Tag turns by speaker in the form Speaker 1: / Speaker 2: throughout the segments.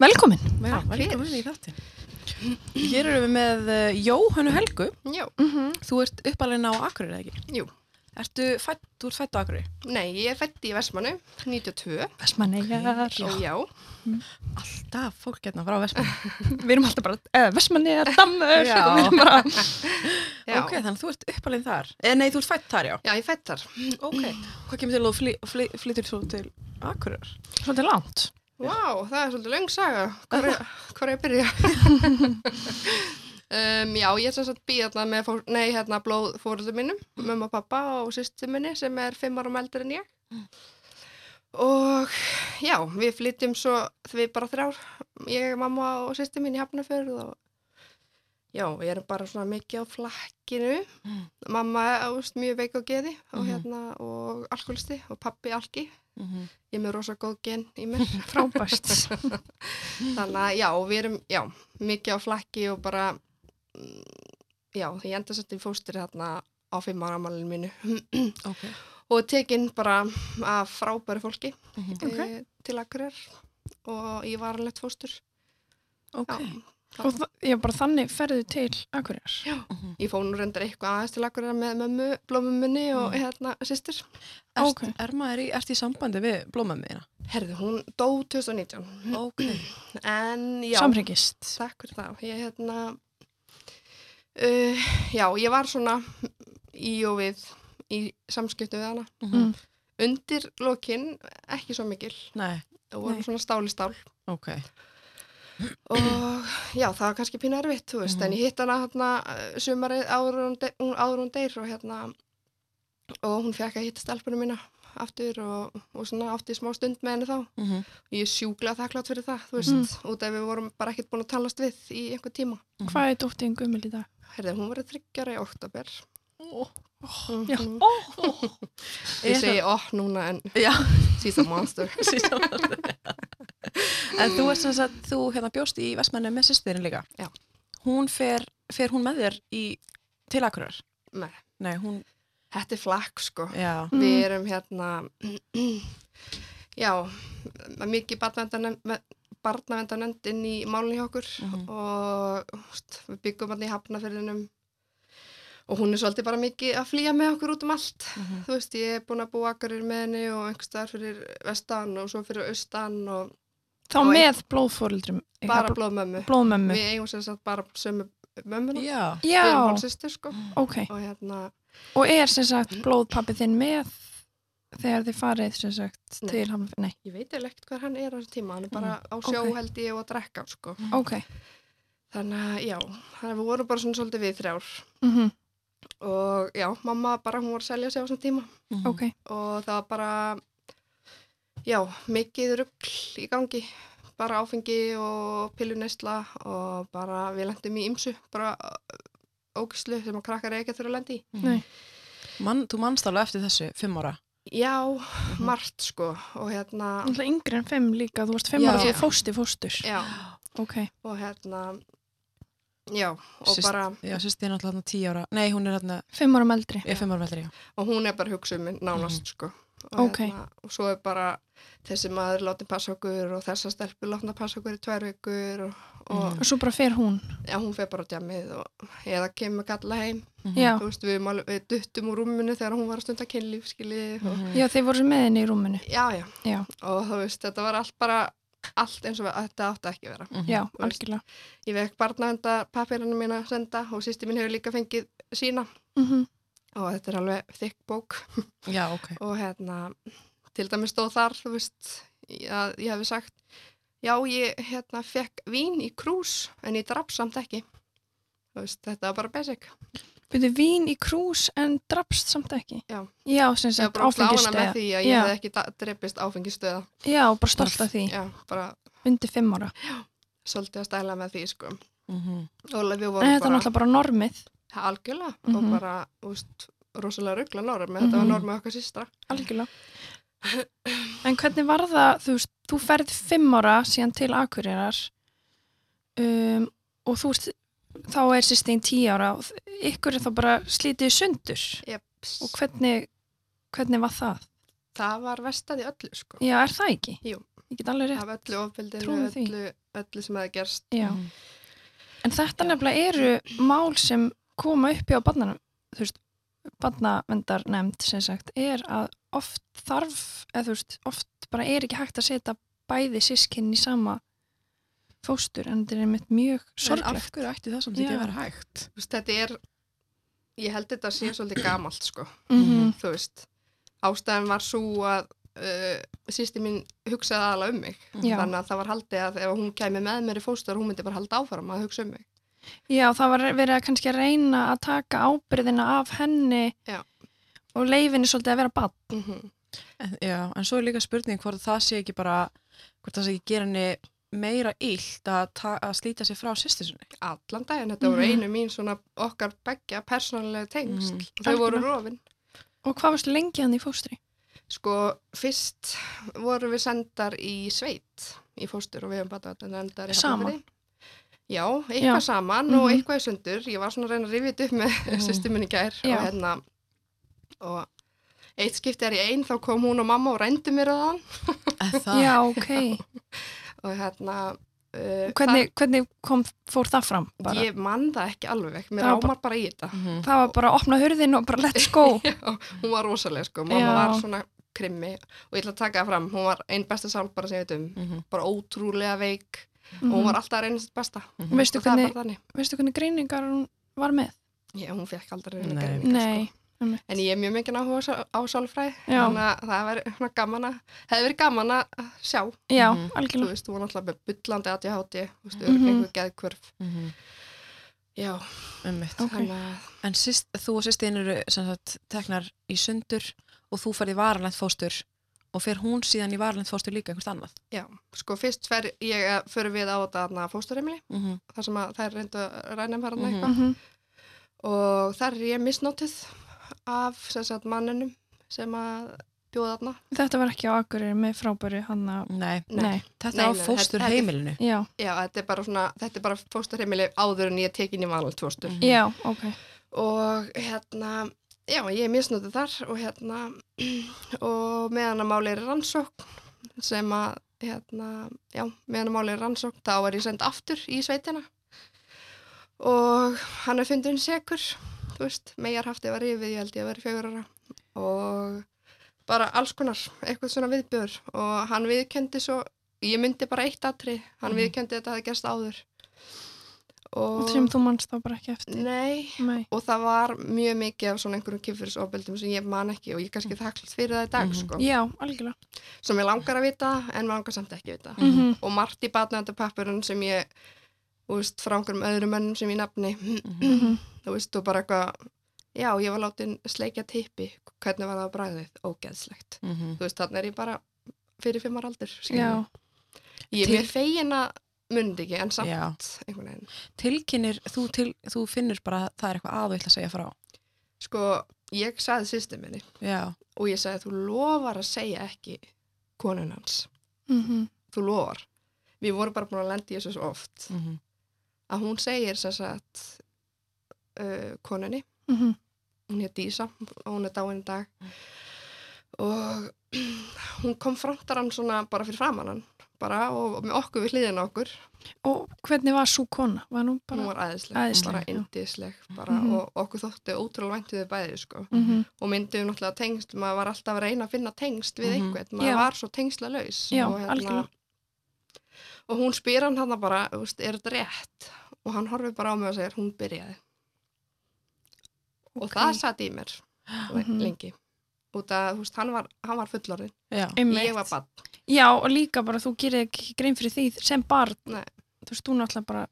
Speaker 1: Velkomin.
Speaker 2: Já,
Speaker 1: Takk fyrir.
Speaker 2: velkomin í þáttin. Hér erum við með uh, Jóhannu Helgu.
Speaker 3: Já,
Speaker 1: Mhm.
Speaker 2: Þú ert uppalinn á Akureyri, eða ekki?
Speaker 3: jú.
Speaker 2: Ertu fætt, þú ert fætt á Akureyri?
Speaker 3: Nei, ég er fætt í Vestmannu, 92.
Speaker 1: Vestmannegar.
Speaker 3: Já. já.
Speaker 2: Alltaf fólk hérna frá Vestmann.
Speaker 1: Við erum alltaf bara, eh, eða Vestmannegar, dammur.
Speaker 2: Já.
Speaker 1: Við erum bara,
Speaker 3: Já.
Speaker 2: Ok, þannig að þú ert uppalinn þar. Eh, nei, þú ert fætt þar, já.
Speaker 3: Já, ég er fætt þar.
Speaker 2: Ok. Hvað kemur til að þú fly, fly, flytur svo til Akureyrar?
Speaker 1: svolítið langt.
Speaker 3: Vá, það er svolítið löng saga. Hvar er, hvar er ég að byrja? um, já, ég er sem sagt býð hérna með fór, nei, hérna, blóð fóröldum minnum, mömmu og pappa og sýstum minni sem er fimm árum eldur en ég. Og já, við flytjum svo því bara þrjár, ég, mamma og sýstum minni í Hafnarfjörð og já, við erum bara svona mikið á flakkinu. Mamma er þú veist, mjög veik á geði og,
Speaker 2: Mhm.
Speaker 3: hérna, og alkoholisti og pappi alki.
Speaker 2: Mm -hmm.
Speaker 3: Ég er með rosa góð gen í mér.
Speaker 1: Frábært.
Speaker 3: Þannig að já, við erum, já, mikið á flakki og bara, mm, já, ég enda sett í fóstur þarna á fimm ára málinu mínu
Speaker 2: Ok.
Speaker 3: og tekinn bara af frábæru fólki
Speaker 1: Ok.
Speaker 3: e, til akkurir og ég var alveg fóstur.
Speaker 2: Ok.
Speaker 3: Já,
Speaker 1: Og það, ég bara þannig ferðu til Akureyrar.
Speaker 3: Já. Ég fóð nú reyndar eitthvað aðeins til akkurir með mömmu, blómumunni og hérna systur.
Speaker 2: Ert,
Speaker 1: Ok.
Speaker 2: er maður í, ert í sambandi við blómamina?
Speaker 3: Herðu, hún dó 2019
Speaker 2: Ok.
Speaker 3: Mhm. en já.
Speaker 1: Samringist.
Speaker 3: Takk fyrir það. Ég, hérna, uh, já, ég var svona í og við í samskiptu við hana.
Speaker 2: Mm-hmm.
Speaker 1: Mhm.
Speaker 3: Undir lokin, ekki svo mikil,
Speaker 2: Nei.
Speaker 3: það voru
Speaker 1: Nei.
Speaker 3: svona stáli stál
Speaker 2: Ok.
Speaker 3: og já, það var kannski pínu erfitt, þú veist,
Speaker 2: Mhm.
Speaker 3: en ég hitt hana hérna sumarið áður hún, de hún- áður hún deyr og hérna, og hún fekk að hitta stelpunum mína aftur og, og svona átti smá stund með henni þá.
Speaker 2: Mm -hmm.
Speaker 3: Ég er sjúklega þakklátt fyrir það, þú veist, út af við vorum bara ekkert búin að talast við í einhver tíma.
Speaker 1: Hvað er dóttin Gummil í dag?
Speaker 3: Herði, hún verið þryggjara í oktober.
Speaker 1: Já.
Speaker 3: Mhm.
Speaker 1: Ó,
Speaker 3: Ég segi óh núna en
Speaker 2: Já.
Speaker 3: she's a monster.
Speaker 2: en þú ert sem sagt, þú hérna bjóst í Vestmanni með sýstirinn líka.
Speaker 3: Já.
Speaker 2: Hún fer, fer hún með þér í, til Akureyrar?
Speaker 3: Nei,
Speaker 2: Nei, hún,
Speaker 3: þetta er flakk sko.
Speaker 2: já.
Speaker 3: Við erum hérna, já, mikið barnavendanend inn í málunni hjá okkur
Speaker 2: Mhm.
Speaker 3: og úst, við byggum hann í hafnafyrðinum og hún er svolítið bara mikið að flýja með okkur út um allt.
Speaker 2: Mhm.
Speaker 3: Þú veist, ég er búin að búa akkurir með henni og einhverstaðar fyrir vestan og svo fyrir austan og
Speaker 1: Þá
Speaker 3: Og
Speaker 1: með blóðfórildrum.
Speaker 3: bara blóðmömmu.
Speaker 1: blóðmömmu.
Speaker 3: Við eigum sem sagt bara sömu mömmuna.
Speaker 2: Já.
Speaker 1: Já,
Speaker 3: Við erum hálfsýstir sko.
Speaker 1: ok.
Speaker 3: og hérna,
Speaker 1: Og er sem sagt blóðpappi þinn með þegar þið farið sem sagt
Speaker 3: Nei.
Speaker 1: til hann? Nei,
Speaker 3: ég veit eiginlega ekkert hvað hann er á þessu tíma, hann er bara á sjó
Speaker 1: ok.
Speaker 3: held ég og að drekka, sko.
Speaker 1: ok.
Speaker 3: Þannig að, já, þannig að við vorum bara svona svolítið við þrjár
Speaker 1: Mm
Speaker 3: og já, mamma bara, hún var að selja sig á þessum tíma
Speaker 1: Ok,
Speaker 3: og það var bara, já, mikið rugl í gangi, bara áfengi og pillunesla og bara við lendum í ymsu, bara ógislu sem að krakkar eiga þurfa að lenda í.
Speaker 1: nei.
Speaker 2: Mhm. Man, þú manst alveg eftir þessu, fimm ára.
Speaker 3: Já, margt sko og hérna,
Speaker 1: Alltaf yngri en fimm líka, þú varst fimm
Speaker 2: Já.
Speaker 1: ára þú fósti fóstur.
Speaker 3: já,
Speaker 1: Ok,
Speaker 3: og hérna, já, og
Speaker 2: Syst-
Speaker 3: bara...
Speaker 2: Já, sýstirinn er alltaf hérna tíu ára. Nei, hún er hérna,
Speaker 1: fimm ára meldri.
Speaker 2: ég er fimm ára veldri, já.
Speaker 3: og hún er bara hugsuð minn nánast sko og,
Speaker 1: Mhm. Ok.
Speaker 3: hérna, og svo er bara þessi maður látið passa okkur og þessa stelpur látið passa okkur í tvær vikur og, og
Speaker 1: Og svo bara fer hún.
Speaker 3: já, hún fer bara á djamið og eða kemur kalla heim
Speaker 1: Já.
Speaker 3: þú veist, við, erum alveg- við duttum úr rúminu þegar hún var að stunda kynlíf skilið og,
Speaker 2: Mhm.
Speaker 1: Já, þeir voru með henni í rúminu.
Speaker 3: já, já.
Speaker 1: Mhm. Já.
Speaker 3: og þú veist, þetta var allt bara allt eins og að þetta átti ekki að vera
Speaker 2: Mhm.
Speaker 1: Já,
Speaker 3: Þú veist.
Speaker 1: algjörlega.
Speaker 3: ég vekk barnavenda papirinu mína að senda og sýsti mín hefur líka fengið sína
Speaker 1: Mm
Speaker 3: og þetta er alveg þykk bók
Speaker 2: Já, ok.
Speaker 3: og hérna, til dæmis stóð þar, þú veist, að ég hefði sagt, já, ég hérna fekk vín í krús, en ég draf samt ekki. Þú veist, þetta var bara basic.
Speaker 1: Byrðu vín í krús en drapst samt ekki.
Speaker 3: Já.
Speaker 1: Já, sem sagt
Speaker 3: Ég var bara slána með
Speaker 1: áfengistöða.
Speaker 3: því að ég
Speaker 1: Já.
Speaker 3: hefði ekki da- drepist áfengistöða.
Speaker 1: Já, og bara stolt af því.
Speaker 3: Já, bara
Speaker 1: Undir fimm ára.
Speaker 3: svolítið að stæla með því, sko.
Speaker 2: Mm -hmm.
Speaker 3: Og við vorum
Speaker 1: En þetta er
Speaker 3: bara
Speaker 1: náttúrulega bara normið.
Speaker 3: algjörlega
Speaker 1: Mhm.
Speaker 3: og bara, þú veist, rosalega ruggla norm, þetta var
Speaker 1: Mhm.
Speaker 3: norm með okkar sístra.
Speaker 1: Algjörlega. En hvernig var það, þú veist, þú ferð fimm ára síðan til Akureyrar um, og þú veist, þá er sýstin tíu ára og ykkur er þá bara slítið í sundur
Speaker 3: Yep.
Speaker 1: og hvernig, hvernig var það?
Speaker 3: það var vestað í öllu sko.
Speaker 1: Já, er það ekki?
Speaker 3: Jú.
Speaker 1: Ég get alveg rétt.
Speaker 3: Af öllu ofbildinu,
Speaker 1: Trúi því.
Speaker 3: öllu, öllu sem hefði gerst.
Speaker 1: Já.
Speaker 2: Mhm.
Speaker 1: En þetta nefnilega eru mál sem koma upp hjá barnanum, þú veist, barnavendar nefnd sem sagt, er að oft þarf, eða þú veist, oft bara er ekki hægt að setja bæði sískinn í sama fóstur en þetta er einmitt mjög
Speaker 2: En
Speaker 1: sorglegt.
Speaker 2: af hverju ætti það samt ekki
Speaker 1: Já.
Speaker 2: að vera hægt?
Speaker 3: Þú veist, þetta er, ég held þetta sé svolítið gamalt sko,
Speaker 1: Mm
Speaker 3: þú veist. Ástæðan var svo að uh, sýsti mín hugsaði aðalega um mig.
Speaker 1: Já.
Speaker 3: Þannig að það var haldið að ef hún kæmi með mér í fóstur, hún myndi bara halda áfram að hugsa um mig.
Speaker 1: Já, það var verið að kannski reyna að taka ábyrðina af henni
Speaker 3: Já.
Speaker 1: og leifinni svolítið að vera barn.
Speaker 3: Mm
Speaker 1: Mhm.
Speaker 2: En, já, en svo er líka spurning hvort það sé ekki bara, hvort það sé ekki gera henni meira illt að, ta- að slíta sig frá sýstinsunni.
Speaker 3: Allan daginn, þetta voru
Speaker 1: Mhm.
Speaker 3: einu mín svona okkar begja persónulega tengsl.
Speaker 2: Mhm.
Speaker 3: Þau voru
Speaker 1: Algjörlega.
Speaker 3: rofin.
Speaker 1: Og hvað varst lengi hann í fóstri?
Speaker 3: Sko, fyrst vorum við sendar í sveit í fóstur og við hefum bara þetta endar í
Speaker 1: Saman?
Speaker 3: Hafnarfirði. Já, eitthvað
Speaker 1: Já.
Speaker 3: saman og
Speaker 1: Mhm.
Speaker 3: eitthvað í sundur. Ég var svona að reyna að rifja þetta upp með mm.
Speaker 2: Mhm.
Speaker 3: sýstum minni í gær
Speaker 1: Já.
Speaker 3: og hérna og eitt skipti er ég einn, þá kom hún og mamma og rændi mér að hann
Speaker 2: Það,
Speaker 1: Já, ok.
Speaker 3: og hérna uh,
Speaker 1: Hvernig, hvernig kom, fór það fram? Bara?
Speaker 3: það, ég man það ekki alveg, mér
Speaker 1: Það var
Speaker 3: ámar bara í þetta.
Speaker 2: Mhm.
Speaker 1: Það var bara að opna hurðin og bara let's go.
Speaker 3: Já, hún var rosalega sko, mamma
Speaker 1: Já.
Speaker 3: var svona krimmi og ég ætla að taka það fram, hún var einn besta sál bara sem ég veit um,
Speaker 2: Mhm.
Speaker 3: bara ótrúlega veik og hún var alltaf að reyna sitt besta
Speaker 1: Mhm. veistu,
Speaker 3: og það er
Speaker 1: hvernig,
Speaker 3: bara þannig.
Speaker 1: veistu hvernig greiningar hún var með?
Speaker 3: Já, hún fekk aldrei reyna
Speaker 2: Nei.
Speaker 3: greiningar
Speaker 1: Nei,
Speaker 3: sko. En ég er mjög mikið áhuga á sál- á sálfræði,
Speaker 1: Já.
Speaker 3: þannig að það verið svona gaman að, hefði verið gaman að sjá,
Speaker 1: já,
Speaker 2: Mhm.
Speaker 3: þú
Speaker 1: algjörlega.
Speaker 3: veist, hún var alltaf með bullandi ADHD, þú veist,
Speaker 1: Mhm.
Speaker 3: einhver geðkvörf.
Speaker 2: Mhm.
Speaker 3: Já,
Speaker 2: Einmitt.
Speaker 1: Ok.
Speaker 3: þannig að,
Speaker 2: En síst, þú og sýstin eru sem sagt, teknar í sundur og þú ferði varanlegt fóstur og fer hún síðan í varanlegt fóstur líka einhvert annað.
Speaker 3: já, sko fyrst fer ég að förum við á þetta fósturheimili,
Speaker 2: Mm -hmm.
Speaker 3: þar sem að þær reyndu að ræna mér hann
Speaker 2: Mhm.
Speaker 3: eitthvað.
Speaker 1: Mhm.
Speaker 3: og þar er ég misnótið af sem sagt, mannunum sem að bjóða þarna
Speaker 1: Þetta var ekki á Akureyri með frábæru hann að...
Speaker 2: Nei,
Speaker 1: Nei,
Speaker 2: þetta
Speaker 3: Nei,
Speaker 2: er á
Speaker 3: nei,
Speaker 2: fóstur
Speaker 3: þetta-
Speaker 2: heimilinu.
Speaker 1: já,
Speaker 3: Já, þetta er bara svona, þetta er bara fósturheimili áður en ég tek inn í vanlegt fóstur
Speaker 2: Mhm.
Speaker 1: já, ok.
Speaker 3: og hérna, já, ég er misnótið þar og hérna og meðan að máli er rannsókn sem að, hérna já, meðan að máli er rannsókn, þá er ég send aftur í sveitina og hann er fundin sekur þú veist, megar haftið var yfir ég held ég að vera fjögur ára og bara alls konar, eitthvað svona viðbjör og hann viðkendi svo ég myndi bara eitt atrið, hann
Speaker 2: Mhm.
Speaker 3: viðkendi þetta að gerst áður og,
Speaker 1: Og sem þú manst þá bara ekki eftir.
Speaker 3: nei
Speaker 1: Nei.
Speaker 3: og það var mjög mikið af svona einhverjum kiffurisofbeldum sem ég man ekki og ég er kannski þakklátt fyrir það í dag
Speaker 2: Mhm.
Speaker 3: sko,
Speaker 1: Já, algjörlega.
Speaker 3: sem ég langar að vita en mig langar samt ekki að vita
Speaker 1: Mm
Speaker 2: Mhm.
Speaker 3: og margt í batnaðandapappurinn sem ég þú veist, frá einhverjum öðrum mönnum sem ég nafni
Speaker 2: Mhm.
Speaker 3: þú veist, og bara eitthvað já, ég var látin sleikja tippi hvernig var það að bræðið, ógeðslegt
Speaker 2: Mhm.
Speaker 3: þú veist, þannig er ég bara fyrir fimm ára aldur skilurðu.
Speaker 1: Já,
Speaker 3: ég er
Speaker 2: Til-
Speaker 3: mér fegin að mundi ekki, en samt
Speaker 2: Já.
Speaker 3: einhvern veginn
Speaker 2: Tilkynir, þú, til, þú finnur bara að það er eitthvað að þú ætla að segja frá.
Speaker 3: sko, ég sagði sýstum minni
Speaker 2: Já,
Speaker 3: og ég sagði þú lofar að segja ekki konun hans,
Speaker 1: mm
Speaker 3: þú lofar við vorum bara búin að lenda í þessu svo oft
Speaker 2: mm -hmm.
Speaker 3: að hún segir sem sagt uh, konunni,
Speaker 1: Mhm.
Speaker 3: hún hér Dísa og hún er dáin í dag
Speaker 1: Mm.
Speaker 3: og hún konfrontar hann svona bara fyrir framann hann bara og, og með okkur við hliðin okkur
Speaker 1: Og hvernig var svo kona? Var nú bara...
Speaker 3: hún var æðisleg,
Speaker 1: æðisleg,
Speaker 3: bara
Speaker 1: já.
Speaker 3: indisleg bara,
Speaker 1: Mhm.
Speaker 3: og okkur þótti ótrúlega væntu þau bæði sko.
Speaker 1: Mhm.
Speaker 3: og myndum náttúrulega tengst, maður var alltaf að reyna að finna tengst við
Speaker 2: Mhm.
Speaker 3: einhvern, maður
Speaker 1: Já.
Speaker 3: var svo tengslalaus
Speaker 1: Já,
Speaker 3: og, hérna
Speaker 1: algjörlega.
Speaker 3: og hún spyr hann hann bara, þú veist, er þetta rétt og hann horfir bara á mig og segir, hún byrjaði og
Speaker 1: Ok.
Speaker 3: það satt í mér le-
Speaker 1: Mhm.
Speaker 3: lengi út að, þú veist, hann var, hann var fullorðin
Speaker 2: já.
Speaker 1: Einmitt.
Speaker 3: ég var bann,
Speaker 1: Já, og líka bara þú gerir ekki grein fyrir því sem barn.
Speaker 3: Nei.
Speaker 1: Þú veist, þú náttúrulega bara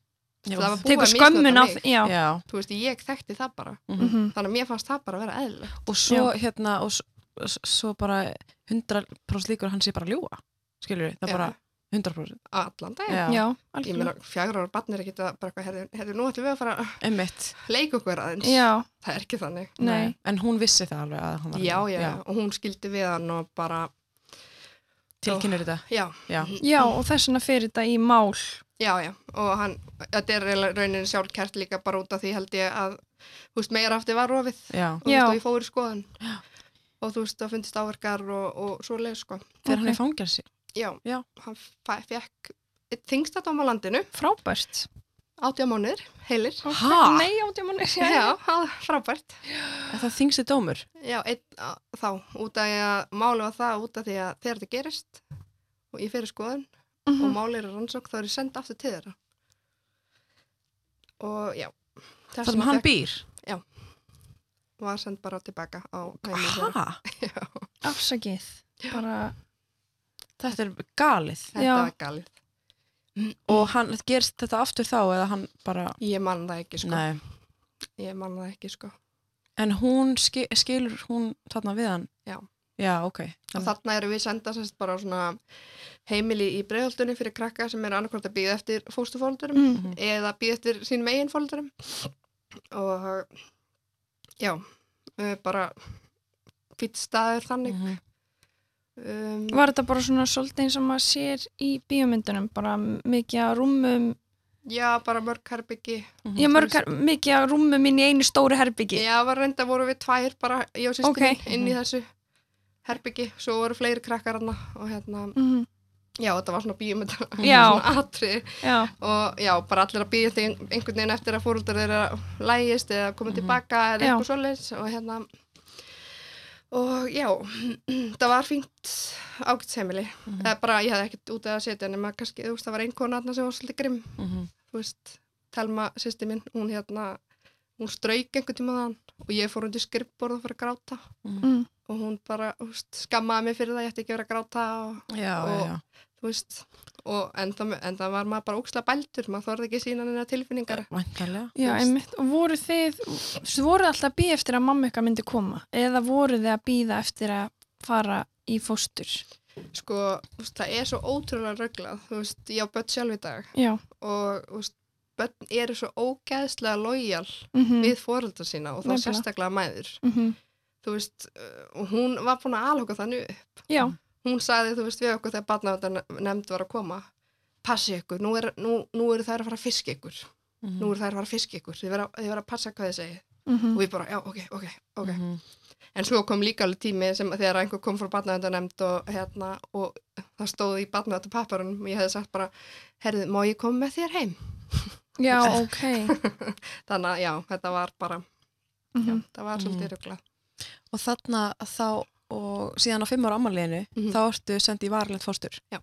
Speaker 2: Já,
Speaker 3: það var búið
Speaker 1: tekur
Speaker 3: að misnota
Speaker 1: skömmun á
Speaker 3: mig.
Speaker 1: því. Já.
Speaker 2: Já.
Speaker 3: þú veist, ég þekkti það bara
Speaker 2: Mm
Speaker 1: Mm
Speaker 3: þannig að mér fannst það bara að vera eðlilegt
Speaker 2: Og svo hérna, og s- s- svo bara 100% líkur að hann sé bara að ljúa. Skilur við, það er bara 100%.
Speaker 3: allan dag
Speaker 2: Já.
Speaker 1: Já,
Speaker 3: ég
Speaker 1: algjörlega.
Speaker 3: meina, fjagra ára barnir ekki það bara eitthvað, herðu, herðu, nú ætlum við að fara að
Speaker 2: Einmitt.
Speaker 3: leika okkur aðeins
Speaker 1: Já,
Speaker 3: það er ekki þannig
Speaker 1: nei.
Speaker 2: En hún vissi það alveg að hann var að
Speaker 3: já,
Speaker 2: ljúga.
Speaker 3: já, og hún skildi við hann og bara,
Speaker 2: Tilkynir þetta.
Speaker 3: já,
Speaker 2: Já.
Speaker 1: Já, og þess vegna fyrir þetta í mál.
Speaker 3: já, já og hann, þetta er eiginlega raunin sjálfkært líka bara út af því held ég að, þú veist, meira aftur var rofið
Speaker 2: Já.
Speaker 3: og, þú
Speaker 1: Já.
Speaker 3: veist, og ég fór í skoðun og þú veist, það fundist áverkar og, og svo leið, sko.
Speaker 2: Þegar hann
Speaker 1: Ok.
Speaker 2: er fangelsi.
Speaker 3: Já,
Speaker 2: Já.
Speaker 3: hann fæ- fekk þingstadóm á landinu,
Speaker 1: Frábært.
Speaker 3: átja mánuðir, heilir.
Speaker 1: Ok,
Speaker 2: Ha?
Speaker 1: Nei, átjum hann
Speaker 3: Já, já, það- frábært.
Speaker 2: Er það þingsi dómur?
Speaker 3: Já, einn á- þá, út af því að máli var það út af því að þegar þetta gerist og ég fyrir skoðun og
Speaker 2: Mhm.
Speaker 3: máli er að rannsók þá er ég senda aftur til þeirra. Og já,
Speaker 2: Það sem hann býr?
Speaker 3: var send bara tilbaka á heimili þeirra.
Speaker 2: Hæ?
Speaker 3: Já,
Speaker 1: Afsakið. Bara,
Speaker 2: Þetta er galið.
Speaker 3: þetta
Speaker 1: Já.
Speaker 3: var galið.
Speaker 2: Og hann gerst þetta aftur þá eða hann bara...
Speaker 3: Ég man það ekki, sko.
Speaker 2: Nei.
Speaker 3: Ég man það ekki, sko.
Speaker 2: En hún ski, skilur hún þarna við hann?
Speaker 3: Já.
Speaker 2: Já, ok.
Speaker 3: Og þarna erum við senda sérst bara á svona heimili í breiðhaldunni fyrir krakka sem eru annarkvæmt að býða eftir fóstufóldurum
Speaker 1: mm,
Speaker 2: Mhm.
Speaker 3: eða býð eftir sín megin fóldurum og já, eh, bara fýtt staður þannig
Speaker 2: Mhm.
Speaker 3: um,
Speaker 1: var þetta bara svona svolítið eins og maður sér í bíómyndunum, bara mikið að rúmum,
Speaker 3: Mm, já, bara mörg herbyggi
Speaker 2: Mhm.
Speaker 1: já, mörgar, mikið að rúmum inn í einu stóru herbyggi. mhm.
Speaker 3: já, var reynda voru við tvær bara, ég og sýstir
Speaker 1: Ókei.
Speaker 3: mín inn í þessu herbyggi, svo voru fleiri krakkar hana og hérna,
Speaker 1: Mhm,
Speaker 3: já, þetta var svona bíum
Speaker 1: Já.
Speaker 3: Mhm. svona atri
Speaker 1: já.
Speaker 3: og já, bara allir að býja þeim einhvern veginn eftir að fóröldar þeirra lægist eða komið
Speaker 2: Mhm.
Speaker 3: tilbaka
Speaker 1: Já.
Speaker 3: eða eitthvað svoleiðis og hérna og já, það var fínt ágætt heimili
Speaker 2: Mhm.
Speaker 3: eða bara ég hefði ekkert út að setja nema kannski, þú veist, það var ein kona þarna sem var svolítið grimm
Speaker 2: Mhm.
Speaker 3: þú veist, Telma sýsti minn hún hérna, hún strauk einhvern tíma þann og ég fór undir skrifborð og fór að gráta
Speaker 1: Mm.
Speaker 3: og hún bara, þú veist, skammaði mig fyrir það ég ætti ekki að vera að gráta og
Speaker 2: Já, já,
Speaker 3: Og-
Speaker 2: já.
Speaker 3: þú veist, og en það, en það var maður bara óksla bældur, maður þorði ekki að sína neina tilfinningar
Speaker 2: Væntalega.
Speaker 1: Já,
Speaker 3: veist.
Speaker 1: einmitt. Og voru þið, þið voru alltaf að býða eftir að mamma ykkar myndi koma eða voru þið að býða eftir að fara í fóstur?
Speaker 3: sko, þú veist, það er svo ótrúlega röglað, þú veist, ég á börn sjálf í dag
Speaker 1: Já.
Speaker 3: og þú veist, börn eru svo ógeðslega lojal
Speaker 1: Mm -hmm.
Speaker 3: við foreldra sína og þá
Speaker 1: Nefnilega.
Speaker 3: sérstaklega mæður
Speaker 1: Mhm.
Speaker 3: þú veist, uh, og hún var búin að alhoka þannig upp.
Speaker 1: Já,
Speaker 3: hún sagði, þú veist, við okkur þegar barnavendan nefnd var að koma passi ykkur, nú, er, nú, nú eru þær að fara að fiska ykkur
Speaker 2: Mhm.
Speaker 3: nú eru þær að fara að fiska ykkur þið verða þið verða að passa hvað þið segi
Speaker 1: mm
Speaker 3: og við bara, já, ok, ok, ok
Speaker 2: Mhm.
Speaker 3: En svo kom líka alveg tími sem að þegar einhver kom frá barnavendanemnd og hérna og það stóð í barnavendarpapparunum og ég hefði sagt bara, herðu, má ég koma með þér heim?
Speaker 1: já, ok.
Speaker 3: Þannig að já, þetta var bara,
Speaker 1: Mm
Speaker 3: já, það var
Speaker 2: Mhm.
Speaker 3: svolítið ruggla.
Speaker 2: Og þarna þá og síðan á fimm ára ammaliðinu
Speaker 3: Mhm.
Speaker 2: þá ertu sendið í varilegt fórstur
Speaker 3: Já.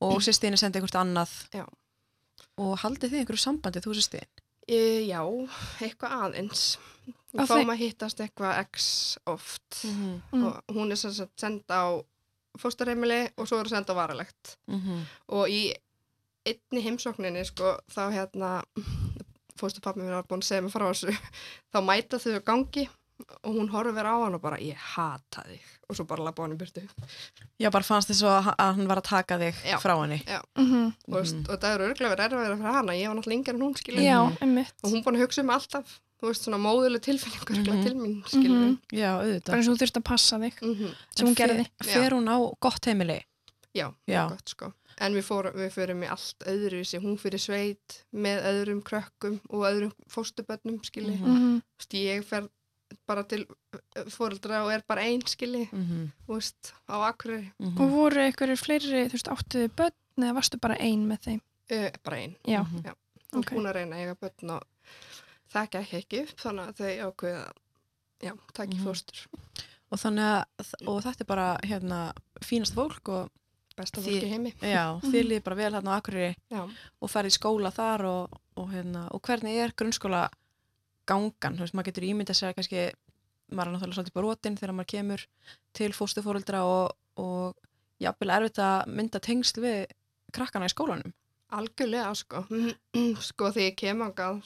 Speaker 2: og sýstinni sendið eitthvað annað
Speaker 3: Já.
Speaker 2: og haldið þið einhverju sambandi þú sýstin
Speaker 3: E, já, eitthvað aðeins.
Speaker 1: Á
Speaker 3: Við
Speaker 1: þeim-
Speaker 3: fáum að hittast eitthvað x oft
Speaker 2: -hmm.
Speaker 1: Mm.
Speaker 3: og hún er sem sagt send á fóstarheimili og svo er send á varalegt.
Speaker 2: mm -hmm.
Speaker 3: og í einni heimsókninni sko, þá hérna fóstupappi minn var búin að segja mig frá þessu þá mæta þau á gangi og hún horfir á hann og bara ég hata þig og svo bara labba hann í burtu
Speaker 2: Já, bara fannst þið svo að að hann var að taka þig
Speaker 3: Já.
Speaker 2: frá henni
Speaker 1: Mhm.
Speaker 3: og, mm
Speaker 2: Mhm.
Speaker 3: og það eru örglega verið erfiðara fyrir hana ég var náttúrulega yngri en hún skilur
Speaker 1: Já,
Speaker 2: Mhm.
Speaker 1: einmitt.
Speaker 3: og hún búin að hugsa um alltaf þú veist svona móðuleg tilfinningur mm
Speaker 2: Mhm.
Speaker 3: til mín skilur mm
Speaker 2: Já,
Speaker 1: Bara
Speaker 2: auðvitað
Speaker 1: eins og þú þurft að passa þig
Speaker 3: -hmm.
Speaker 1: sem hún
Speaker 2: En fer-
Speaker 1: gerði.
Speaker 2: Fer hún á gott heimili?
Speaker 3: já,
Speaker 2: Já.
Speaker 3: gott sko en við, fórum, við förum í allt öðruvísi hún fyrir sveit með öðrum krökkum og öðrum fóstubönnum skilur
Speaker 2: Mhm.
Speaker 1: Mm -hmm.
Speaker 3: Þú veist, ég fer bara til fóreldra og er bara einskili
Speaker 2: Mm -hmm.
Speaker 3: veist, á akkurir,
Speaker 2: Mm
Speaker 1: Og voru einhverju fleiri, þú veist, áttuðu börn eða varstu bara ein með þeim?
Speaker 3: uh, bara ein
Speaker 1: Já,
Speaker 2: Mhm.
Speaker 3: og
Speaker 1: Ok.
Speaker 3: hún að reyna að eiga börn og það gekk ekki upp þannig að þau ákveða já, takk í
Speaker 2: Mhm.
Speaker 3: fóstur
Speaker 2: Og þannig að og þetta er bara hérna fínasta fólk og
Speaker 3: besta
Speaker 2: Því-
Speaker 3: fólki heimi
Speaker 2: já,
Speaker 1: Mhm.
Speaker 2: þið líði bara vel hérna á Akureyri
Speaker 3: já.
Speaker 2: og farið í skóla þar og, og, hérna, og hvernig er grunnskóla gangan, þú veist, maður getur ímyndað sér að kannski, maður er náttúrulega svolítið brotinn þegar maður kemur til fóstuforeldra og, og jafnvel erfitt að mynda tengsl við krakkana í skólanum
Speaker 3: algjörlega sko sko þegar ég kem ángað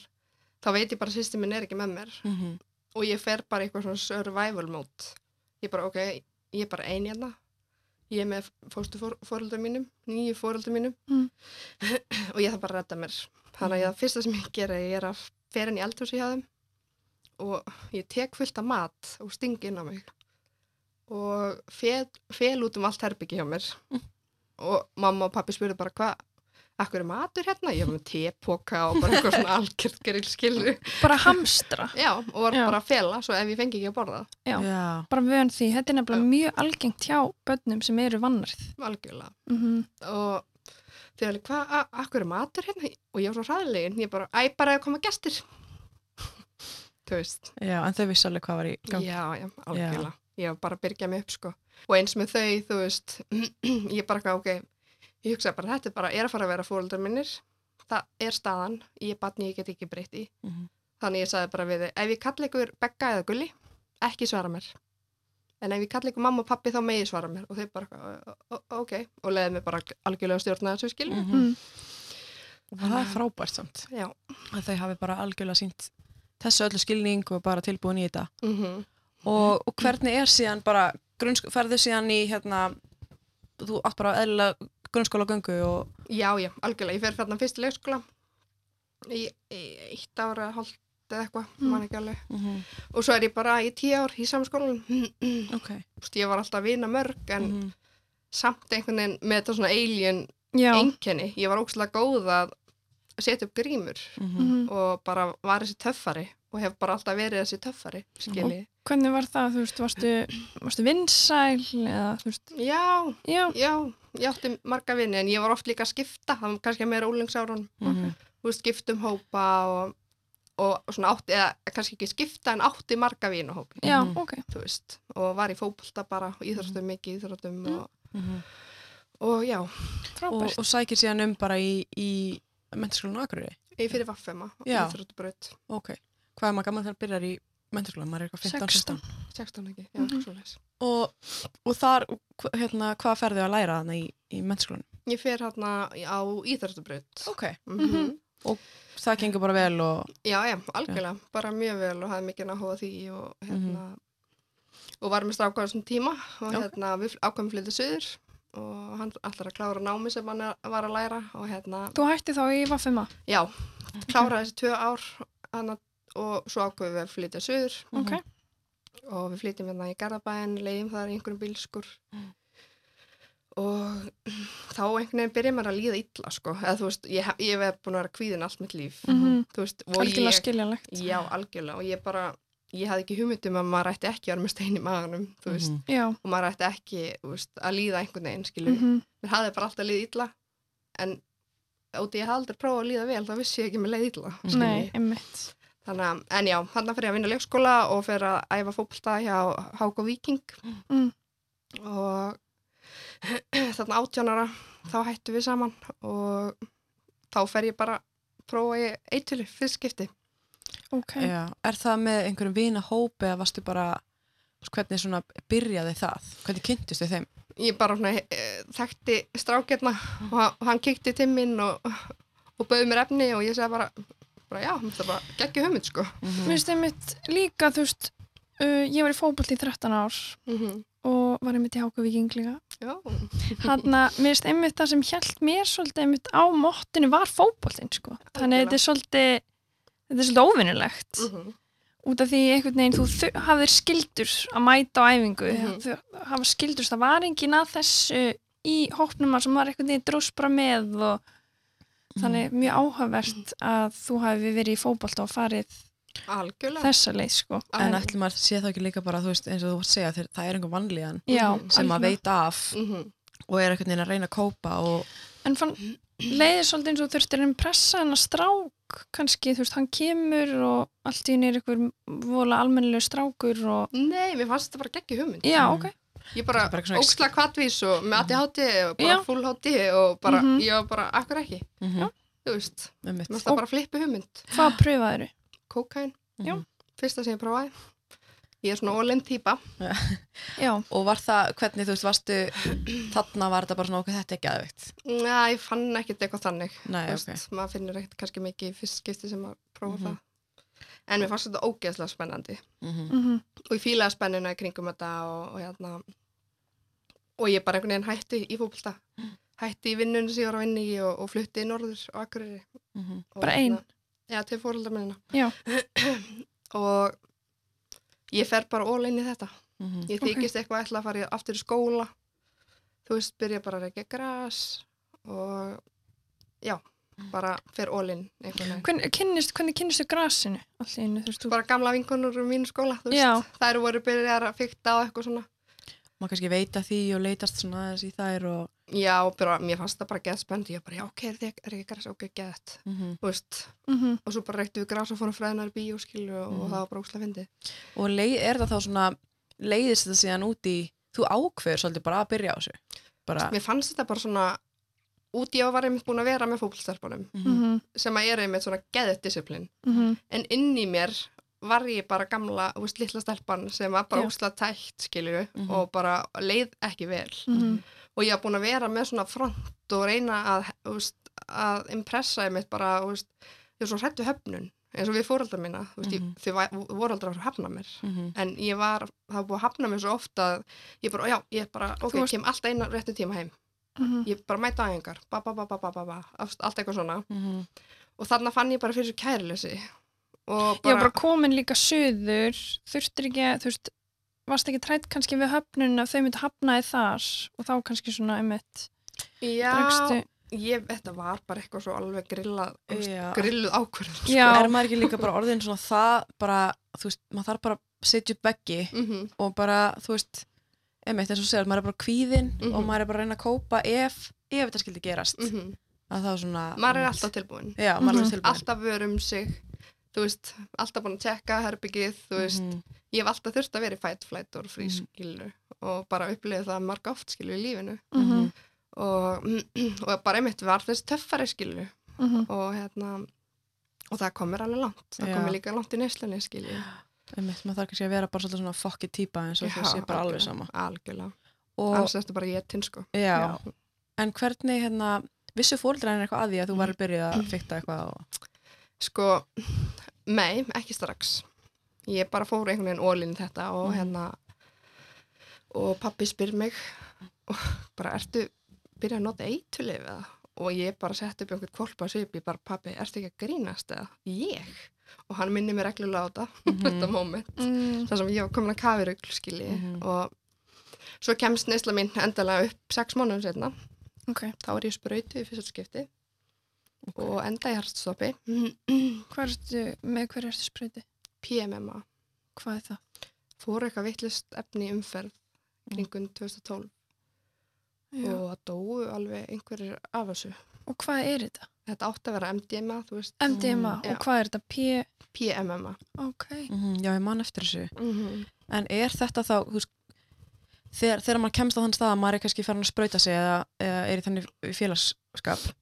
Speaker 3: þá veit ég bara að sýsti minn er ekki með mér
Speaker 2: mm -hmm.
Speaker 3: og ég fer bara í eitthvað svona survival mode ég bara ok, ég er bara ein hérna ég er með fóstufóreldur mínum nýju fóreldur mínum
Speaker 1: Mm.
Speaker 3: og ég þarf bara að redda mér þannig að ég, það fyrsta sem ég gera ég er að fer inn í eldhúsi hjá þeim og ég tek fullt af mat og sting inn á mig og fel, fel út um allt herbyggi hjá mér og mamma og pappi spurðu bara hvað akkur er matur hérna, ég var með tepoka og bara eitthvað svona algjört geril skilur.
Speaker 1: bara hamstra
Speaker 3: Já, og var
Speaker 1: Já.
Speaker 3: bara að fela, svo ef ég fengi ekki að borða,
Speaker 1: Já.
Speaker 2: Já.
Speaker 1: bara vön því, þetta er nefnilega mjög algengt hjá börnum sem eru vannarð
Speaker 3: algjörlega.
Speaker 1: mm
Speaker 3: Og þau alveg, hvað, a- akkur er matur hérna? Og ég var svo hraðilegin, ég bara, æ, bara að koma gestir. Þú veist,
Speaker 2: Já, en þau vissi alveg hvað var í gangi.
Speaker 3: já, já, algjörlega. Ég var bara að byrja mig upp, sko. Og eins með þau, þú veist, ég bara, eitthvað, ok, ég hugsa bara, þetta er bara, er að fara að vera fóruldar minnir. Það er staðan, ég er batni, ég get ekki breytt í.
Speaker 2: Mhm.
Speaker 3: Þannig ég sagði bara við þau, ef ég kalla ykkur Begga eða Gulli, ekki svara mér. En ef ég kalla ykkur mamma og pappi þá megi svara mér. Og þau bara, "Ó, ó, ok, og leiði mig bara algjörlega stjórna þessu skilur.
Speaker 1: Mm.
Speaker 2: Mhm. Og Það er frábært samt.
Speaker 3: Já.
Speaker 2: Að þau hafi bara algjörlega sínt þessu öllu skilning og bara tilbúin í þetta.
Speaker 3: Mm
Speaker 2: Og, og hvernig er síðan bara, grunnsk, ferðu síðan í hérna, þú átt bara eðla grunnskóla göngu og
Speaker 3: Já, já, algjörlega. Ég fer fyrir fyrst í leikskóla í, í eitt ára, hálft eða eitthvað,
Speaker 1: Mm.
Speaker 3: man ekki alveg.
Speaker 2: Mhm.
Speaker 3: Og svo er ég bara í tíu ár í samskólan. Þú
Speaker 2: ok.
Speaker 3: veist, ég var alltaf að vina mörg, en
Speaker 2: Mhm.
Speaker 3: samt einhvern veginn með þetta svona alien
Speaker 1: já
Speaker 3: einkenni. Ég var ókslega góð að setja upp grímur.
Speaker 2: Mhm.
Speaker 1: Mhm.
Speaker 3: og bara var þessi töffari og hef bara alltaf verið þessi töffari skilji.
Speaker 1: hvernig var það, þú veist, varstu, varstu vinsæl eða þú veist,
Speaker 3: Já,
Speaker 1: já
Speaker 3: já, ég átti marga vinni en ég var oft líka að skipta, það var kannski meira úlengsárun,
Speaker 2: Mhm.
Speaker 3: þú veist, skiptum hópa og, og svona átti, eða kannski ekki skipta en átti marga vinu hópi,
Speaker 1: Já,
Speaker 2: Mhm.
Speaker 1: ok.
Speaker 3: þú veist, og var í fótbolta bara og íþróttum mikið í íþróttum
Speaker 1: Mm.
Speaker 3: og,
Speaker 2: Mhm.
Speaker 3: og já,
Speaker 2: Og,
Speaker 1: Frábært.
Speaker 2: og sækir síðan um bara í, í mentaskólan Akureyri.
Speaker 3: ég fyrir vaffema,
Speaker 2: Já.
Speaker 3: íþróttubraut,
Speaker 2: Ok. Hvað er maður gaman þegar byrjar í mentaskólan? Maður er eitthvað 15, 16.
Speaker 3: 16 ekki, já,
Speaker 1: Mhm.
Speaker 3: svoleiðis.
Speaker 2: Og, og þar, hva- hérna, hvað ferðu að læra þannig í, í mentaskólan?
Speaker 3: Ég fer hérna á íþróttubraut.
Speaker 2: Ok.
Speaker 3: Mm
Speaker 1: Mhm.
Speaker 2: Það gengur bara vel og...
Speaker 3: Já, já, algjörlega, bara mjög vel og hafði mikið náhuga því og
Speaker 2: Mhm.
Speaker 3: hérna og var með strákaður sem tíma og
Speaker 2: Ok.
Speaker 3: hérna við ákvæmum flyttu söður og hann ætlar að klára námi sem hann er- var að læra og hérna,
Speaker 1: Þú hætti þá í vaffima?
Speaker 3: já, kláraði þessi tvö ár hana, og svo ákveðum við að flytja söður
Speaker 1: Ok.
Speaker 3: og við flytjum hérna í Garðabæðin, leiðum þar í einhverjum bílskur
Speaker 1: Mm.
Speaker 3: og þá einhvern veginn byrja maður að líða illa sko, eða þú veist, ég, hef- ég hef búin að vera kvíðin allt mitt líf,
Speaker 1: Mm -hmm.
Speaker 3: þú veist, og
Speaker 1: Algjörlega
Speaker 3: ég
Speaker 1: skiljanlegt.
Speaker 3: Já, algjörlega og ég bara, ég hafði ekki hugmyndum að maður ætti ekki að vera með stein í maðanum,
Speaker 1: Mhm.
Speaker 2: Mhm.
Speaker 3: þú veist,
Speaker 1: Já.
Speaker 3: og maður ætti ekki þú veist, að líða einhvern veginn, skilur.
Speaker 1: Mm
Speaker 3: Mm Mér hafði bara alltaf líð illa, en óti ég hafði aldrei prófað að líða vel, þá vissi ég ekki með leið illa, skilur.
Speaker 1: Nei, einmitt.
Speaker 3: Þannig að, en já, þannig fyrir ég að vinna í leikskóla og fyrir að æfa fókbalta hjá Háko Víking
Speaker 1: Mm.
Speaker 3: og þarna átjánara, þá hættum við saman og þá fer ég bara prófa ég eitulu fyrst skipti.
Speaker 1: Ok.
Speaker 2: Já, er það með einhverjum vinahópi eða varstu bara, þú veist, hvernig svona byrjaði það? Hvernig kynntist þau þeim?
Speaker 3: ég bara svona, eh, þekkti strákjarna og hann- og hann kikti til mín og, og bauði mér efni og ég segi bara, bara já, þetta er bara geggju hugmynd sko.
Speaker 2: Mhm.
Speaker 1: Mér finnst einmitt líka, þú veist, uh, ég var í fótbolt í 13 ár og var einmitt í Hákavíking líka.
Speaker 3: Já,
Speaker 1: Hanna, mér finnst einmitt það sem hjælt mér svolítið einmitt á móttinu var fótboltinn, sko. Þannig að þetta er svolítið, þetta er svolítið óvinnilegt.
Speaker 3: Mm.
Speaker 1: Út af því einhvern veginn þú þu- hafðir skildur að mæta á æfingu.
Speaker 3: Mhm.
Speaker 1: Þú hafa skildur, það var engin að þessu í hópnum að sem var einhvern veginn dróst bara með og Þannig mjög áhugavert að þú hafi verið í fótbolta og farið
Speaker 3: algjörlega.
Speaker 1: þessa leið, sko.
Speaker 2: En ætlum maður sé það ekki líka bara, þú veist, eins og þú vart að segja, þeir, það er einhver vanlíðan
Speaker 1: Já,
Speaker 3: Mhm.
Speaker 2: sem maður
Speaker 1: algjörlega.
Speaker 2: veit af
Speaker 3: Mhm.
Speaker 2: og er einhvern veginn að reyna að kópa og...
Speaker 1: En fann, leiðir svolítið eins og þurftir en pressa hennar strák, kannski, þú veist, hann kemur og allt í henni er einhver vola almennilegu strákur og...
Speaker 3: Nei, mér fannst þetta bara geggju hugmynd.
Speaker 1: Já,
Speaker 2: Mm.
Speaker 1: ok.
Speaker 3: Ég bara
Speaker 2: Þetta er bara svona- Mhm.
Speaker 3: óksla kvatvís og með aðti háti og bara
Speaker 1: Já.
Speaker 3: full háti og bara,
Speaker 1: Mhm.
Speaker 3: ég var bara, akkur ekki,
Speaker 2: Mm
Speaker 1: Já.
Speaker 3: þú veist,
Speaker 2: -hmm.
Speaker 3: mér fannst það bara flippu hugmynd.
Speaker 1: Hvað pröfaðir þau?
Speaker 3: Kókain,
Speaker 1: já.
Speaker 3: fyrsta sem ég prófaði. Ég er svona óleim típa.
Speaker 1: Já,
Speaker 2: Og var það, hvernig, þú veist, varstu, þarna var þetta bara svona okkur þetta er ekki aðveikt.
Speaker 3: Já, ég fann ekkert eitthvað þannig.
Speaker 2: Nei,
Speaker 3: Þú
Speaker 2: ok.
Speaker 3: veist, maður finnur ekkert kannski mikið í fyrst skipti sem maður prófa
Speaker 2: Mhm.
Speaker 3: það en mér fannst þetta ógeðslega spennandi
Speaker 2: Mm -hmm.
Speaker 1: mhm,
Speaker 3: og ég fílaði spennuna í kringum þetta og, og hérna og ég bara einhvern veginn hætti í fókbalta
Speaker 1: Mhm.
Speaker 3: hætti í vinnunum sem ég var að vinna í og, og flutti í norður og akkurri
Speaker 2: Mm -hmm.
Speaker 1: Bara ein?
Speaker 3: Já, til fórhaldar minna
Speaker 1: Já.
Speaker 3: og ég fer bara all in í þetta
Speaker 2: Mm
Speaker 3: ég
Speaker 1: Ok.
Speaker 3: þykist eitthvað ætla að fara í- aftur í skóla þú veist, byrja bara að reykja gras og já, bara fyrir ólinn einhvern veginn.
Speaker 1: Hvern, kynnist, hvernig kynnistu grasinu allir einu, þú veist, þú
Speaker 3: Bara gamla vinkonur úr mínu skóla, þú
Speaker 1: Já.
Speaker 3: veist, þær voru byrjar að fykta á eitthvað svona.
Speaker 2: maður kannski veita því og leitast svona aðeins í þær og
Speaker 3: Já, bara, mér fannst það bara geðspendi, ég bara, já, ok, er þið er ekki græs, ok, geðt,
Speaker 2: Mhm.
Speaker 3: þú veist,
Speaker 1: mm
Speaker 3: og svo bara reyktum við græs og fórum fræðinar í bíó, skilu, og,
Speaker 2: Mhm.
Speaker 3: það var bara úslega fyndið.
Speaker 2: og leið, er það þá svona leiðist þetta síðan út í þú ákveður svolítið bara að byrja á þessu bara
Speaker 3: Mér fannst þetta bara svona, út í að var einmitt búin að vera með fókbalstarpunum,
Speaker 2: mhm,
Speaker 1: -hmm.
Speaker 3: sem að er einmitt svona geðt disiplin. en inn í mér var ég bara gamla, þú veist, litla stelpan sem var bara
Speaker 1: Já.
Speaker 3: úsla tætt, skilju
Speaker 2: Mhm.
Speaker 3: og bara leið ekki vel
Speaker 1: Mhm.
Speaker 3: og ég haf búin að vera með svona front og reyna að, þú veist, að impressa ég mitt bara, þú veist, ég er svo hrættu höfnun, eins og við fóröldar mína þú veist,
Speaker 2: Mhm.
Speaker 3: ég, þau væ- voru aldrei að fara að hafna mér
Speaker 2: mhm,
Speaker 3: en ég var, það var búið að hafna mér svo ofta að ég bara, já, ég bara, ok,
Speaker 1: Þú
Speaker 3: ég
Speaker 1: varst-
Speaker 3: kem alltaf eina réttu tíma heim ég bara mæta á engar, ba ba ba ba ba ba, ba allt eitthvað svona
Speaker 2: mhm.
Speaker 3: og þarna fann ég bara fyrir svo kærleysi og
Speaker 1: Ég var bara komin líka söður þurftir ekki, að- þú veist varst ekki trætt kannski við höfnun að þau myndi hafnaði þar og þá kannski svona einmitt
Speaker 3: Já,
Speaker 1: dregstu-
Speaker 3: ég, þetta var bara eitthvað svo alveg grillað, þú veist,
Speaker 2: Já.
Speaker 3: grilluð ákvörðun. Sko.
Speaker 1: Já.
Speaker 2: er maður ekki líka bara orðin svona það bara, þú veist, maður þarf bara að setja upp beggi
Speaker 3: Mhm,
Speaker 2: og bara, þú veist emitt, eins og þú segir, maður er bara kvíðinn
Speaker 3: Mhm.
Speaker 2: og maður er bara að reyna að kópa ef, ef þetta skildi gerast
Speaker 3: mhm.
Speaker 2: að það er svona
Speaker 3: Maður er alltaf tilbúin,
Speaker 2: já, maður er alltaf
Speaker 1: Mhm.
Speaker 2: tilbúin
Speaker 3: alltaf vör um sig, þú veist, alltaf búin að tjekka herbyggið, þú veist,
Speaker 2: Mhm,
Speaker 3: ég hef alltaf þurft að vera í fight, flight og free
Speaker 2: Mhm.
Speaker 3: skilu og bara upplifið það marg oft skilu í lífinu
Speaker 1: Mhm.
Speaker 3: og, og bara einmitt var þess töffari skilu
Speaker 1: Mhm.
Speaker 3: og hérna, og það komir alveg langt, það
Speaker 2: Já.
Speaker 3: komir líka langt í neyslunni skilu.
Speaker 2: einmitt, maður þarf kannski að vera bara svolítið svona fokki típa eins og þú sé bara alveg sama
Speaker 3: Algjörlega,
Speaker 2: og,
Speaker 3: alls eftir bara ég tinn sko.
Speaker 2: já, en hvernig hérna, vissu fóldræðin eitthvað að því að þú
Speaker 3: Mhm.
Speaker 2: var að byrja að fykta eitthvað og,
Speaker 3: Sko, nei, ekki strax. Ég bara fór einhvern veginn ólinn þetta og
Speaker 2: Mhm.
Speaker 3: hérna og pappi spyr mig og bara, ertu byrjað að nota eitulif eða? Og ég bara sett upp einhvern kvolpa og ég bara, pappi, ertu ekki að grínast eða? Ég? Og hann minni mér reglulega á þetta, þetta moment.
Speaker 1: Mm.
Speaker 3: Þar sem ég var komin að kafirugl, skilji.
Speaker 2: Mhm.
Speaker 3: Og svo kemst neysla mín endalega upp sex mánuðum setna.
Speaker 1: Ok,
Speaker 3: Þá er ég sprautu í fyrsta skipti og enda í hartstoppi, Mhm.
Speaker 1: hvað ertu, með hverju ertu spröyti?
Speaker 3: PMMA.
Speaker 1: Hvað er það?
Speaker 3: fór eitthvað vittlust efni í umferð
Speaker 2: Mm.
Speaker 3: kringum 2012
Speaker 1: Já.
Speaker 3: og það dóu alveg einhverjir af þessu.
Speaker 1: Og hvað er þetta?
Speaker 3: Þetta átti að vera MDMA, þú veist,
Speaker 1: MDMA
Speaker 3: Mm, Já.
Speaker 1: og hvað er þetta? P...
Speaker 3: PMMA.
Speaker 1: Ok.
Speaker 2: Mhm, já, ég man eftir þessu
Speaker 3: Mm
Speaker 2: en er þetta þá, þú veist þegar, þegar maður kemst á þann stað að maður er kannski farin að sprauta sig eða, eða er í þannig félagsskap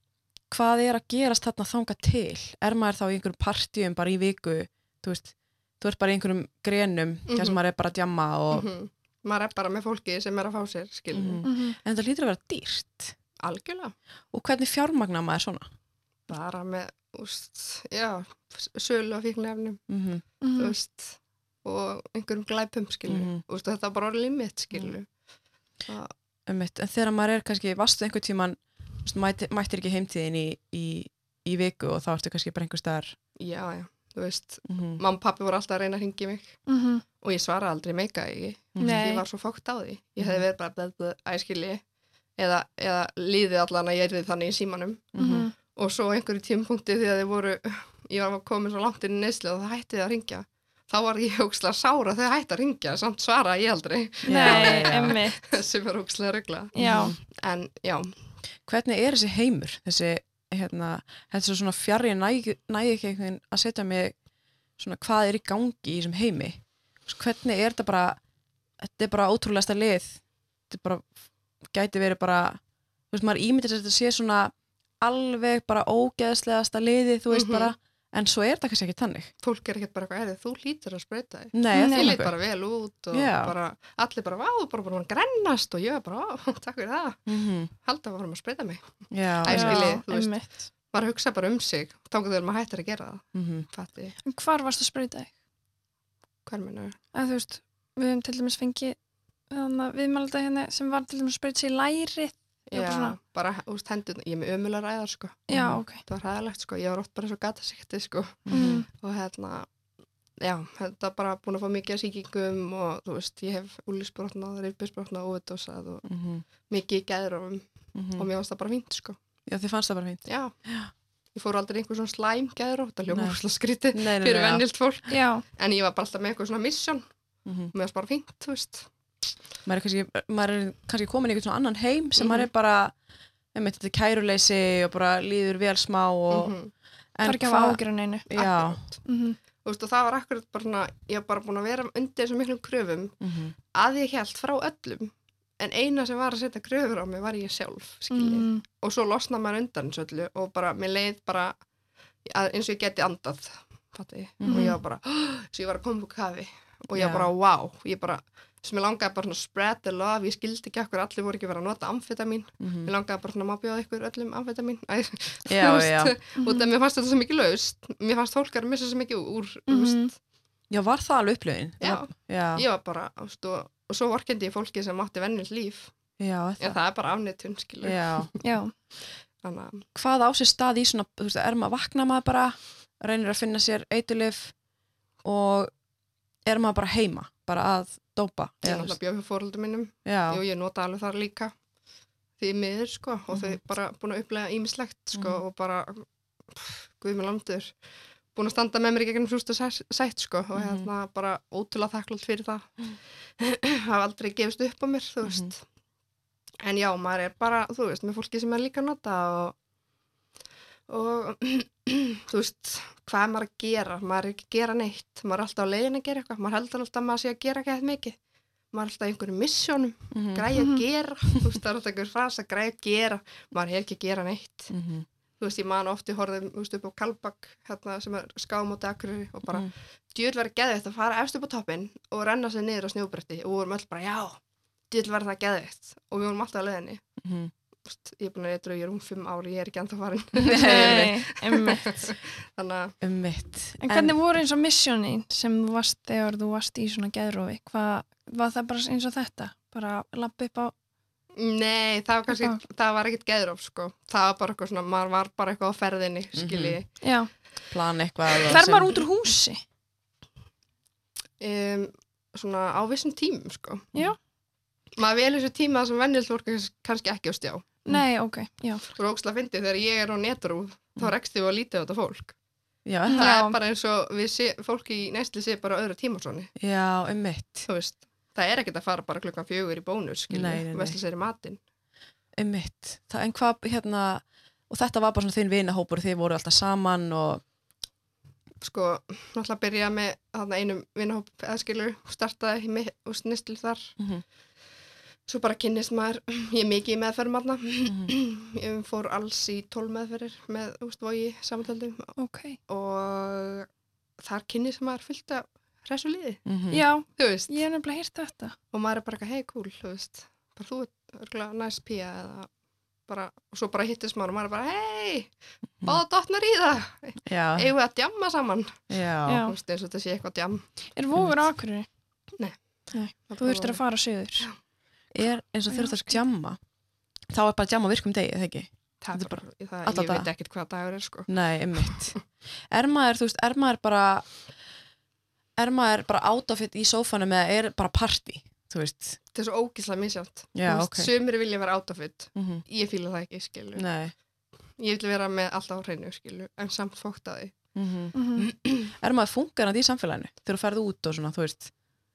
Speaker 2: hvað er að gerast þarna þanga til er maður þá í einhverjum partíum bara í viku þú veist, þú ert bara í einhverjum grenum mm sem
Speaker 3: Mhm.
Speaker 2: maður er bara að djamma og,
Speaker 3: Maður er bara með fólki sem er að fá sér, skilur.
Speaker 2: Mhm.
Speaker 1: Mhm.
Speaker 2: en það hlýtur að vera dýrt
Speaker 3: Algjörlega.
Speaker 2: og hvernig fjármagna maður svona
Speaker 3: Bara með, úst, já, sölu á fíknefnum,
Speaker 2: mm
Speaker 3: þú
Speaker 1: Mhm.
Speaker 3: veist, og einhverjum glæpum, skilur.
Speaker 2: Mhm.
Speaker 3: Mm -hmm. Þetta var bara orðið limit, skilur.
Speaker 2: Einmitt, en þegar maður er kannski, varstu einhvern tíman mættir, mættir ekki heimtíðin í, í, í viku og þá ertu kannski bara einhver staðar
Speaker 3: Já, já, þú veist,
Speaker 2: mm -hmm.
Speaker 3: mamma og pappi voru alltaf að reyna að ringi mig
Speaker 1: Mhm.
Speaker 3: og ég svaraði aldrei meika ekki.
Speaker 1: Nei.
Speaker 3: Mhm, ég var svo fókt á því ég hefði verið bara blæð, blæð, æskili eða, eða líðið allan að ég erði þannig í símanum
Speaker 1: Mhm.
Speaker 3: og svo á einhverju tímpunkti því að þið voru ég var komin svo langt inn í neyslu og það hætti það að ringja þá var ég hugslega sára þegar hætti að ringja samt svaraði ég aldrei
Speaker 1: Nei, emmi.
Speaker 3: sem er hugslega regla
Speaker 1: Já.
Speaker 3: en já,
Speaker 2: hvernig er þessi heimur þessi, hérna, þetta er svona fjarrið nægi, nægi ekki einhvern veginn að setja mig svona hvað er í gangi í þessum heimi Þú veist, hvernig er þetta bara þetta er bara ótrúlegasta lið þetta er bara, gæti verið bara þú veist, maður ímyndir sér að þetta sé svona alveg bara ógeðslegasta liðið, þú veist
Speaker 3: Mhm.
Speaker 2: bara en svo er þetta kannski ekki þannig
Speaker 3: fólk er ekkert bara eitthvað erðið, þú lítur að spreita þig
Speaker 2: Nei,
Speaker 1: Nei.
Speaker 3: Ég
Speaker 2: það
Speaker 3: leit
Speaker 2: er
Speaker 3: bara vel út og
Speaker 2: Já.
Speaker 3: bara, allir bara, vá, bara bara grannast og ég var bara, á, takk fyrir það,
Speaker 2: Mhm,
Speaker 3: halda að varum að spreita mig.
Speaker 2: Já,
Speaker 3: Æ,
Speaker 2: já.
Speaker 3: skil. skilji,
Speaker 1: Já,
Speaker 3: þú veist.
Speaker 1: einmitt.
Speaker 3: Bara hugsa bara um sig, þá getur maður hættir að gera það,
Speaker 2: Mhm,
Speaker 3: fatti.
Speaker 1: En Hvar varstu að spröyti?
Speaker 3: Hver mennur?
Speaker 1: að þú veist, við höfum til dæmis fengið þannig að viðmælda hérna sem var til dæmis spreyt sér lærið Já,
Speaker 3: Já,
Speaker 1: bara svona.
Speaker 3: bara, þú veist, hendur, ég er með ömulega ræðar, sko.
Speaker 1: já,
Speaker 2: Mhm.
Speaker 1: ok
Speaker 3: Það var ræðilegt, sko. Ég var oft bara svo gata sikti, sko.
Speaker 2: mhm,
Speaker 3: Og hérna, já, þetta er bara búin að fá mikið af sýkingum og, þú veist, ég hef úlísbrotnað, rifbisbrotnað, óvitosað og
Speaker 2: mhm,
Speaker 3: mikið í gæðrofum
Speaker 2: mhm.
Speaker 3: og mér finnst það bara fínt, sko.
Speaker 2: Já, þið fannst það bara fínt.
Speaker 3: já. Ég fór aldrei í einhver svona slæm gæður og þetta
Speaker 2: Nei.
Speaker 3: hljóma úrslega skrítið
Speaker 2: Nei, nei, nei,
Speaker 3: fyrir
Speaker 2: já.
Speaker 3: vennilt fólk.
Speaker 1: já,
Speaker 3: En ég var bara alltaf með eitthvað svona misjón
Speaker 2: Mhm.
Speaker 3: og mér var bara fínt, þú veist.
Speaker 2: Maður er kannski, maður er kannski komin í einhvern svona annan heim sem
Speaker 3: Mhm.
Speaker 2: maður er bara, einmitt, þetta er kæruleysi og bara líður vel smá og...
Speaker 3: Mhm.
Speaker 1: það
Speaker 2: En
Speaker 1: er ekki að hafa ágjur en einu
Speaker 2: Já.
Speaker 3: Akkurat.
Speaker 1: mm -hmm.
Speaker 3: Þú veist, og það var akkurat bara, svona, ég var bara búin að vera undir þessum miklum kröfum
Speaker 2: Mhm.
Speaker 3: að ég held frá öllum. En eina sem var að setja kröfur á mig var ég sjálf, skiljið.
Speaker 1: mhm,
Speaker 3: Og svo losna maður undan þessu öllu og bara, mér leið bara að, eins og ég geti andað, fatti.
Speaker 2: Mhm.
Speaker 3: Og ég var bara, svo ég var að koma úr kafi. Og ég
Speaker 2: Já.
Speaker 3: var bara, wow, ég bara, sem ég langaði bara svona spread the love, ég skildi ekki okkur, allir voru ekki verið að nota amfetamin.
Speaker 2: Mhm.
Speaker 3: Mér langaði bara svona, má bjóða ykkur öllum amfetamin. Æ,
Speaker 2: Já,
Speaker 3: þú veist,
Speaker 2: já.
Speaker 3: og
Speaker 1: mhm.
Speaker 3: það mér fannst þetta svo mikið laust mér fannst fólk að missa svo mikið úr mm
Speaker 2: Já, var það alveg upplöðin?
Speaker 3: Já.
Speaker 2: Mhm. Já,
Speaker 3: ég var bara, þú veist, og, og svo vorkendi ég fólki sem átti vennins líf
Speaker 2: já,
Speaker 3: en það er bara afnitun, skilur
Speaker 2: Já.
Speaker 1: Mhm, já,
Speaker 3: þannig að,
Speaker 2: Hvað á sér stað í svona, þú veist, er maður vakna maður bara, reynir að finna sér eitilif og er maður bara heima, bara að dópa?
Speaker 3: ég
Speaker 2: eða, þú
Speaker 3: náttúrulega
Speaker 2: veist,
Speaker 3: bjóð fyrir fóröldum minnum
Speaker 2: Já,
Speaker 3: og ég nota alveg þar líka því miður, sko, og
Speaker 2: Mhm.
Speaker 3: þau bara búin að upplega ímislegt, sko,
Speaker 2: Mhm.
Speaker 3: og bara pff, guð mig landur búin að standa með mér í gegnum súst og sæ- sætt, sko, og
Speaker 2: Mhm.
Speaker 3: hérna bara ótrúlega þakklátt fyrir það hafa aldrei gefist upp á mér, þú
Speaker 2: Mhm.
Speaker 3: veist en já, maður er bara, þú veist, með fólki sem er líka að nota og og þú veist hvað er maður að gera, maður er ekki að gera neitt maður er alltaf á leiðin að gera eitthvað, maður heldur alltaf að maður sé að gera ekki eitthvað mikið maður er alltaf í einhverjum missjónum
Speaker 2: mhm,
Speaker 3: græja
Speaker 1: Mhm.
Speaker 3: að gera, þú veist, það er alltaf einhver frasa græja að gera, maður er ekki að gera neitt
Speaker 2: mhm,
Speaker 3: þú veist, ég man ofti horfðum veist, upp á Kalbak, hérna, sem er skáum á dagrur og bara,
Speaker 2: mhm.
Speaker 3: djúl verið geðveitt að fara efst upp á toppin og renna sér niður á snjóbretti og við vorum öll bara, já djúl verið það geðveitt og við vorum alltaf að leiðinni
Speaker 2: mhm.
Speaker 3: Þú veist, ég er búin að eitthvað, ég er um fimm ári, ég er ekki ennþá farin
Speaker 2: Nei,
Speaker 1: einmitt
Speaker 3: þannig að,
Speaker 2: um mitt.
Speaker 1: En hvernig voru eins og missjónin sem þú varst þegar þú varst í svona geðrófi? Hvað var það bara eins og þetta? Bara lappa upp á...
Speaker 3: nei, það var kannski það var ekkit geðróf, sko það var bara eitthvað svona, maður var bara eitthvað á ferðinni
Speaker 2: Mhm.
Speaker 3: skilji,
Speaker 1: Já,
Speaker 2: plan eitthvað?
Speaker 1: fer maður út úr húsi?
Speaker 3: um, svona á vissum tímum, sko
Speaker 1: Já.
Speaker 3: maður velur þessu tíma sem vennilt fólk er kannski ekki á stjá
Speaker 1: Nei, ok, já.
Speaker 3: og róksla fyndið þegar ég er á netrúf þá
Speaker 2: Mm.
Speaker 3: rekst þið að lítið á þetta fólk
Speaker 2: Já,
Speaker 1: Mhm.
Speaker 2: er
Speaker 3: það
Speaker 1: Já.
Speaker 3: er bara eins og við sé, fólk í næstli sé bara á öðru tímasóni
Speaker 2: það- já, um mitt.
Speaker 3: þú veist, það er ekkert að fara bara klukkan fjögur í bónus,
Speaker 2: Nei,
Speaker 3: skilji,
Speaker 2: nei, nei.
Speaker 3: og vesla sér í matinn
Speaker 2: Um mitt. Það, en hvað, hérna, og þetta var bara svona þinn vinahópur, þið voru alltaf saman og...
Speaker 3: sko, náttúrulega byrja með þarna einum vinnahóp eðskilur startaði í mi- úst nýstli þar
Speaker 2: Mhm,
Speaker 3: svo bara kynnist maður, ég er mikið í meðferðum aðna
Speaker 2: mhm,
Speaker 3: ég fór alls í tól meðferðir með úst vogi samtöldum
Speaker 1: Ok.
Speaker 3: og þar kynnist maður fullt af hressu liði,
Speaker 2: mhm.
Speaker 1: Já,
Speaker 3: þú veist
Speaker 1: ég er nefnilega hýrt þetta.
Speaker 3: og maður er bara eitthvað, hei, cool, þú veist bara þú ert örgulega næst pía eða bara, og svo bara hittist maður og maður er bara, hei,
Speaker 2: Mm.
Speaker 3: báða dottnar í það
Speaker 2: Já,
Speaker 3: eigum við að djamma saman þú
Speaker 2: Ah. já,
Speaker 1: Já.
Speaker 3: veist, eins og þetta sé eitthvað djam
Speaker 1: Er vofur á akkurri?
Speaker 3: Það
Speaker 1: Þú
Speaker 3: bara
Speaker 1: þurftir að
Speaker 3: var-
Speaker 1: fara söður.
Speaker 2: er eins og þurft að djamma þá er bara djamma á virkum degi, eða ekki?
Speaker 3: það er
Speaker 2: Þetta er
Speaker 3: bara, það,
Speaker 2: alla
Speaker 3: ég veit
Speaker 2: daga.
Speaker 3: ekkert hvað dagur er sko
Speaker 2: Nei, einmitt. er maður, þú veist, er maður bara er maður bara átafitt í sófanum eða er bara party, þú veist
Speaker 3: þetta er svo ógíslega misjátt
Speaker 2: Já, ok.
Speaker 3: sumir vilja vera átafutt
Speaker 2: mm
Speaker 3: ég fýla það ekki, skilu
Speaker 2: Nei
Speaker 3: ég vil vera með alltaf á hreinu, skilu en samt fókt að því
Speaker 2: mm
Speaker 1: Mhm.
Speaker 2: Er maður fungerandi í samfélaginu þegar þú ferð út og svona, þú veist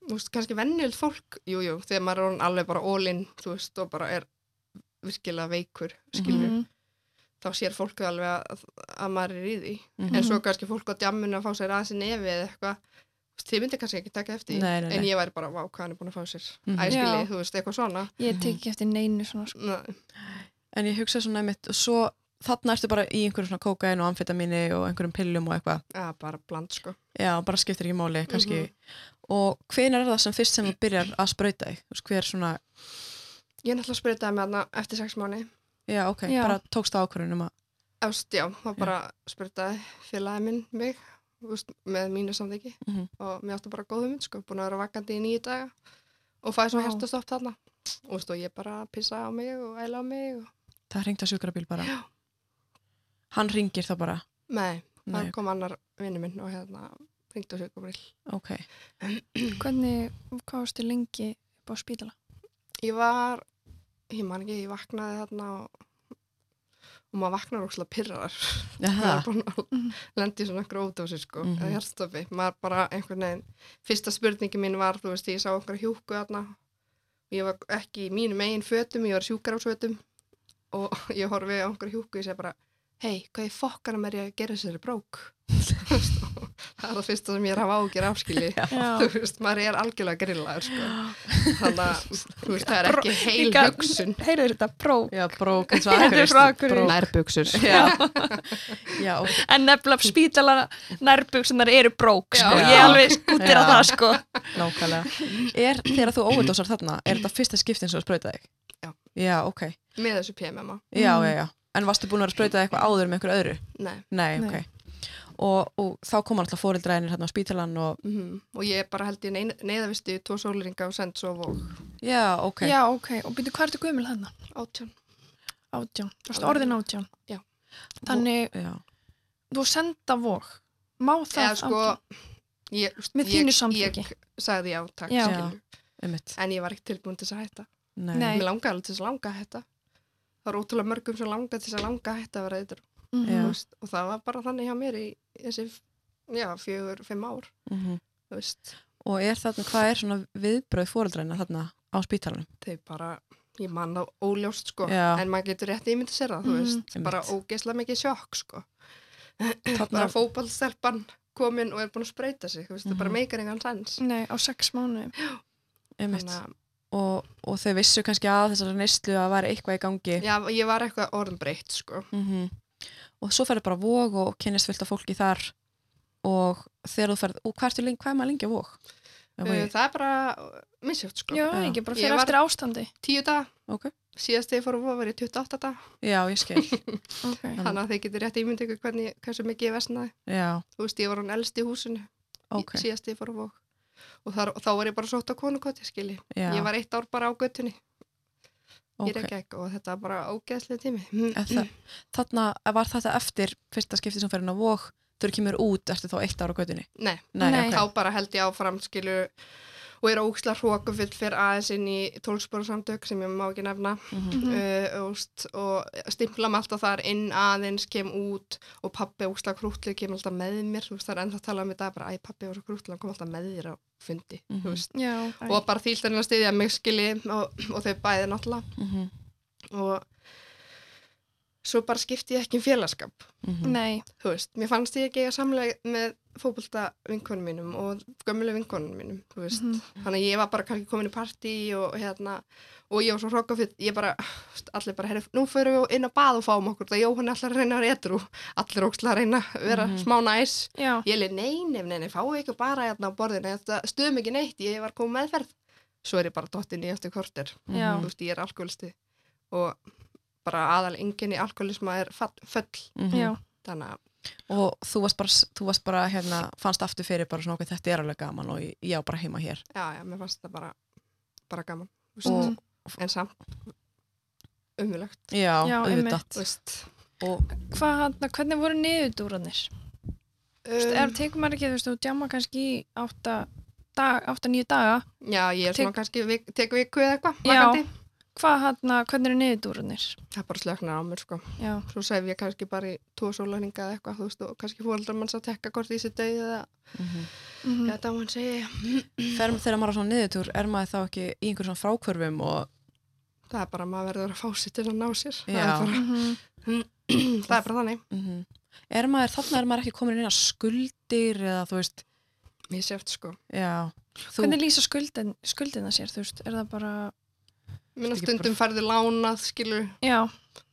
Speaker 3: þú veist, kannski vennild fólk, jújú jú, þegar maður er orðinn alveg bara ólinn, þú veist, og bara er virkilega veikur, skilu
Speaker 1: Mhm.
Speaker 3: þá sér fólk alveg að, að maður er í því
Speaker 2: Mhm.
Speaker 1: mm.
Speaker 3: en svo kannski fólk á djamminu að fá sér aðeins í nefi eða eitthvað Þú veist, þið myndi kannski ekki taka eftir því.
Speaker 2: Nei, nei, nei.
Speaker 3: en ég væri bara, vá, hvað hann er búin að fá sér
Speaker 2: Mhm.
Speaker 1: Já.
Speaker 3: æskili, þú veist, eitthvað svona
Speaker 1: Ég tek ekki eftir neinu svona sko.
Speaker 3: Ná,
Speaker 2: En ég hugsa svona einmitt og svo þarna ertu bara í einhverjum svona kókain og amfetamini og einhverjum pillum og eitthvað
Speaker 3: ja, bara bland, sko
Speaker 2: Já, bara skiptir ekki máli, kannski
Speaker 1: Mhm.
Speaker 2: Og hvenær er það sem fyrst sem þú byrjar að sprauta þig? Þú veist, hver svona,
Speaker 3: ég náttúrulega spritaði með hana eftir sex mánu
Speaker 2: já, ok,
Speaker 1: Já.
Speaker 2: bara tókst það ákvörunum að
Speaker 3: Ást, já, þá bara spritaði félagi minn mig þú veist, með mínu samþyggi
Speaker 2: Mhm.
Speaker 3: og mér átti bara góðum minn, sko, búin að vera vakandi í nýju daga og fæði svona
Speaker 1: Vá.
Speaker 3: hertastopp þarna og, þú veist, og ég bara pissa á mig og æla á mig og...
Speaker 2: Það hringdi á sjúkrabíl bara. Hann hringir þá bara.
Speaker 3: nei,
Speaker 2: Nei,
Speaker 3: það kom annar vinnu minn og hérna ringdi á sjúkubrill
Speaker 2: ok.
Speaker 1: Hvernig, hvað varstu lengi upp á spítala?
Speaker 3: ég var, ég man ekki, ég vaknaði þarna og, og maður vaknar ókslega pyrrar
Speaker 2: Jaha.
Speaker 3: maður er búin að lendi svona gróðdósi sko, mm
Speaker 2: Mhm.
Speaker 3: eða hjartstofi maður bara einhvern veginn, fyrsta spurningi mín var þú veist, ég sá okkar hjúku þarna ég var ekki í mínum eigin fötum ég var sjúkarásfötum og ég horfi á okkar hjúku og ég segi bara hei, hvað er fokkanum er ég að gera þessari brók Þú veist, og það er það fyrsta sem ég er að hafa ágjör afskili þú veist, maður er algjörlega grillaður sko. þannig að þú veist, það er ekki heil
Speaker 1: Líka-
Speaker 3: hugsun
Speaker 1: Heyrðu þetta próf
Speaker 2: Já, brók eins og
Speaker 1: Þetta er
Speaker 2: akurist.
Speaker 1: frá Akureyri.
Speaker 2: Brók.
Speaker 3: nærbuksur
Speaker 2: Já, já, ok.
Speaker 1: En nefnilega spítala nærbuksunar eru brók sko.
Speaker 2: Já.
Speaker 1: Ég alveg skútir á
Speaker 2: Já.
Speaker 1: það sko.
Speaker 2: nákvæmlega. Er þegar þú óverdósar þarna, er þetta fyrsta skiptin sem þú sprautar þig?
Speaker 3: Já.
Speaker 2: Já, ok.
Speaker 3: með þessu PMMA
Speaker 2: Já,
Speaker 1: Mm.
Speaker 2: já, já. En varstu búin að vera að sprauta eitthvað áður með einhver öðru?
Speaker 3: Nei.
Speaker 2: Nei,
Speaker 1: Nei.
Speaker 2: ok. Og, og þá koma alltaf fóreldræðinir hérna á spítalan og...
Speaker 3: Mhm. og ég bara held ég neyðavistu í tvo sóluringa og send svo og
Speaker 2: Já, ok.
Speaker 1: Já, ok. Og byrju, hvað ertu gömul hann?
Speaker 3: átjón
Speaker 1: Átján. Þú veist orðin átján.
Speaker 3: Já.
Speaker 1: Þannig,
Speaker 2: Já.
Speaker 1: þú senda vog. Má það
Speaker 3: eða sko
Speaker 1: átján?
Speaker 3: ég,
Speaker 1: Með þínu samþykki.
Speaker 3: ég sagði já, takk
Speaker 1: Já.
Speaker 3: skilur.
Speaker 2: Einmitt.
Speaker 3: en ég var ekki tilbúin til þess að hætta
Speaker 2: Nei.
Speaker 1: Nei.
Speaker 3: mér langaði alveg til þess að langa að hætta það var ótrúlega mörgum sem langaði til þess að langa að hætta að vera eitthvað
Speaker 1: Mhm.
Speaker 3: Þú veist, og það var bara þannig hjá mér í þessi já, fjögur, fimm ár
Speaker 2: Mhm.
Speaker 3: þú veist,
Speaker 2: Og er þarna, hvað er svona viðbröð fóreldræðina þarna á spítalanum?
Speaker 3: þeir bara ég man það óljóst sko
Speaker 2: Já.
Speaker 3: en maður getur rétt ímynd að sér það, þú
Speaker 1: Mhm.
Speaker 3: veist
Speaker 2: Einmitt.
Speaker 3: bara ógeðslega mikið sjokk sko
Speaker 2: Þarna,
Speaker 3: bara fótballstelpan komin og er búin að spreyta sig, þú veist, það bara
Speaker 2: Mhm.
Speaker 3: meikar engan sens
Speaker 1: Nei, á sex mánu.
Speaker 2: einmitt.
Speaker 3: þannig að,
Speaker 2: Og, og þau vissu kannski að þessari neyslu að væri eitthvað í gangi.
Speaker 3: já, ég var eitthvað orðum breytt sko,
Speaker 2: -hmm. og svo ferðu bara á vóg og kynnist fullt af fólki þar og þegar þú ferð, og hvað ertu lengi, hvað er maður lengi á vog? Já,
Speaker 3: Uh,
Speaker 2: Vogi.
Speaker 3: það er bara misjöft sko,
Speaker 1: Já,
Speaker 2: Já.
Speaker 1: ekki bara
Speaker 3: Ég
Speaker 1: fyrir
Speaker 3: var-
Speaker 1: eftir ástandi.
Speaker 3: tíu dag
Speaker 2: Ok.
Speaker 3: síðast þegar ég fór að vofa var ég 28 dag
Speaker 2: já, ég skil
Speaker 1: Okay.
Speaker 2: Mm.
Speaker 3: þannig að þeir getur rétt ímynd ykkur hvernig, hversu mikið ég vesnaði
Speaker 2: já,
Speaker 3: þú veist, ég var hann elst í húsinu
Speaker 2: ok,
Speaker 3: okay. síðast ég fór á vók og þar, þá var ég bara sótt á konukoti skilji
Speaker 2: já,
Speaker 3: ég var eitt ár bara á göttunni okay. í
Speaker 2: ok
Speaker 3: Reykjavík og þetta var bara ógeðslega tími
Speaker 2: En
Speaker 1: Mm.
Speaker 2: það- þarna eh, var þetta eftir fyrsta skipti sem ferðin á vog þau kemur út eftir þá eitt ára á göttinni
Speaker 3: nei,
Speaker 2: nei,
Speaker 1: Nei.
Speaker 2: ok,
Speaker 3: þá bara held ég áfram skilju og er óksla hrókufull fyrir aðeins inn í tólsporarsamtök sem ég má ekki nefna
Speaker 2: Mhm.
Speaker 1: Mhm.
Speaker 3: uh, og, st- og stimplam alltaf þar inn aðeins, kem út og pappi óksla krútlu kem alltaf með mér þú veist það er ennþá að tala um þetta bara æ pappi var svo krútlu, hann kom alltaf með þér á fundi
Speaker 2: Mhm.
Speaker 3: þú veist
Speaker 1: Já, æ.
Speaker 3: og bara þýlt henni að styðja mig skilji og, og þau bæði náttúrulega
Speaker 2: Mhm.
Speaker 3: og svo bara skipti ég ekki um félagskap
Speaker 2: Mhm.
Speaker 1: Nei,
Speaker 3: þú veist, mér fannst ég ekki að samlega með fótbolta vinkonum mínum og gömuleg vinkonum mínum, þú veist
Speaker 1: Mhm.
Speaker 3: þannig að ég var bara kannski komin í partí og hérna, og ég var svo hrokkafyll ég bara, þú veist, allir bara, herri, nú förum við inn að bað og fáum okkur, það Jóhann er alltaf að reyna að vera etru, allir ókslega að reyna að vera
Speaker 2: Mhm.
Speaker 3: smá næs,
Speaker 1: já.
Speaker 3: ég leið, nei, nei, nei, nei, fáu ekki bara hérna á borðinu, þetta stuðum ekki neitt ég var komið meðferð, svo er ég bara dottin í eftir korter
Speaker 2: Mhm.
Speaker 1: Já.
Speaker 3: þú veist, ég er alkoholisti og bara aðal enginn í alkoholisma er fall, föll,
Speaker 2: Mhm.
Speaker 1: Já,
Speaker 3: þannig að
Speaker 2: og þú varst bara, þú varst bara hérna, fannst aftur fyrir bara svona okkur þetta er alveg gaman og ég- ég á bara heima hér
Speaker 3: já, já, mér fannst þetta bara bara gaman, þú veist,
Speaker 2: og,
Speaker 3: en samt umvulegt,
Speaker 2: já,
Speaker 1: Já,
Speaker 3: þú
Speaker 2: auðvitað
Speaker 3: veist
Speaker 2: og
Speaker 1: hvað, hérna, hvernig voru niðurdúranir?
Speaker 3: Um,
Speaker 1: Þú veist, ef tekur maður ekki, þú veist, þú djama kannski í átta, dag, átta nýju daga,
Speaker 3: já, ég er svona
Speaker 1: Tek-
Speaker 3: kannski vik, tek viku eða eitthvað,
Speaker 1: Já.
Speaker 3: vakandi
Speaker 1: hvað, hérna, hvernig eru niðurdúranir?
Speaker 3: það bara slöknar á mér, sko,
Speaker 1: Já,
Speaker 3: svo sef ég kannski bara í tvo sólaringa eða eitthvað, þú veist, og kannski fóreldrar manns að tekka hvort því sér döið eða
Speaker 1: mhm.
Speaker 3: þetta á hann segi,
Speaker 2: Fer, þegar maður á svona niðurtúr er maður þá ekki í einhver svona frákvörfum og
Speaker 3: það er bara, maður verður að fá sér til að ná sér, það
Speaker 2: Já.
Speaker 3: er bara
Speaker 1: Mhm.
Speaker 3: það er bara þannig,
Speaker 2: mhm, er maður, þarna er maður ekki komin inn að skuldir eða þú veist
Speaker 3: mér sé eftir, sko
Speaker 2: já, þú,
Speaker 1: Hvernig lýsa skuldin, skuldina sér, þú veist, er það bara,
Speaker 3: minna
Speaker 2: Ekki bara-
Speaker 3: stundum færðu lánað, skilur
Speaker 1: já,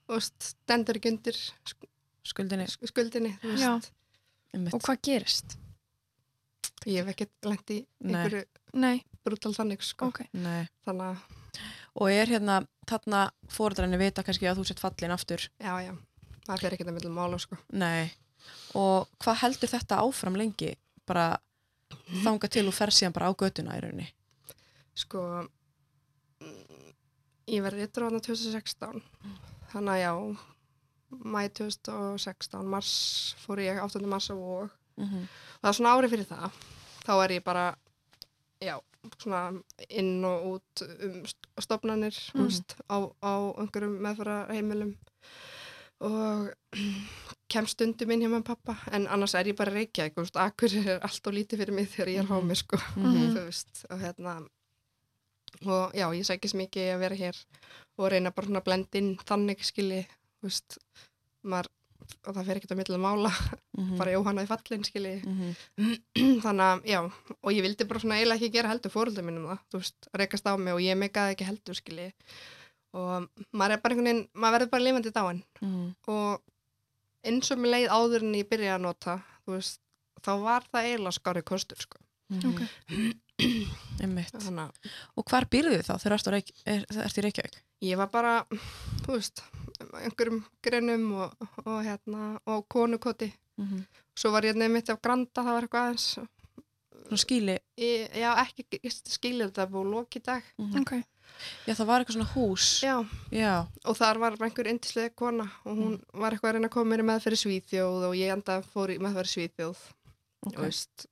Speaker 3: og stendur ekki undir sk-
Speaker 2: skuldinni
Speaker 3: sk- skuldinni þú
Speaker 1: Já.
Speaker 3: veist.
Speaker 2: einmitt.
Speaker 1: og hvað gerist?
Speaker 3: ég hef ekki lent í
Speaker 2: Nei.
Speaker 3: einhverju
Speaker 1: Nei,
Speaker 3: brútal þannig sko.
Speaker 1: ok,
Speaker 2: Nei.
Speaker 3: þannig að,
Speaker 2: og er hérna, þarna fóreldræni vita kannski að þú sett fallin aftur
Speaker 3: já, já, það fer ekki það mellum mála sko.
Speaker 2: Nei. og hvað heldur þetta áfram lengi bara þanga til og fer síðan bara á götuna í rauninni
Speaker 3: sko mm, ég verði yttur á þarna 2016 þannig að já mæ 2016, mars fór ég 8. mars á og
Speaker 2: mm -hmm.
Speaker 3: það er svona ári fyrir það þá er ég bara já, svona inn og út um st- stofnanir mm.
Speaker 1: Mhm.
Speaker 3: veist, á, á einhverjum meðfæra heimilum og kemst stundum inn hjá með pappa en annars er ég bara reykja ekki, veist, akkur er alltaf lítið fyrir mig þegar ég er hámi sko,
Speaker 2: Mm.
Speaker 1: Mhm.
Speaker 3: þú veist og hérna og já, ég sækist mikið að vera hér og reyna bara svona að blenda inn þannig skili, þú veist maður, og það fer ekkert að milli mála
Speaker 2: Mm.
Speaker 3: bara Jóhanna í fallin skili
Speaker 2: Mhm.
Speaker 3: þannig að, já, og ég vildi bara svona eiginlega ekki gera heldur fóröldum mínum það, þú veist, rekast á mig og ég meikaði ekki heldur, skilji og maður er bara einhvern veginn, maður verður bara lifandi dáin
Speaker 2: Mhm.
Speaker 3: og eins og mér leið áður en ég byrjaði að nota, þú veist, þá var það eiginlega skári kostur, sko,
Speaker 2: Mhm.
Speaker 1: Ok.
Speaker 2: Einmitt.
Speaker 3: þannig að
Speaker 2: Og hvar býrðu þið þá þegar ertu á Reykj- er- ertu í Reykjavík?
Speaker 3: ég var bara, þú veist, einhverjum greinum og, og hérna, og konukoti,
Speaker 2: Mhm.
Speaker 3: svo var ég nefnitt af Granda, það var eitthvað aðeins,
Speaker 2: Svona skýli,
Speaker 3: ég, já, ekki skilja þetta búið loki í dag,
Speaker 1: Ok,
Speaker 2: já það var eitthvað svona hús.
Speaker 3: já,
Speaker 2: Já.
Speaker 3: og þar var bara einhver yndislega kona og hún var eitthvað að reyna að koma mér með fyrir Svíþjóð og ég enda fór í meðferð í Svíþjóð
Speaker 2: ok.
Speaker 3: og veist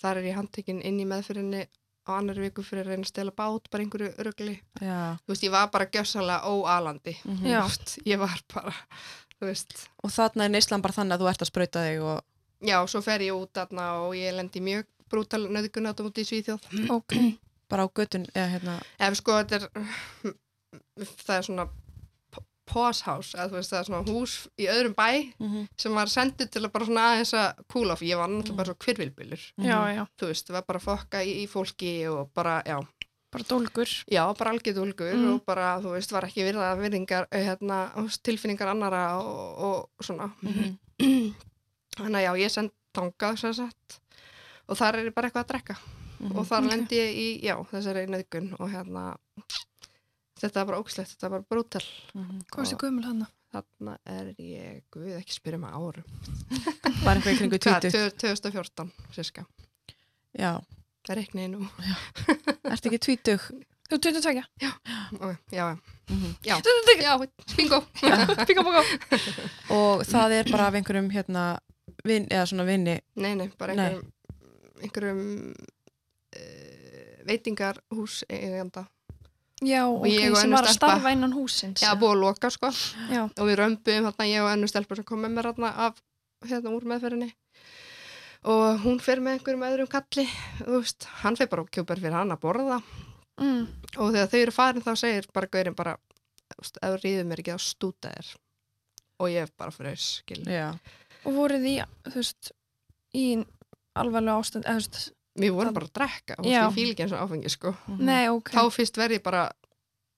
Speaker 3: þar er ég handtekinn inn í meðferðinni á annar viku fyrir að reyna að stela bát bara einhverju örgli,
Speaker 2: Já.
Speaker 3: þú veist ég var bara gjössalega óalandi,
Speaker 2: Mhm.
Speaker 1: já,
Speaker 3: Þú veist, ég var bara, þú veist
Speaker 2: Og þarna er neyslan bara þannig að þú ert að sprauta þig og...
Speaker 3: já, svo fer ég út þarna og ég lendi í mjög brútal nöðgunatum út í Svíþjóð
Speaker 1: ok,
Speaker 2: bara á götun eða hérna
Speaker 3: ef sko þetta er það er svona póshás, eða þú veist það er svona hús í öðrum bæ sem var sendið til að bara svona aðeins að cool off, ég var náttúrulega bara svo kvirvilbulur
Speaker 2: Mhm.
Speaker 1: já, já,
Speaker 3: þú veist, var bara að fokka í, í fólki og bara, já,
Speaker 1: bara dólgur,
Speaker 3: já, bara algjörð úlgur
Speaker 1: Mm.
Speaker 3: og bara, þú veist, var ekki virða virðingar, eh, hérna, þú veist, tilfinningar annara og, og svona
Speaker 2: Mhm.
Speaker 3: þannig að já, ég send tangað sem sagt og þar er ég bara eitthvað að drekka
Speaker 2: Mhm.
Speaker 3: og þar
Speaker 1: Ok.
Speaker 3: lendi ég í, já, þessari nöðgun og hérna þetta er bara ógslegt, þetta er bara brútal
Speaker 2: Mhm.
Speaker 1: hvað er þessi gömul hana?
Speaker 3: þarna er ég, guð, ekki spyrja mig að árum
Speaker 2: bara eitthvað í kringu
Speaker 3: Hvað,
Speaker 2: tvítu
Speaker 3: 2014, sérska
Speaker 2: já,
Speaker 3: Rekniði nú.
Speaker 2: ert ekki tvítug
Speaker 1: Þú ert 22?
Speaker 3: Ok, já,
Speaker 2: Mhm.
Speaker 3: já. Já, bingo.
Speaker 1: Píka bóka.
Speaker 2: og það er bara af einhverjum hérna vin, eða svona vinni
Speaker 3: Nei, nei, bara
Speaker 2: Nei.
Speaker 3: einhverjum, einhverjum uh, veitingarhús eiganda.
Speaker 1: Já, ok,
Speaker 3: ég og
Speaker 1: sem
Speaker 3: önnur
Speaker 1: var að
Speaker 3: stelpa.
Speaker 1: starfa innan húsins.
Speaker 3: Já, búið að loka, sko.
Speaker 1: Já,
Speaker 3: Og við römbuðum þarna, ég og ennur stelpur sem kom með mér þarna af, hérna, úr meðferðinni. Og hún fer með einhverjum öðrum kalli, þú veist, hann fer bara á kjúper fyrir hann að borða.
Speaker 1: mm.
Speaker 3: Og þegar þau eru farin þá segir bara gaurinn bara, þú veist, ef þú ríður mér ekki þá stúta þér. Og ég er bara frös, skil.
Speaker 2: já,
Speaker 1: og voruð í, þú veist, í alvarlega ástand, eða þú veist,
Speaker 3: Við vorum bara að drekka, þú veist,
Speaker 1: Já.
Speaker 3: ég fíl ekki eins og áfengi, sko.
Speaker 2: Mhm.
Speaker 1: nei, ok,
Speaker 3: þá fyrst verð ég bara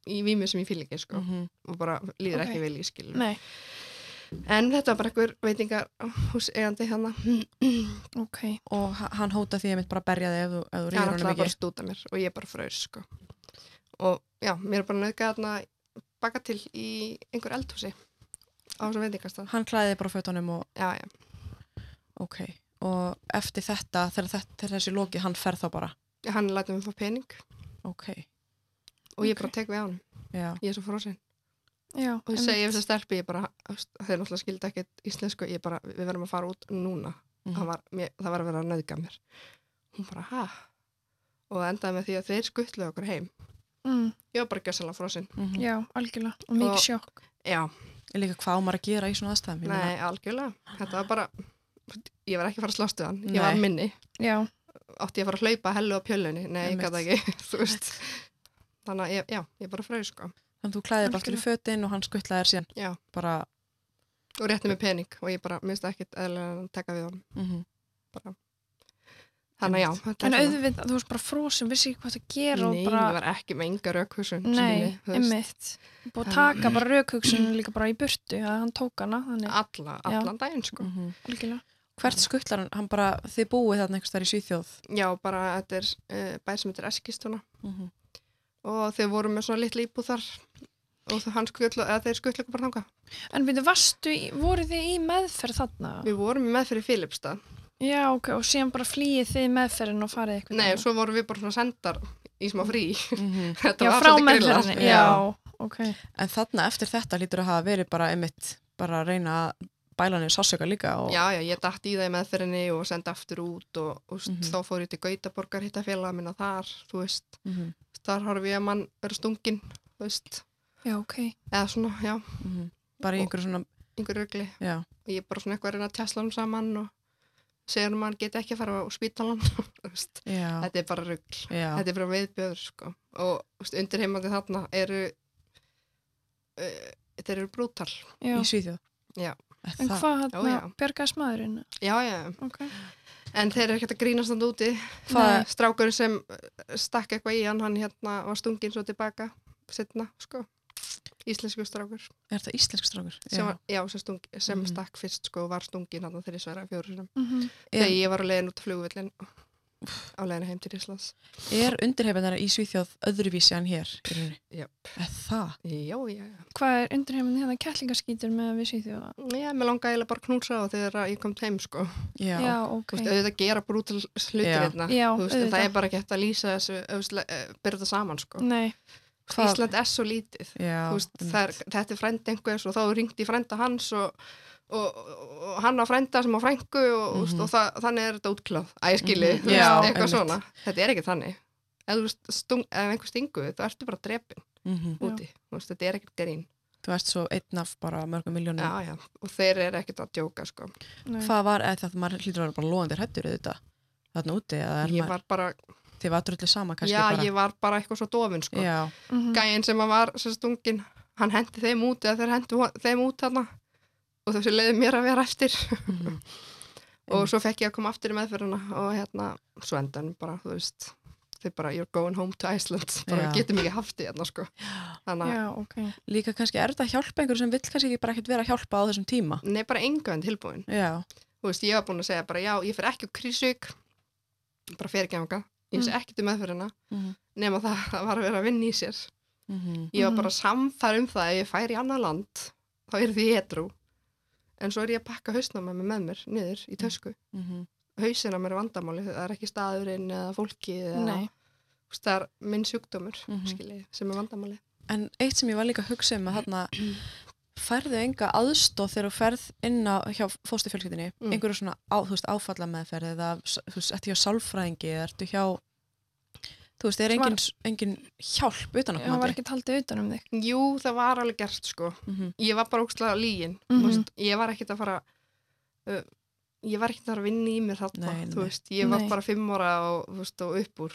Speaker 3: í vímu sem ég fíl ekki sko
Speaker 2: Mhm.
Speaker 3: og bara líður
Speaker 1: Ok.
Speaker 3: ekki vel í skil
Speaker 1: nei,
Speaker 3: en þetta var bara einhver hérna. veitingar hús eigandi hann
Speaker 1: ok,
Speaker 2: og h- hann hóta því að mitt bara berja þig ef þú, ef þú
Speaker 3: hann
Speaker 2: rýður
Speaker 3: ætlaði
Speaker 2: honum
Speaker 3: bara að
Speaker 2: ekki
Speaker 3: stúta mér og ég bara fraus sko og já, mér er bara nöðgað þarna baka til í einhver eldhúsi á þessum veitingastað
Speaker 2: hann klæði þig bara á fötunum og
Speaker 3: já, já,
Speaker 2: ok og eftir þetta, þegar, þetta, þegar þessi lokið hann fer þá bara,
Speaker 3: hann læti mig fá pening
Speaker 2: ok
Speaker 3: og ég
Speaker 1: Ok.
Speaker 3: bara tek við á hann,
Speaker 2: já,
Speaker 3: ég er svo frósin
Speaker 1: já.
Speaker 3: og ég
Speaker 1: einmitt.
Speaker 3: segi ef það stelpi, ég bara þú veist, þau náttúrulega skildi ekkert íslensku ég bara, við verðum að fara út núna
Speaker 2: Mhm.
Speaker 3: mm. var, mér, það var að vera að nöðga mér hún bara, ha? og það endaði með því að þeir skuttluðu okkur heim
Speaker 1: Mm,
Speaker 3: ég var bara gjössalega frosinn
Speaker 2: Mhm.
Speaker 1: já, algjörlega, og mikið
Speaker 3: Og-
Speaker 1: sjokk.
Speaker 3: já,
Speaker 2: líka hvað á maður að gera í svona aðstæðum ég meina,
Speaker 3: nei, algjörlega, þetta var bara ég var ekki að fara að slástu hann, ég
Speaker 2: Nei.
Speaker 3: var minni
Speaker 1: Já,
Speaker 3: átti ég að fara að hlaupa hellu á pjölunni nei, ég
Speaker 2: Einmitt.
Speaker 3: gæti ekki, þú veist þannig að, ég, já, ég bara fröðu sko
Speaker 2: þannig að þú klæði þig bara til fötin og hann skuttlaði þér síðan
Speaker 3: Já.
Speaker 2: bara,
Speaker 3: og rétti mig pening og ég bara misti ekkit eðlilega að taka við hann
Speaker 2: mhm.
Speaker 3: þannig að já,
Speaker 2: Einmitt.
Speaker 3: þetta
Speaker 1: en
Speaker 3: er svona.
Speaker 1: auðvitað, þú veist bara frósum, vissi ekki hvað það
Speaker 3: Nei,
Speaker 1: gera og
Speaker 3: ég
Speaker 1: bara,
Speaker 3: var ekki með enga rökhusun
Speaker 1: nei, einmitt. Búið að
Speaker 3: Þannig-
Speaker 1: taka bara raukhugsunum líka bara í burtu, að hann tók hana, þannig,
Speaker 3: alla,
Speaker 1: Já. Mm.
Speaker 3: allan daginn sko
Speaker 2: Mhm.
Speaker 1: algjörlega.
Speaker 2: hvert skuttlar hann, hann bara, þið búið þarna einhvers þar í Svíþjóð
Speaker 3: já, bara þetta er uh, bær sem þetta er eskistuna
Speaker 2: Mhm.
Speaker 3: og þeir voru með svona litla íbúð þar og það hann skutla, eða þeir skutla okkur bara þanga
Speaker 1: En byrju, varstu, í- voruð þið í meðferð þarna?
Speaker 3: við vorum með fyrir Filipstad
Speaker 1: Já, ok, og síðan bara flýið þið í meðferðin og farið eitthvað.
Speaker 3: nei, svo vorum við bara svona sendar í smá frí
Speaker 2: Mhm.
Speaker 3: þetta
Speaker 1: Mm. Já,
Speaker 3: var
Speaker 1: frá
Speaker 3: svolítið grillað.
Speaker 1: meðferðinni, já, ok.
Speaker 2: En þarna eftir þetta lítur að hafa verið bara einmitt bara að reyna að bæla niður sásöka líka og
Speaker 3: já, já, ég datt í það í meðferðinni og sendi aftur út og, og mm
Speaker 2: Mhm.
Speaker 3: þá fór ég til Gautaborgar hitta félaga minna þar, þú veist
Speaker 2: Mhm,
Speaker 3: þar horfum ég að mann vera stungin, þú veist
Speaker 1: Já, ok.
Speaker 3: eða svona, já,
Speaker 2: mhm. bara í
Speaker 3: Og-
Speaker 2: einhverju svona,
Speaker 3: yngur rugli
Speaker 2: já,
Speaker 3: og ég er bara svona eitthvað að reyna að tjasla um saman og segja um að hann geti ekki að fara á spítalan þú veist.
Speaker 2: já,
Speaker 3: þetta er bara rugl
Speaker 2: já,
Speaker 3: þetta er bara viðbjöður sko. og þú veist, undir heimandi þarna eru uh, þeir eru brútal
Speaker 1: já.
Speaker 2: í Svíþjóð.
Speaker 3: Já.
Speaker 2: Er
Speaker 1: En
Speaker 2: það-
Speaker 1: hvað hann
Speaker 3: já.
Speaker 1: bjargaði smaðurinn?
Speaker 3: já, já.
Speaker 1: Ok.
Speaker 3: en þeir eru ekkert að grínast hann úti
Speaker 2: Hvað-
Speaker 3: strákur sem eh, stakk eitthvað í hann hann hérna var stungin svo tilbaka setna sko íslensku strákur
Speaker 2: er það íslensk strákur?
Speaker 3: sem, var, já, sem, stung, sem
Speaker 2: Mhm.
Speaker 3: stakk fyrst sko og var stungin hann þegar ég sværa fjóru sinum
Speaker 1: Mm
Speaker 3: þegar
Speaker 2: Er,
Speaker 3: ég var á leiðin út á flugvillin á leiðin heim til Íslands
Speaker 2: er undirhefinara í Svíþjóð öðruvísi en hér? í rauninni?
Speaker 3: Jöp.
Speaker 2: Er það?
Speaker 3: já, já, já,
Speaker 1: Hvað er undirheimin hérna kettlingaskítur með að við sýþjóða?
Speaker 3: já, mér langaði eiginlega bara að knúsa á þegar ég kom heim sko
Speaker 2: Já,
Speaker 1: Já,
Speaker 2: já,
Speaker 1: ok.
Speaker 3: Þú veist, auðvitað gera brútal hlutir
Speaker 2: Já.
Speaker 3: hérna
Speaker 1: Já,
Speaker 3: Þú veist, en það
Speaker 1: auðvitað. Mm,
Speaker 3: er bara ekki hægt að lýsa þessu auðvitað, byrja þetta saman sko
Speaker 1: Nei,
Speaker 2: Hvað- Mm.
Speaker 3: Ísland er svo lítið Þú veist,
Speaker 2: einmitt.
Speaker 3: það er, þetta er frændi einhvers og þá ringdi frænda hans og, og, og, og hann á frænda sem á frængu og, mm
Speaker 2: Mhm.
Speaker 3: -hmm. og það, þannig er þetta útklað æskili,
Speaker 2: Mhm.
Speaker 3: mm -hmm.
Speaker 1: Já,
Speaker 3: eitthvað
Speaker 2: einmitt.
Speaker 3: svona þetta er ekki þannig ef, þú veist, stung, ef einhver stingu þig, þá ertu bara drepin
Speaker 1: Já.
Speaker 2: Mhm.
Speaker 3: úti, Þú veist, þetta er ekkert gerín
Speaker 2: Þú ert svo einn af bara mörgum miljónum.
Speaker 3: já, já. og þeir eru ekkert að djóka sko.
Speaker 1: nei.
Speaker 2: Hvað var, eða það maður hlýtur að vera bara loðandir hættur auðvitað þarna úti, eða er
Speaker 3: ég
Speaker 2: maður,
Speaker 3: var bara,
Speaker 2: þið var drullu sama kannski
Speaker 3: já,
Speaker 2: bara.
Speaker 3: ég var bara eitthvað svo dofin sko.
Speaker 2: Já,
Speaker 1: Mhm.
Speaker 3: gæinn sem að var sem stungin, hann hendi þeim út eða þeir hendi hon- þeim út þarna og þessu leiði mér að vera eftir
Speaker 2: mhm.
Speaker 3: og
Speaker 2: Einmitt.
Speaker 3: svo fekk ég að koma aftur í meðferðina og hérna, svo endan bara, þú veist þau bara, you're going home to Iceland bara
Speaker 2: Já.
Speaker 3: getum ekki haft því hérna, sko þannig að,
Speaker 1: Já, ok.
Speaker 2: líka kannski er þetta að hjálpa einhverju sem vill kannski ekki bara ekkert vera að hjálpa á þessum tíma.
Speaker 3: nei, bara engan tilbúin
Speaker 2: Já,
Speaker 3: þú veist, ég var búin að segja bara, já, ég fer ekki á krísvík bara fer ekki ánga ég sé
Speaker 1: Mm.
Speaker 3: ekki til meðferðina
Speaker 2: mhm.
Speaker 3: nema það, það var að vera að vinna í sér
Speaker 2: Mhm.
Speaker 3: ég var
Speaker 1: Mhm.
Speaker 3: bara samfær um það ef ég fær í annað land, þá er því hetru en svo er ég að pakka hausnáma með mér niður í tösku
Speaker 2: Mhm.
Speaker 3: hausin á mér er vandamáli, það er ekki staðurinn eða fólkið eða
Speaker 1: Nei.
Speaker 3: Þú veist, það er minn sjúkdómur mm
Speaker 2: Mhm.
Speaker 3: sem er vandamáli
Speaker 2: En eitt sem ég var líka að hugsa um að þarna færðu enga aðstóð þegar þú ferð inn á hjá fóstufjölskyldinni,
Speaker 3: Mm.
Speaker 2: einhverju svona á, þú veist, áfalla meðferð eða þú veist, ertu hjá sálfræðingi eða ertu hjá þú veist, er
Speaker 1: Sem var-
Speaker 2: engin, engin hjálp utan okkur
Speaker 1: Hann var ekki taldið utan um þig.
Speaker 3: Jú, það var alveg gert sko
Speaker 2: Mhm.
Speaker 3: ég var bara ógstlega lígin
Speaker 1: Mhm.
Speaker 3: mm veist, ég var ekkert að fara uh, ég var ekkert að fara að vinna í mér þarna
Speaker 2: Nei, nei,
Speaker 3: þú
Speaker 2: nei.
Speaker 3: veist, ég var
Speaker 1: Nei.
Speaker 3: bara fimm ára og, þú veist, og upp úr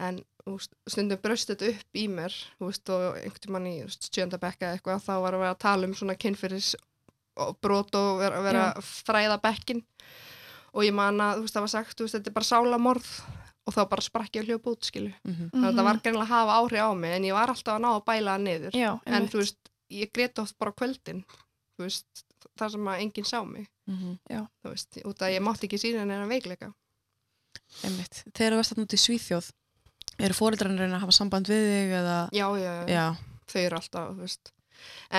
Speaker 3: en þú veist, stundum braust þetta upp í mér þú veist, og einhvern tímann í stjöndabekka eitthvað, þá var að vera að tala um svona kynfyrir og brot og vera, vera að fræða bekkin og ég man að, þú veist, það var sagt þú veist, þetta er bara sálamorð og þá bara sprakk ég að hljópa út, skilu
Speaker 2: Mhm.
Speaker 3: þannig að það var greinilega að hafa áhrif á mig en ég var alltaf að ná að bæla það niður
Speaker 1: Já,
Speaker 3: en
Speaker 1: einmitt.
Speaker 3: þú veist, ég grét oft bara á kvöldin þú veist, þar sem að enginn sá mig
Speaker 2: Mhm.
Speaker 3: þú veist, út að ég mátti ekki sína henni en veikleika
Speaker 2: Einmitt. Þegar þú varst þarna út í Svíþjóð, eru fóreldrarnir að reyna að hafa samband við þig eða...
Speaker 3: já, já, já,
Speaker 2: Já.
Speaker 3: þau eru alltaf, þú veist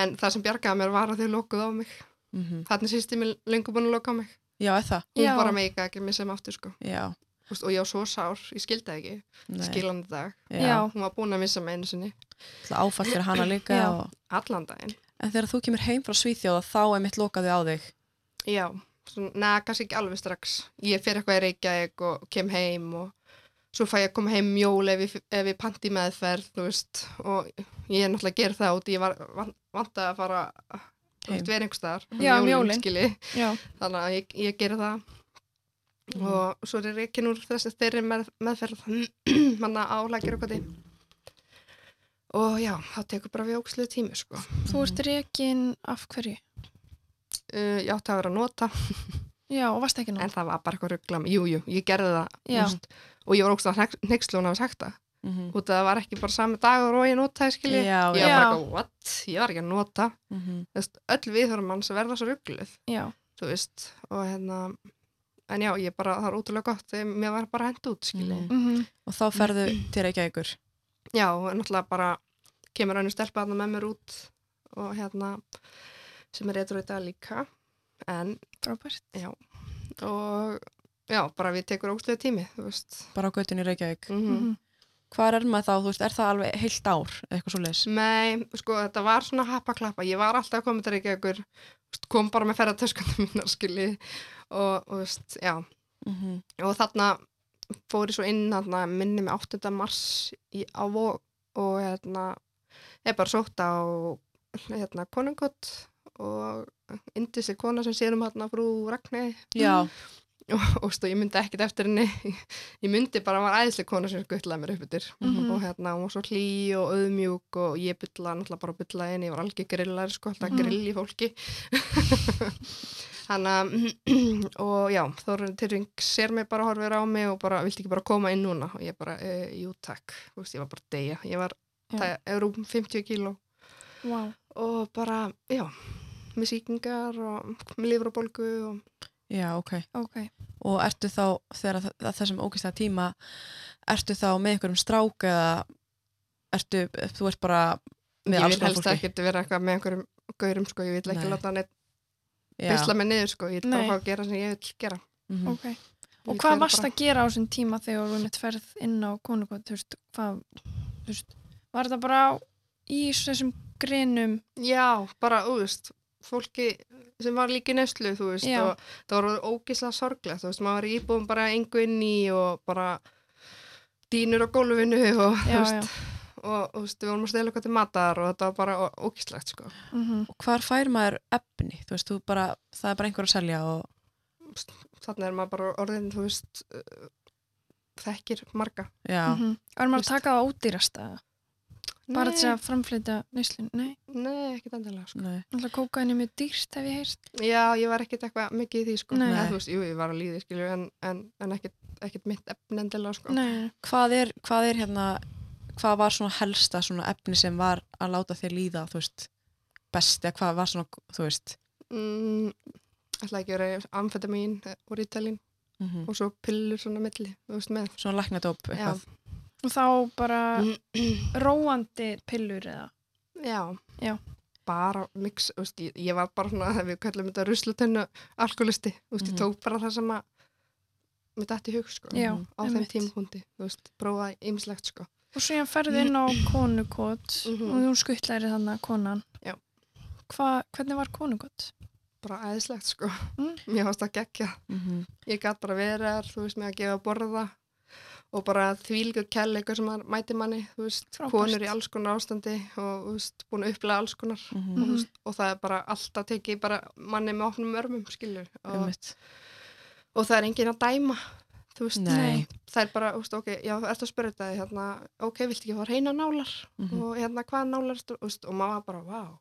Speaker 3: en það sem bjargaði mér var að þau lókuð á mig
Speaker 2: mhm.
Speaker 3: þarna sýsti mér lengur búin að lóka á mig
Speaker 2: Já, eða það?
Speaker 3: hún
Speaker 1: Já.
Speaker 3: bara meika ekki mér sem aftur sko
Speaker 2: Já.
Speaker 3: Þú veist, og ég á svo sár, ég skildi það ekki
Speaker 2: Nei.
Speaker 3: skilandi dag,
Speaker 2: Já.
Speaker 1: Já.
Speaker 3: hún var búin að missa mig einu sinni
Speaker 2: Það áfall fyrir hana líka.
Speaker 1: Já.
Speaker 2: Og...
Speaker 3: allan daginn,
Speaker 2: En þegar þú kemur heim frá Svíþjóða, þá er mitt lokaði á þig.
Speaker 3: já Svona, neða, kannski ekki alveg strax ég fer eitthvað í Reykjavík og kem heim og svo fæ ég að koma heim mjól ef ég, ef ég panti meðferð þú veist, og ég er náttúrulega að gera það út ég var van- vantaði að fara þú
Speaker 2: Heim.
Speaker 3: veist, vera einhvers staðar um
Speaker 1: Já, um
Speaker 3: jólin,
Speaker 1: jólin.
Speaker 3: skilji.
Speaker 1: Já,
Speaker 3: þannig að ég, ég gera það
Speaker 2: Mhm.
Speaker 3: og svo er ekki núr þessi þeirri með, meðferð manna álækir og hvað og já, það tekur bara við ókslega tími sko.
Speaker 1: þú ert rekin af hverju?
Speaker 3: uh, ég átti að vera að nota
Speaker 1: Já, og varst ekki nú.
Speaker 3: en það var bara eitthvað ruggla jú, jú, ég gerði það
Speaker 1: Já.
Speaker 3: úst, og ég var ókslega neykslun að sagt það
Speaker 2: Mhm.
Speaker 3: út að það var ekki bara sami dagur og ég notaði skilji
Speaker 2: Já,
Speaker 3: ég
Speaker 2: já.
Speaker 3: var bara
Speaker 1: Já.
Speaker 3: eitthvað, what, ég var ekki að nota
Speaker 2: Mhm.
Speaker 3: Þú veist, öll viðhörum hans verða svo ruggluð
Speaker 1: Já,
Speaker 3: þú veist, og hérna en já, ég bara, það var útrúlega gott þegar mér var bara hend út, skilji
Speaker 2: Mhm.
Speaker 1: mm
Speaker 2: Og þá ferðu til Reykjavíkur.
Speaker 3: já, og náttúrulega bara kemur önnu stelpa þarna með mér út og hérna sem er eitthvað í dag líka en,
Speaker 1: frábært.
Speaker 3: og já, bara við tekur ókslega tími, þú veist
Speaker 2: Bara á göttunni í Reykjavík.
Speaker 3: mm
Speaker 1: Mm
Speaker 2: Hvar er maður þá? Þú veist, er það alveg heilt ár? Eitthvað svo leis?
Speaker 3: Nei, sko, þetta var svona happaklappa. Ég var alltaf komið til Reykjavíkur, veist, kom bara með ferðartöskundum mínar, skilji. Og, og, veist, já. og þarna fór ég svo inn, þarna, minni með 8. mars í, á Vó og hérna, ég bara sótt á hérna, konungkott og indisli kona sem sérum hérna frú Ragnar
Speaker 2: Já,
Speaker 3: og, og stu, ég myndi ekkit eftir henni ég myndi bara að var æðisli kona sem skuttlaði mér upp yfir
Speaker 1: Mhm.
Speaker 3: og hérna, hún var svo hlý og auðmjúk og ég bylla, náttúrulega bara bylla henni ég var algjör grillar, sko, alltaf
Speaker 1: Mhm.
Speaker 3: grill í fólki þannig að og já, Þórun Tyrfing sér mig bara horfir á mig og bara, viltu ekki bara koma inn núna og ég bara, e, jú takk, þú veist, ég var bara að deyja, ég var
Speaker 1: Já.
Speaker 3: það er rúm 50 kíló
Speaker 1: Wow.
Speaker 3: og bara, já með sýkingar og með lifur og bólgu og
Speaker 2: já, ok.
Speaker 1: Ok.
Speaker 2: og ertu þá þegar þa- þa- þessum ógæslega tíma ertu þá með einhverjum strák eða ertu, þú ert bara með
Speaker 3: ég
Speaker 2: alls
Speaker 3: vil
Speaker 2: konar
Speaker 3: helst
Speaker 2: fólki
Speaker 3: ekki vera eitthvað með einhverjum gaurum sko, ég vil ekki
Speaker 2: Nei.
Speaker 3: láta hann
Speaker 2: Já,
Speaker 3: beisla mig niður sko, ég vil bara
Speaker 1: Nei.
Speaker 3: fá að gera sem ég vil gera
Speaker 2: mhm.
Speaker 1: Ok.
Speaker 3: Ég
Speaker 1: Mm. Og
Speaker 3: vil
Speaker 1: hvað
Speaker 3: vera
Speaker 1: varst
Speaker 3: bara-
Speaker 1: að gera á þessum tíma þegar þú einmitt ferð inn á konungótt, þú veist, hvað, þú veist, var þetta bara á- í þessum grinum?
Speaker 3: Já, bara, þú veist, fólki sem var líki neslu, þú veist,
Speaker 1: Já.
Speaker 3: og það var ógislega sorglegt, þú veist, maður var íbúin bara engu inn í og bara dýnur á gólfinu og, þú
Speaker 1: Já, já.
Speaker 3: veist, og, þú veist, við vorum að stela eitthvað til matar og þetta var bara ó- ógislegt, sko.
Speaker 1: Mm -hmm.
Speaker 2: og hvar fær maður efni þú veist, þú bara, það er bara einhver að selja og,
Speaker 3: Þannig er maður bara orðin, þú veist, uh, þekkir marga.
Speaker 2: já,
Speaker 1: Mhm. Var maður
Speaker 3: Þú
Speaker 1: að taka það á ódýrasta? Bara til
Speaker 3: nei,
Speaker 1: að framfleyta nýslun? Nei,
Speaker 3: nei, ekkit endilega, sko.
Speaker 2: nei,
Speaker 1: alltaf kókaðin er mjög dýrt hef ég heyrt.
Speaker 3: Já, ég var ekkit eitthvað mikið í því, sko.
Speaker 1: Nei.
Speaker 3: Eða, þú veist, jú, ég var að líði, skilju, en, en, en ekkit, ekkit mitt efn endilega, sko.
Speaker 1: Nei,
Speaker 2: hvað er, hvað er hérna hvað var svona helsta svona efni sem var að láta þér líða, þú veist best, eða hvað var svona, þú veist
Speaker 3: Mm, ætla ekki að vera amfetamín og rítalín
Speaker 2: mhm.
Speaker 3: og svo pillur svona milli, þú veist með.
Speaker 2: svona læknadóp eitthvað,
Speaker 1: og þá bara
Speaker 3: Mm.
Speaker 1: róandi pillur eða?
Speaker 3: Já.
Speaker 1: Já.
Speaker 3: Bara mix, þú veist, ég, ég var bara svona, við kallum þetta ruslutennu alkoholisti, þú veist,
Speaker 2: Mhm.
Speaker 3: ég tók bara það sem að mér dætti hug, sko.
Speaker 1: Já,
Speaker 3: Á þeim
Speaker 1: einmitt.
Speaker 3: tímpundi, þú veist, prófa ýmislegt, sko.
Speaker 1: Og síðan ferði inn á konukot
Speaker 3: Mhm.
Speaker 1: og þú skuttlæri þannig konan.
Speaker 3: Já.
Speaker 1: Hva, hvernig var konukot?
Speaker 3: Bara aðeinslegt, sko.
Speaker 1: Mm.
Speaker 3: Mér varst að gegja.
Speaker 2: mhm,
Speaker 3: Ég gæt bara verið þar, þú veist, með að gefa að borða og bara þvílgur kell eitthvað sem að mæti manni, þú veist,
Speaker 1: Frábært.
Speaker 3: konur í alls konar ástandi og, þú veist, búin að upplega alls konar
Speaker 2: mhm,
Speaker 3: og, þú veist, og það er bara alltaf tekið bara manni með opnum örmum skilur og,
Speaker 2: einmitt.
Speaker 3: og það er enginn að dæma þú veist,
Speaker 2: Nei.
Speaker 3: það er bara, þú veist, ok, já, ertu að spyrja þetta hérna, ok, viltu ekki fá reyna nálar
Speaker 2: Mhm.
Speaker 3: og hérna, hvað nálar ertu, þú veist, og maður var bara, vá þú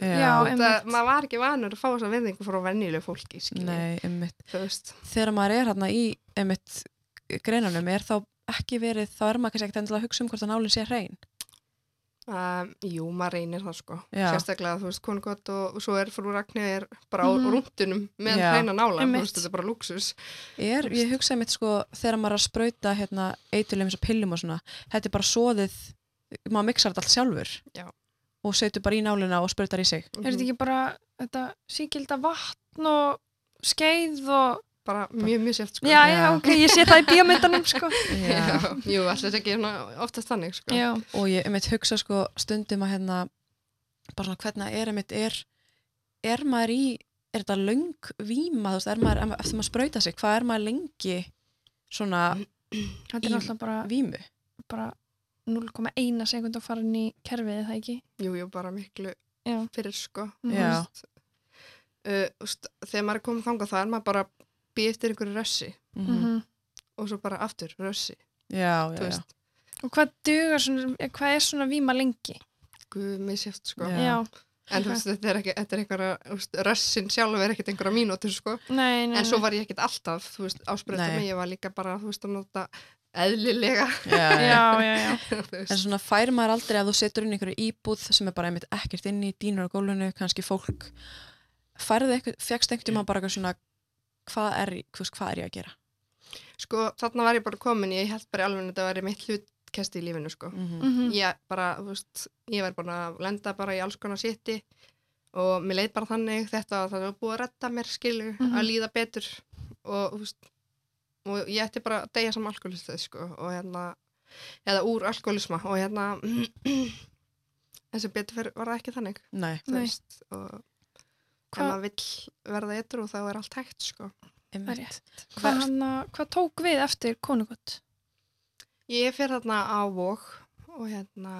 Speaker 2: Já.
Speaker 1: Já,
Speaker 3: það,
Speaker 1: einmitt.
Speaker 3: maður var ekki vanur að fá þess að vinningu frá venjulegu fólki skilur,
Speaker 2: Nei, einmitt.
Speaker 3: þú veist
Speaker 2: Þegar maður er hérna í einmitt greinanum, er þá ekki verið, þá er maður kannski ekkert endilega að hugsa um hvort að nálinn sé hrein.
Speaker 3: Um, jú, maður reynir það sko
Speaker 2: Já.
Speaker 3: sérstaklega, þú veist, konu gott og, og svo er frú Ragnir bara á
Speaker 1: Mhm.
Speaker 3: rúndunum með
Speaker 2: Já.
Speaker 3: hreina nálar, þú
Speaker 1: Einmitt.
Speaker 3: veist, þetta er bara luxus
Speaker 2: Er, ég hugsa einmitt sko, þegar maður er að sprauta hérna eiturlega eins og pillum og svona, þetta er bara soðið, maður miksar þetta allt sjálfur.
Speaker 3: Já.
Speaker 2: Og setur bara í nálina og sprautar í sig.
Speaker 1: Er þetta ekki bara þetta síkilda vatn og skeið og...
Speaker 3: Mhm. bara mjög mjög sért sko
Speaker 1: Já, já,
Speaker 2: Já.
Speaker 1: ok, ég sé það í bíómyndanum, sko.
Speaker 3: Já. Jú, alltaf ekki svona oftast þannig sko.
Speaker 1: Já,
Speaker 2: Og ég einmitt hugsa sko stundum að hérna, bara svona hvernig er einmitt, er, er maður í, er þetta löng víma, þú veist, er maður, eftir maður sprauta sig, hvað er maður lengi svona
Speaker 1: þetta er
Speaker 2: Í-
Speaker 1: alltaf bara,
Speaker 2: vímu?
Speaker 1: bara 0,1 sekund að fara inn í kerfið, er það ekki?
Speaker 3: Jú, jú, bara miklu
Speaker 1: Já.
Speaker 3: fyrir sko.
Speaker 1: Mhm.
Speaker 2: Já.
Speaker 3: Uh, úst, þegar maður er komið þangað þá er maður bara býð eftir einhverju rössi
Speaker 2: Mhm.
Speaker 1: Mhm.
Speaker 3: og svo bara aftur rössi.
Speaker 2: Já,
Speaker 3: Þú
Speaker 2: já, já.
Speaker 3: veist,
Speaker 1: Og hvað dugar svona, eh, hvað er svona víma lengi?
Speaker 3: guð með sért sko.
Speaker 2: Já.
Speaker 3: En þú veist, þetta er, ekki, þetta er einhverja, úst, rössin sjálf er ekkert einhverja mínútur sko.
Speaker 1: Nei, nei,
Speaker 3: En svo
Speaker 1: nei.
Speaker 3: var ég ekkert alltaf, þú veist, áspreyta
Speaker 2: Nei.
Speaker 3: mig, ég var líka bara, þú veist, að nota eðlilega,
Speaker 2: Já, já.
Speaker 1: Já, já, já.
Speaker 3: þú
Speaker 2: En
Speaker 3: veist.
Speaker 2: svona fær maður aldrei að þú setur inn einhverju íbúð sem er bara einmitt ekkert inn í dýnur á gólfinu, kannski fólk færði eitthvað, fegst einhvern tíma bara eitthvað svona hvað er, þú veist, hvað er ég að gera?
Speaker 3: Sko, þarna var ég bara komin, ég held bara alveg að þetta var mitt hlutkesti í lífinu sko.
Speaker 2: Mm
Speaker 1: Mhm.
Speaker 3: ég bara, þú veist, ég var búin að lenda bara í alls konar sétti og mér leið bara þannig þetta að það var búið að retta mér skilu
Speaker 1: Mhm.
Speaker 3: að líða betur og, þú veist, og ég ætti bara að deyja sem alkoholistið sko og hérna, eða úr alkoholisma og hérna en sem betur fyrir var það ekki þannig
Speaker 2: Nei,
Speaker 3: þú
Speaker 1: Nei.
Speaker 3: veist, og
Speaker 1: Hva-
Speaker 3: ef maður vill verða ytrú þá er allt hægt sko
Speaker 1: Það er
Speaker 2: einmitt.
Speaker 1: Hvað, hana, hvað tók við eftir konungott?
Speaker 3: ég fyrir þarna á vók og hérna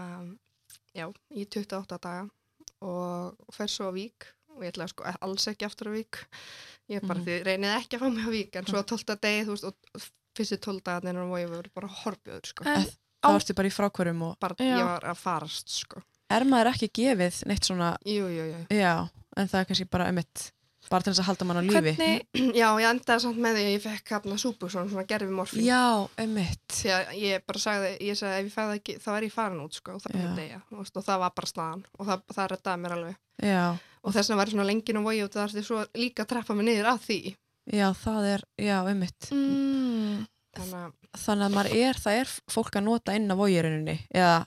Speaker 3: já, í 28 daga og fer svo á vík og ég ætla sko alls ekki aftur á vík ég bara því reynið ekki að fá mig á vík en svo tólta degi þú veist og fyrstu tólta að neina og ég var bara horfjöður sko
Speaker 1: En
Speaker 2: þá
Speaker 1: Á-
Speaker 2: ertu bara í frákvörum og
Speaker 3: bara
Speaker 1: Eh, Já.
Speaker 3: ég var að farast sko
Speaker 2: er maður ekki gefið neitt svona,
Speaker 3: jú, jú, jú.
Speaker 2: já, en það er kannski bara emitt, bara til þess að halda mann á lífi.
Speaker 1: hvernig,
Speaker 3: já, ég endaði samt með því að ég fekk hafna súpu svona, svona gerfi morfín
Speaker 2: Já, emitt.
Speaker 3: því að ég bara sagði, ég sagði ef ég fæði ekki, þá er ég farin út sko og það,
Speaker 2: Já.
Speaker 3: er deyja, þú veist, og það var bara staðan og það, það rettaði mér alveg
Speaker 2: Já,
Speaker 3: og þess vegna var ég svona lengin og vogi og það þarf svo líka að trappa mig niður af því
Speaker 2: já, það er, já, emitt.
Speaker 1: mm,
Speaker 3: þannig að
Speaker 2: Þannig að maður er, það er fólk að nota inn á vógirinunni, eða,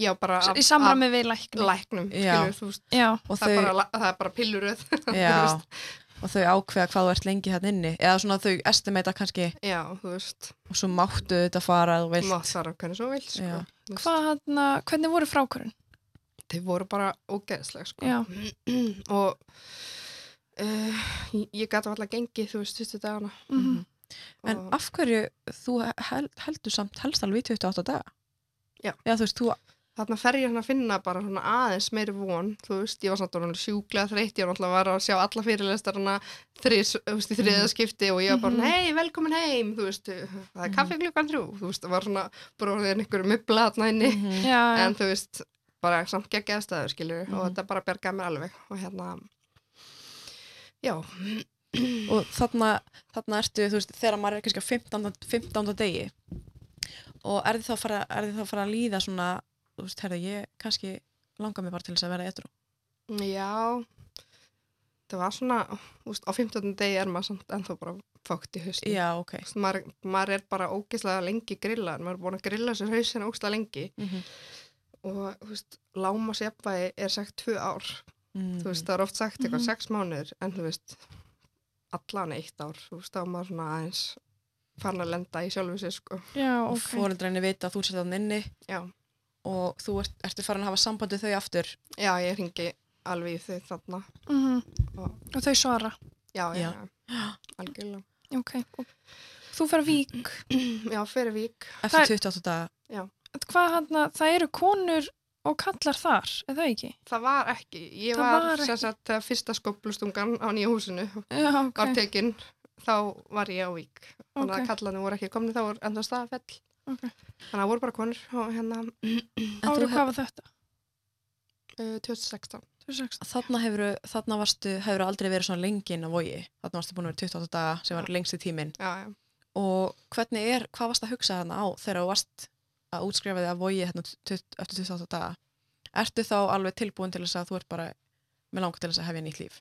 Speaker 3: já, bara af-
Speaker 1: í samræmi við lækni
Speaker 3: af læknum,
Speaker 2: Já.
Speaker 3: skilur þú veist
Speaker 1: já,
Speaker 2: og
Speaker 3: það, er
Speaker 2: þau,
Speaker 3: bara, það er bara pilluröð
Speaker 2: já, og þau ákveða hvað þú ert lengi hérna inni, eða svona þau estimata kannski,
Speaker 3: já, þú veist,
Speaker 2: og svo máttu þetta fara að þú vilt.
Speaker 3: mátt svara hvernig svo vil sko.
Speaker 2: Já.
Speaker 3: Þú veist,
Speaker 1: Hvað, hana, hvernig voru frákvörun?
Speaker 3: þeir voru bara ógeðslega sko.
Speaker 1: Já.
Speaker 3: og uh, ég- ég gæti alltaf gengið þú veist, fyrstu dagana
Speaker 1: Mm
Speaker 2: Mhm. En
Speaker 3: og,
Speaker 2: af hverju þú hel, heldur samt helst alveg í 28 daga?
Speaker 3: Já.
Speaker 2: Já, þú veist, þú,
Speaker 3: þarna fer ég svona að finna bara svona aðeins meiri von, þú veist, ég var samt orðin sjúklega þreytt, ég var náttúrulega var að sjá alla fyrirlestarana þrís, þú veist, í þriða skipti og ég var bara,
Speaker 1: Mhm.
Speaker 3: hei, velkomin heim, þú veist, það er
Speaker 2: Mhm.
Speaker 3: kaffi klukkan þrjú, þú veist, var svona bara orðin einhverju mubla þarna inni,
Speaker 1: Mhm.
Speaker 2: Mhm.
Speaker 1: já, já,
Speaker 3: en þú veist, bara samt geggjaði staður, skilur, og
Speaker 2: Mhm.
Speaker 3: þetta bara bjargaði mér alveg og hérna, já,
Speaker 2: og þarna, þarna ertu, þú veist, þegar maður er kannski á 15. 15. degi og er þið þá að fara, er þið þá að fara að líða svona, þú veist, herðu, ég kannski langar mig bara til þess að vera etru.
Speaker 3: já, það var svona, þú veist, á 15. degi er maður samt ennþá bara fókt í
Speaker 1: Mm.
Speaker 3: hausnum.
Speaker 2: Já, ok.
Speaker 3: Þú veist, maður, maður er bara ógeðslega lengi grillaður, maður er búin að grilla sér hausina ógeðslega lengi
Speaker 2: Mm
Speaker 1: Mhm.
Speaker 3: og þú veist, lámasjafvæði er sagt tvö ár,
Speaker 2: Mm.
Speaker 3: þú veist, það er oft sagt eitthvað
Speaker 1: Mhm.
Speaker 3: sex mánuður, en þú veist allan eitt ár, þú veist, þá er maður svona aðeins farin að lenda í sjálfu sér, sko
Speaker 2: og
Speaker 1: ok.
Speaker 2: okay. fóreldrenni vita að þú setja þann inni
Speaker 3: já,
Speaker 2: og þú ert, ertu farin að hafa sambandi þau aftur.
Speaker 3: já ég ringi alveg í þau þarna
Speaker 1: Mhm.
Speaker 3: Og-
Speaker 1: og þau svara
Speaker 3: já, já,
Speaker 2: Já.
Speaker 3: já, algjörlega
Speaker 1: ok, og þú fer að vík
Speaker 3: já, fyrir vík,
Speaker 1: Það er-
Speaker 2: Eftir 28 daga.
Speaker 1: hvað hana, það eru konur og kallar þar, er það ekki?
Speaker 3: það var ekki ég
Speaker 1: Það
Speaker 3: var,
Speaker 1: var
Speaker 3: sem sagt, þegar fyrsta skoplustungan á nýja húsinu
Speaker 1: Já, ok,
Speaker 3: var tekinn, þá var ég á vík þannig
Speaker 1: ok.
Speaker 3: að kallarnir voru ekki komni þá voru enda staðafell
Speaker 1: Ok.
Speaker 3: þannig að það voru bara konur og hérna uh,
Speaker 2: En þú
Speaker 1: Ári,
Speaker 2: hef-
Speaker 1: hvað var þetta?
Speaker 3: 2016
Speaker 1: 2016.
Speaker 2: Þarna hefur, þarna varstu, hefur aldrei verið svona lengin á vogi. Þarna varstu búin að vera 28 daga sem var lengst í tíminn.
Speaker 3: já, já.
Speaker 2: Og hvernig er, hvað varst að hugsa þarna á þegar þú varst að útskrifa þig að vogi hérna tut- eftir 28 daga? Ertu þá alveg tilbúin til þess að þú ert bara með langar til þess að hefja nýtt líf?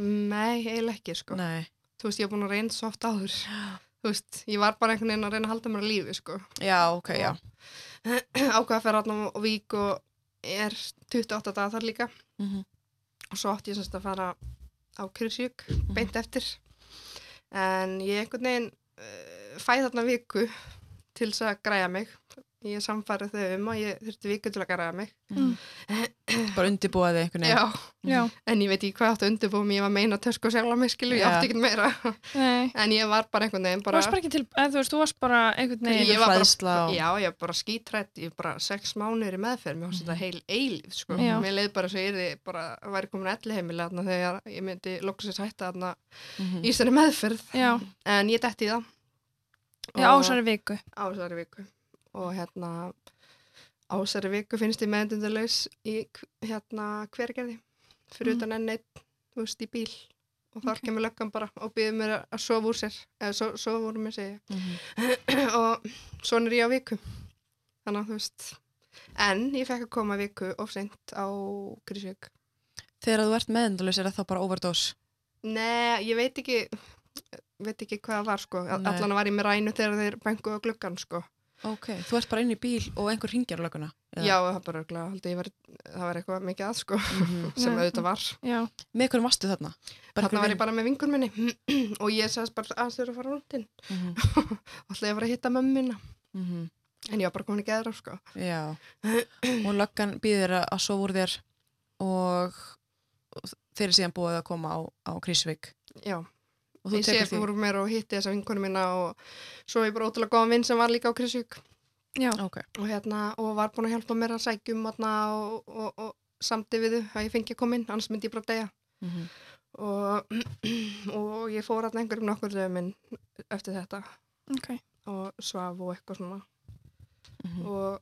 Speaker 3: nei, eiginlega ekki sko
Speaker 2: Nei.
Speaker 3: þú veist, ég er búin að reyna svo oft áður þú veist, ég var bara einhvern veginn að reyna að halda mér að lífi sko
Speaker 2: Já, ok, já.
Speaker 3: ákveða að fara átna og vík og er 28 dagar þar líka
Speaker 2: Mm -hmm.
Speaker 3: og svo átti ég semst að fara á Kyrsjökk beint eftir en ég einhvern veginn uh, fæði þarna viku til þess að græja mig ég samfærið þau um að ég þurfti viku til að græja mig
Speaker 1: Mm.
Speaker 2: Mhm. Bara undirbúa þig einhvern
Speaker 3: já,
Speaker 2: veginn.
Speaker 1: Já,
Speaker 3: en ég veit ekki hvað ég átti að undirbúa mig, ég var meina tösku og sjálf að mig skilju, ég
Speaker 2: Já.
Speaker 3: átti ekkert meira
Speaker 1: nei.
Speaker 3: en ég var bara einhvern veginn
Speaker 1: Þú
Speaker 3: bara,
Speaker 1: varst bara ekki til, eða þú veist, þú varst bara einhvern veginn.
Speaker 3: ég var
Speaker 2: hræðsla
Speaker 3: bara
Speaker 2: og-
Speaker 3: já, ég var bara skítrætt, ég var bara sex mánuður í meðferð, mér fannst þetta heil eilíf sko.
Speaker 1: Já.
Speaker 3: mér leið bara svo ég yrði bara væri komin elli heimilega þarna þegar ég myndi loksins hætta þarna
Speaker 2: Mhm.
Speaker 3: í þessari meðferð
Speaker 1: Já,
Speaker 3: en ég detti í það
Speaker 1: já
Speaker 3: Og-
Speaker 1: ásari viku.
Speaker 3: á þessari viku og hérna á þessari viku finnst ég meðendundarlaus í hérna hvergerði fyrir
Speaker 1: Mm.
Speaker 3: utan enn eitt, þú veist, í bíl og þar
Speaker 1: Ok.
Speaker 3: kemur löggan bara og býður mér að- að sofa úr sér eða so, sofa úr mér segja
Speaker 2: Mhm.
Speaker 3: og svona er ég á viku þannig að þú veist en ég fekk að koma viku of seint á Grísvík
Speaker 2: Þegar þú ert meðendalus er það þá bara overdose.
Speaker 3: Nei, ég veit ekki veit ekki hvað það var sko
Speaker 2: Nei.
Speaker 3: allan var ég með rænu þegar þeir benguðu á gluggan sko
Speaker 2: Ok, þú ert bara inn í bíl og einhver hringir á lögguna. eða?
Speaker 3: Já, það bara örugglega, haldið ég var, það var eitthvað mikið að sko,
Speaker 2: Mhm.
Speaker 3: sem
Speaker 1: Nei.
Speaker 3: auðvitað var.
Speaker 1: Já,
Speaker 2: Með hverjum varstu þarna?
Speaker 3: Þarna var ég bara með vingun minni og ég sagðist bara að þau eru að fara rúndin.
Speaker 2: Mm
Speaker 3: Alltaf ég var að hitta mömmina,
Speaker 2: Mhm.
Speaker 3: en ég var bara komin í geðra sko.
Speaker 2: Já, og löggan býðir að að sofa úr þér og og þeir eru síðan búið að koma á, á Krísvík
Speaker 3: Já,
Speaker 2: og þú
Speaker 3: ég sé
Speaker 2: tekur því.
Speaker 3: fyrir mér og hitti þessa vingunum minna og svo ég bara ótrúlega góðan vinn sem var líka á Krisvík
Speaker 1: já,
Speaker 2: Ok,
Speaker 3: um og hérna, og var búin að hjálpa mér að sækjum þarna og, og, og samdi við þau að ég fengi að koma inn, annars myndi ég bara degja og, og ég fór alltaf einhverjum nokkur dömin eftir þetta
Speaker 1: ok,
Speaker 3: og svaf og eitthvað svona og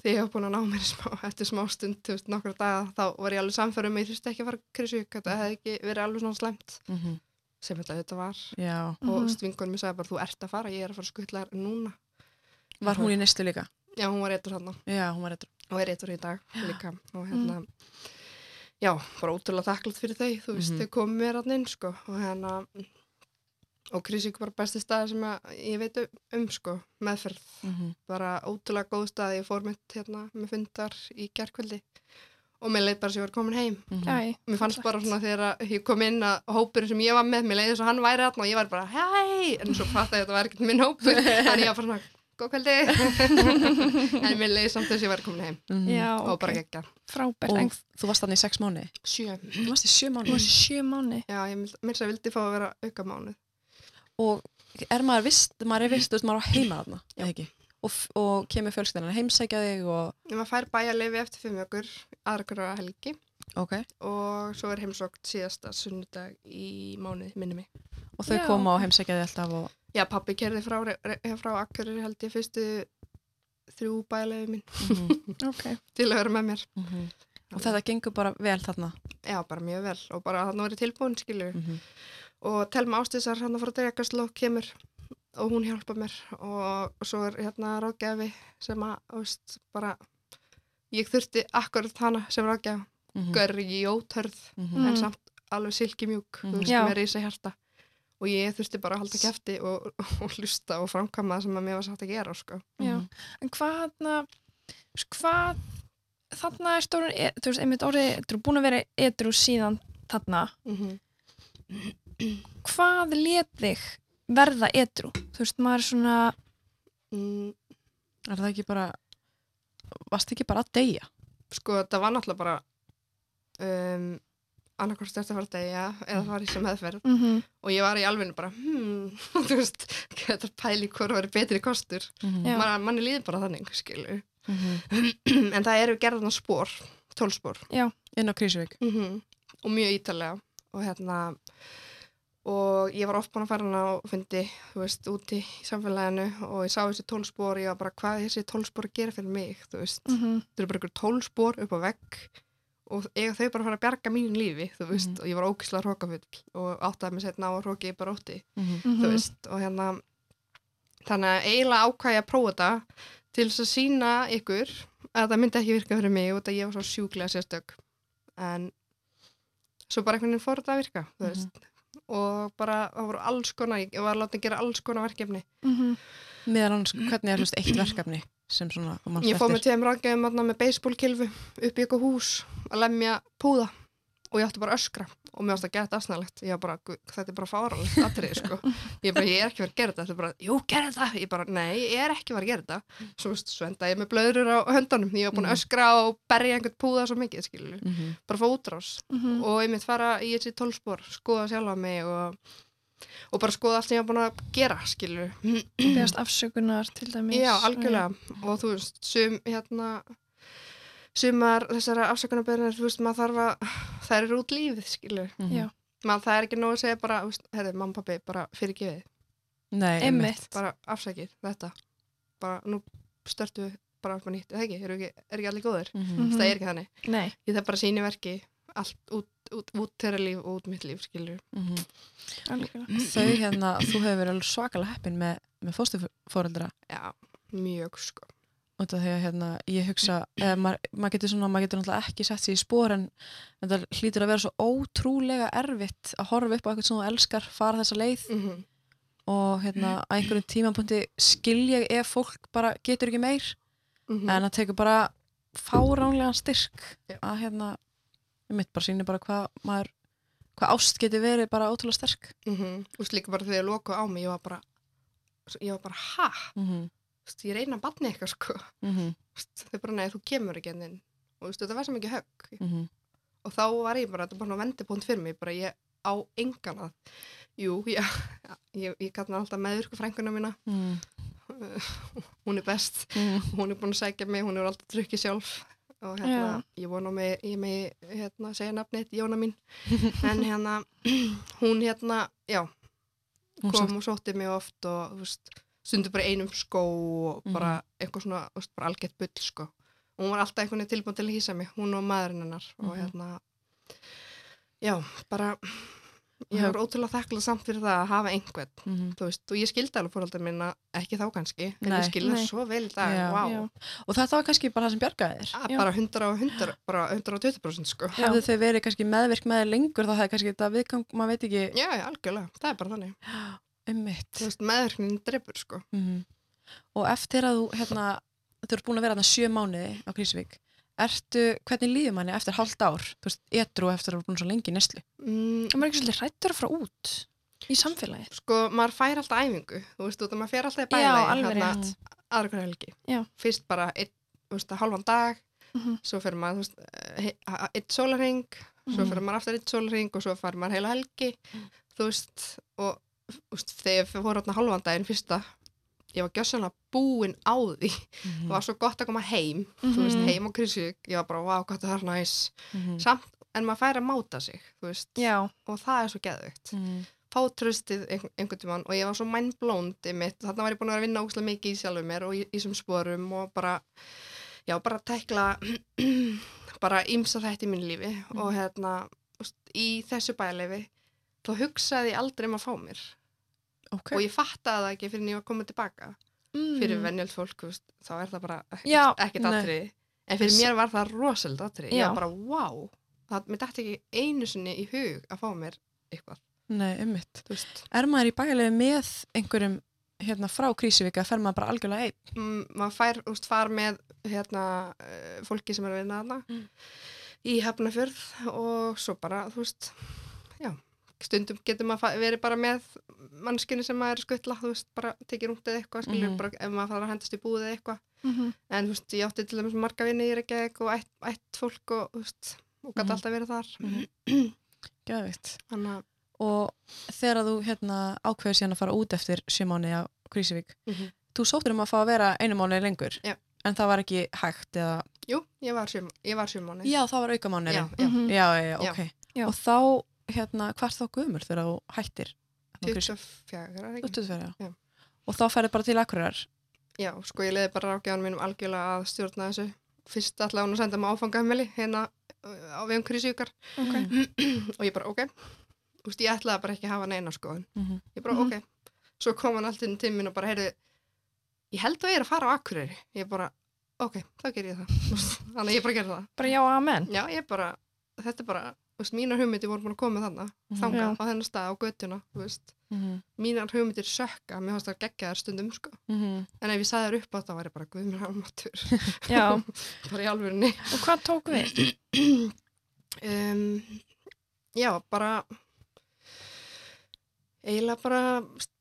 Speaker 3: því ég hef búin að ná mér smá, eftir smá stund, þú veist, nokkra daga þá var ég alveg samferðum mig, þú veist ekki að fara krisjuk, þetta hefði ekki verið alveg svona slemt sem þetta þetta var
Speaker 2: Já,
Speaker 3: og
Speaker 1: Mhm.
Speaker 3: stvingunum sagði bara þú ert að fara, ég er að fara að skuttla þér núna
Speaker 2: var hún í nestu líka?
Speaker 3: já, hún var eitthvað hann
Speaker 2: Já, hún var eitthvað.
Speaker 3: og er eitthvað í dag líka og hérna já, bara ótrúlega þakklátt fyrir þau þú veist,
Speaker 2: Mhm.
Speaker 3: þau komið mér hann inn sko og hérna og krisjuk var besti staði sem að ég veit um sko, meðferð
Speaker 2: Mhm,
Speaker 3: bara ótrúlega góð stað ég fór mitt hérna með fundar í gerkvöldi og mér leið bara sem ég var komin heim
Speaker 2: mhm.
Speaker 1: já,
Speaker 3: mér fannst bara svona þegar að ég kom inn að hópurinn sem ég var með, mér leiði þess að hann væri hann og ég var bara hei, en svo fatt að þetta var ekkert minn hópur, þannig ég var bara svona góð kvöldi en mér leiði samt þess að ég væri komin heim
Speaker 1: já,
Speaker 3: og bara
Speaker 1: ok,
Speaker 3: gekka
Speaker 1: frábært en
Speaker 2: Mhm. Og þú varst þannig í sex mánu?
Speaker 3: sjö,
Speaker 2: Þú varst í sjö
Speaker 1: þú
Speaker 2: mánu.
Speaker 1: varst í sjö mánu
Speaker 3: já, ég mér sér vildi fá að vera auka mánuð
Speaker 2: Og er maður vist, maður er vist, þú veist, maður á heima þarna,
Speaker 3: Já.
Speaker 2: eða ekki? Og, f- og kemur fjölskyldan að heimsækja þig og,
Speaker 3: en maður fær bæjarleifi eftir fimm ökur aðra hverja helgi
Speaker 2: ok,
Speaker 3: og svo er heimsókt síðasta sunnudag í mánuð, minnum mig
Speaker 2: og þau
Speaker 1: Já.
Speaker 2: koma og heimsækja þig alltaf og,
Speaker 3: já, pappi kerði frá, re- re- frá akkurir held ég fyrstu þrjú bæjarleifi mín
Speaker 1: ok,
Speaker 3: til að vera með mér
Speaker 2: Mhm, og þetta gengur bara vel þarna. Mhm,
Speaker 3: Já, bara mjög vel og bara þannig var ég tilbúin, skilju. Og Telma Ástísar hann að fara að drega slokk kemur og hún hjálpa mér og, og svo er hérna ráðgjafi sem að, þú veist, bara ég þurfti akkurat hana sem ráðgjafi,
Speaker 2: Mm. mhm.
Speaker 3: görri í ótörð
Speaker 2: Gör.
Speaker 1: Mm.
Speaker 3: en samt alveg silkimjúk,
Speaker 2: Mhm.
Speaker 3: þú veist,
Speaker 1: Já.
Speaker 3: með reysa hjarta. Og ég þurfti bara að halda kæfti og, og hlusta og framkama það sem að mér var sagt að gera, sko.
Speaker 1: já en hvaðna hvað, þarna er stóra þú veist, einmitt orðið, þú er búin að vera edru síðan þarna
Speaker 3: Mm
Speaker 1: hvað let þig verða edru þú veist, maður er svona
Speaker 3: mm,
Speaker 2: Er það ekki bara, varst ekki bara að deyja?
Speaker 3: sko, þetta var náttúrulega bara um, annarkvort stjórnst að fara að degja eða fara í sem meðferð.
Speaker 1: mm
Speaker 3: og ég var í alveg bara, hmm, þú veist, þetta er pæli hvort verið betri kostur.
Speaker 1: Já.
Speaker 3: Man, manni líður bara þannig, skilu. en það eru gerðan spór, tólspór,
Speaker 2: Inn á Krísuvík.
Speaker 3: mm og mjög ítalega. Og hérna, og ég var oft búin að fara hana og fundi, þú veist, úti í samfélaginu og ég sá þessi tólspór og ég var bara, hvað er þessi tólspór að gera fyrir mig, þú veist.
Speaker 1: Mm. mhm,
Speaker 3: Þetta eru bara ykkur tólspór upp á vegg og eiga þau bara að fara að bjarga mínu lífi, þú veist,
Speaker 2: Mhm.
Speaker 3: og ég var ógislega hrókafull og áttaði mig setna á að hróki ég bara ótti.
Speaker 1: Mhm.
Speaker 3: þú veist og hérna þannig að eiginlega ákvæði að prófa þetta til þess að sína ykkur að það myndi ekki virka fyrir mig og þetta ég var svo sjúklega sérstök en svo bara einhvern veginn fór þetta að virka þú
Speaker 2: Mhm.
Speaker 3: veist og bara það voru alls konar ég var látið að gera alls konar verkefni
Speaker 1: mhm,
Speaker 2: Meðan annars, hvernig er þú veist eitt verkefni sem svona, þú manst
Speaker 3: ég fór með
Speaker 2: eftir?
Speaker 3: tveim ráðgjöfum þarna, með beisbólkilfu upp í eitthvað hús að lemja púða og ég átti bara að öskra og mér átti að gera þetta asnalegt ég var bara, "Guð, þetta er bara fáralegt atrið sko. ég, bara, ég er ekki verið að gera þetta þetta er bara, jú, gera þetta, ég bara, nei, ég er ekki verið að gera þetta svo, veist, svo enda ég með blöður á höndunum ég var búin að
Speaker 2: Mhm.
Speaker 3: öskra og berja einhvern púða svo mikið, skilur,
Speaker 2: Mhm.
Speaker 3: bara fá útrás
Speaker 1: Mm. mhm.
Speaker 3: og einmitt fara í þessi tólspor skoða sjálfa mig og, og bara skoða allt sem ég var búin að gera, skilur
Speaker 1: beðast afsökunar til dæmis
Speaker 3: Já, algjörlega og þú veist, sum hérna sumar þessara afsökunarbeðinir þú veist, maður þarf að það er út lífið, skilu
Speaker 2: Mhm.
Speaker 1: Já.
Speaker 3: maður það er ekki nóg að segja bara, þú veist, herri, mamma, pappi bara fyrir ekki við,
Speaker 2: Nei, einmitt.
Speaker 1: einmitt,
Speaker 3: bara afsækið þetta, bara nú störtu við bara upp á nýtt, eða ekki, eru ekki er ekki allir góður,
Speaker 2: Mhm.
Speaker 3: það er ekki þannig
Speaker 1: nei
Speaker 3: ég þarf bara að síni verki allt út, út, út þeirra líf og út mitt líf, skilu
Speaker 2: Mhm.
Speaker 1: algjörlega.
Speaker 2: Þau hérna, þú hefur verið alveg svakalega heppin með, með fóstufóreldra
Speaker 3: já, mjög sko
Speaker 2: og það hefur hérna, ég hugsa eða maður maður getur svona, maður getur náttúrulega ekki sett sér í spór en, en það hlýtur að vera svo ótrúlega erfitt að horfa upp á eitthvað sem þú elskar, fara þessa leið
Speaker 3: mm
Speaker 2: og hérna, að einhverjum tímapunkti skilja ef fólk bara getur ekki meir en það tekur bara fáránlegan styrk
Speaker 3: Mm. Já.
Speaker 2: að hérna ég mitt bara sýnir bara hvað maður hvað ást getur verið bara ótrúlega sterk
Speaker 3: mm og slíka bara þegar ég lokuð á mig, ég var bara ég var bara, ha?
Speaker 2: mm -hmm.
Speaker 3: Þú veist, ég reyna að batni eitthvað sko
Speaker 2: Mm -hmm.
Speaker 3: Þú veist, þau bara, nei, þú kemur ekki enninn og þú veist, þetta var sem ekki högg
Speaker 2: Mm -hmm.
Speaker 3: og þá var ég bara, þetta var bara vendipunkt fyrir mig bara ég á engan að jú, já, ég, ég kallar alltaf meðurku frænguna mína mhm. hún er best, hún er búin að segja mig hún er alltaf drukkið sjálf og hérna, ég vona mig, ég megi hérna, segja nafnið, Jóna mín en hérna, hún hérna já,
Speaker 2: Hún
Speaker 3: kom og sótti mig oft og þú veist, stundu bara í einum skó og bara eitthvað svona, þú veist, bara algjört bull sko. Og hún var alltaf einhvern veginn tilbúin til að hýsa mig, hún og maðurinn hennar og
Speaker 2: Mhm.
Speaker 3: hérna, já, bara ég
Speaker 2: Já.
Speaker 3: er ótrúlega þakkláð samt fyrir það að hafa einhvern,
Speaker 2: Mhm.
Speaker 3: þú veist, og ég skildi alveg fórhaldar minna, ekki þá kannski, en
Speaker 2: Nei.
Speaker 3: ég skildi
Speaker 1: Nei.
Speaker 3: það svo vel í dag,
Speaker 2: Já.
Speaker 3: vá,
Speaker 1: Já.
Speaker 2: Og þetta var kannski bara það sem bjargaði þér.
Speaker 3: Að
Speaker 1: Já.
Speaker 3: bara 100 og 100, bara 120% sko.
Speaker 1: Já.
Speaker 2: Hefðu þau verið kannski meðvirk með þér lengur þá það er kannski þetta viðkang, maður veit ekki
Speaker 3: Já, já, algjörlega, það er bara þannig.
Speaker 2: um mitt.
Speaker 3: Þú veist, meðverknin drefur sko.
Speaker 2: Mhm. Og eftir að þú, hérna, þú ert búin að vera þarna sjö mánuði á Krísvík, ertu, hvernig líður manni eftir hálft ár, þú veist, etru eftir að vera búin svo lengi í neslu?
Speaker 3: Mm,
Speaker 1: maður er ekki svolítið hrættur að fara út í samfélagi
Speaker 3: sko, maður fær alltaf æfingu, þú veist, út að maður fer alltaf í
Speaker 1: já,
Speaker 3: bæla
Speaker 1: alveg rétt
Speaker 3: aðra hverja helgi.
Speaker 1: Já.
Speaker 3: Fyrst bara einn, þú veist, halvan dag,
Speaker 1: Mhm.
Speaker 3: svo fer maður, þú veist, eh, he- a- einn sólarhing, svo
Speaker 2: Mhm.
Speaker 3: fer maður aftur einn sólarhing og svo fær maður heila helgi,
Speaker 1: Mm.
Speaker 3: þú veist, og þú veist, þegar við vorum þarna halvan daginn fyrsta, ég var gjössanlega búin á því,
Speaker 2: Mhm,
Speaker 3: það var svo gott að koma heim, þú
Speaker 1: Mm.
Speaker 3: veist,
Speaker 1: Mhm. Mm.
Speaker 3: heim á Krisuvík, ég var bara, vá, gott að það er næs,
Speaker 2: Mhm.
Speaker 3: samt, en maður fær að máta sig, þú veist,
Speaker 1: já,
Speaker 3: og það er svo geðvögt
Speaker 2: Mhm.
Speaker 3: fá tröstið ein- einhvern tímann og ég var svo mindblóndi mitt, þarna var ég búin að vera að vinna ógustlega mikið í sjálfum mér og í í þessum sporum og bara, já, bara tækla bara ymsa þetta í mínu lífi og hérna þú veist, í þessu bæleifi þá hugsaði ég aldrei um að fá mér
Speaker 2: Ok.
Speaker 3: og ég fattaði það ekki fyrir en ég var komið tilbaka
Speaker 1: mm.
Speaker 3: fyrir venjöld fólk, þú veist, þá er það bara ekkert-
Speaker 1: Já,
Speaker 3: ekkert
Speaker 2: nei.
Speaker 3: atrið, en fyrir mér var það rosald atrið,
Speaker 1: Já.
Speaker 3: ég var bara, wow það, mér dætti ekki einu sinni í hug að fá mér eitthvað,
Speaker 2: Nei, um mitt.
Speaker 3: þú veist
Speaker 2: Er maður í bæjarlegu með einhverjum hérna frá Krísvík að fer maður bara algjörlega einn?
Speaker 3: mm, maður fær úst far með hérna, eh, fólki sem er að vinna þarna
Speaker 2: Mm.
Speaker 3: í hefnafjörð og svo bara, þú veist, já, stundum getur maður fa- verið bara með mannskinu sem maður er skuttla, þú veist, bara tekið rúnt eða eitthvað, skilur
Speaker 2: Mhm.
Speaker 3: bara ef maður fara að hendast í búið eða eitthvað,
Speaker 1: Mhm.
Speaker 3: en þú veist, ég átti til dæmis marga vinni í Reykjavík og ætt, ætt fólk og, þú veist, og gæti
Speaker 2: Mhm.
Speaker 3: alltaf verið þar,
Speaker 2: Mhm. Gæðvikt.
Speaker 3: þannig að,
Speaker 2: Og þegar þú hérna ákveður síðan að fara út eftir sjö mánuði á Krísvík,
Speaker 3: Mhm.
Speaker 2: þú sóttir um að fá að vera einu mánuði lengur,
Speaker 3: Já.
Speaker 2: en það var ekki hægt eða...
Speaker 3: jú, ég var sjö, ég var sjö mánu.
Speaker 2: Já, það var auka
Speaker 3: já,
Speaker 2: mánuðurinn.
Speaker 3: já.
Speaker 1: Mhm.
Speaker 2: Já, já, já,
Speaker 3: Já.
Speaker 2: ok.
Speaker 1: Já.
Speaker 2: Og þá, hérna, hvað er þá gömur þegar þú hættir? á Krísuvík?
Speaker 3: 24, er það ekki?
Speaker 2: 24,
Speaker 3: Já.
Speaker 2: já. Og þá ferði bara til Akureyrar.
Speaker 3: Já, sko ég leiði bara rákjáðan mínum algjörlega að stjórna þessu. Fyrst allavega hún að senda mig áfangaheimili hérna uh, á vegum krisjúkar
Speaker 1: ok,
Speaker 2: Mhm.
Speaker 3: og ég bara ok. Þú veist, ég ætlaði bara ekki að hafa neina skoðun.
Speaker 2: Mhm.
Speaker 3: Ég bara
Speaker 1: Mhm.
Speaker 3: ok. Svo kom hann alltaf inn til mín og bara heyrðu, ég held að ég er að fara á Akureyri. Ég bara ok, þá ger ég það. Þú veist, Þannig að ég bara gerði það.
Speaker 1: bara já, amen
Speaker 3: Já, ég bara, þetta er bara, þú veist, mínar hugmyndir voru búin að koma þarna,
Speaker 2: Mhm.
Speaker 3: þangað
Speaker 1: Já.
Speaker 3: á þennan stað á göttuna, þú veist.
Speaker 2: Mhm.
Speaker 3: Mínar hugmyndir sökka, mér fannst það geggjaðar stundum, sko.
Speaker 2: Mhm.
Speaker 3: En ef ég sagði þér upp á þetta var ég bara guðmur ámatur,
Speaker 1: já.
Speaker 3: bara í alvörunni.
Speaker 1: og hvað tók við?
Speaker 3: Um, já, bara, eiginlega bara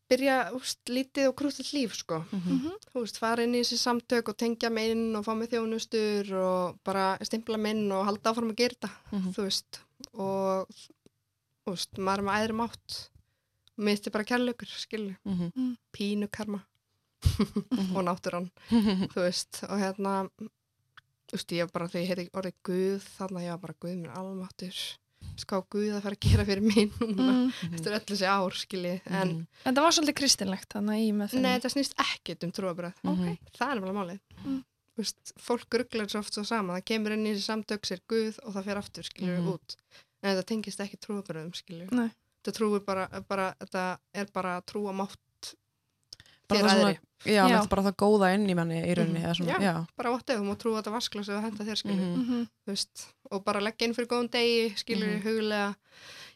Speaker 3: byrja úst, lítið og krútið líf, sko.
Speaker 2: Mhm.
Speaker 3: Þú veist, fara inn í þessi samtök og tengja mig inn og fá mig þjónustur og bara stimpla mig inn og halda áfram að gera þetta,
Speaker 2: Mhm.
Speaker 3: þú veist. Og, þú veist, maður er með æðri mátt. Mér er bara kærleikur, skilju,
Speaker 2: Mhm.
Speaker 3: pínu karma og náttúran.
Speaker 2: Mhm.
Speaker 3: þú veist, og hérna þú veist, ég var bara, þegar ég heiti orðið Guð þannig að ég var bara Guð minn almáttur ská Guð að fara að gera fyrir mín núna,
Speaker 1: Mm.
Speaker 3: eftir öll þessi ár, skilji en,
Speaker 2: Mhm.
Speaker 1: en það var svolítið kristinlegt þannig í með
Speaker 3: nei, þetta snýst ekkit um trúabröð
Speaker 2: Mhm.
Speaker 3: það er alveg málið
Speaker 1: Mm.
Speaker 3: þú veist, fólk rugglar svo oft svo sama það kemur inn í þessi samtök sér Guð og það fer aftur, skilju,
Speaker 2: Mhm.
Speaker 3: út en þetta tengist ekki trúabröðum, skilju
Speaker 1: Nei.
Speaker 3: þetta trúir bara, bara, þetta er bara trúamátt
Speaker 2: Bara
Speaker 3: fyrir
Speaker 2: það svona-
Speaker 3: aðri,
Speaker 2: Já,
Speaker 1: Já.
Speaker 2: já. bara það góða inn í manni í rauninni
Speaker 3: Mhm.
Speaker 2: eða svona,
Speaker 3: Já.
Speaker 2: já.
Speaker 3: bara vatnefum og trúa þetta vasklas og henda þér, skilju
Speaker 2: Mhm.
Speaker 1: -hmm.
Speaker 3: þú veist, og bara leggja inn fyrir góðum degi, skilur mm
Speaker 2: Mhm.
Speaker 3: huglega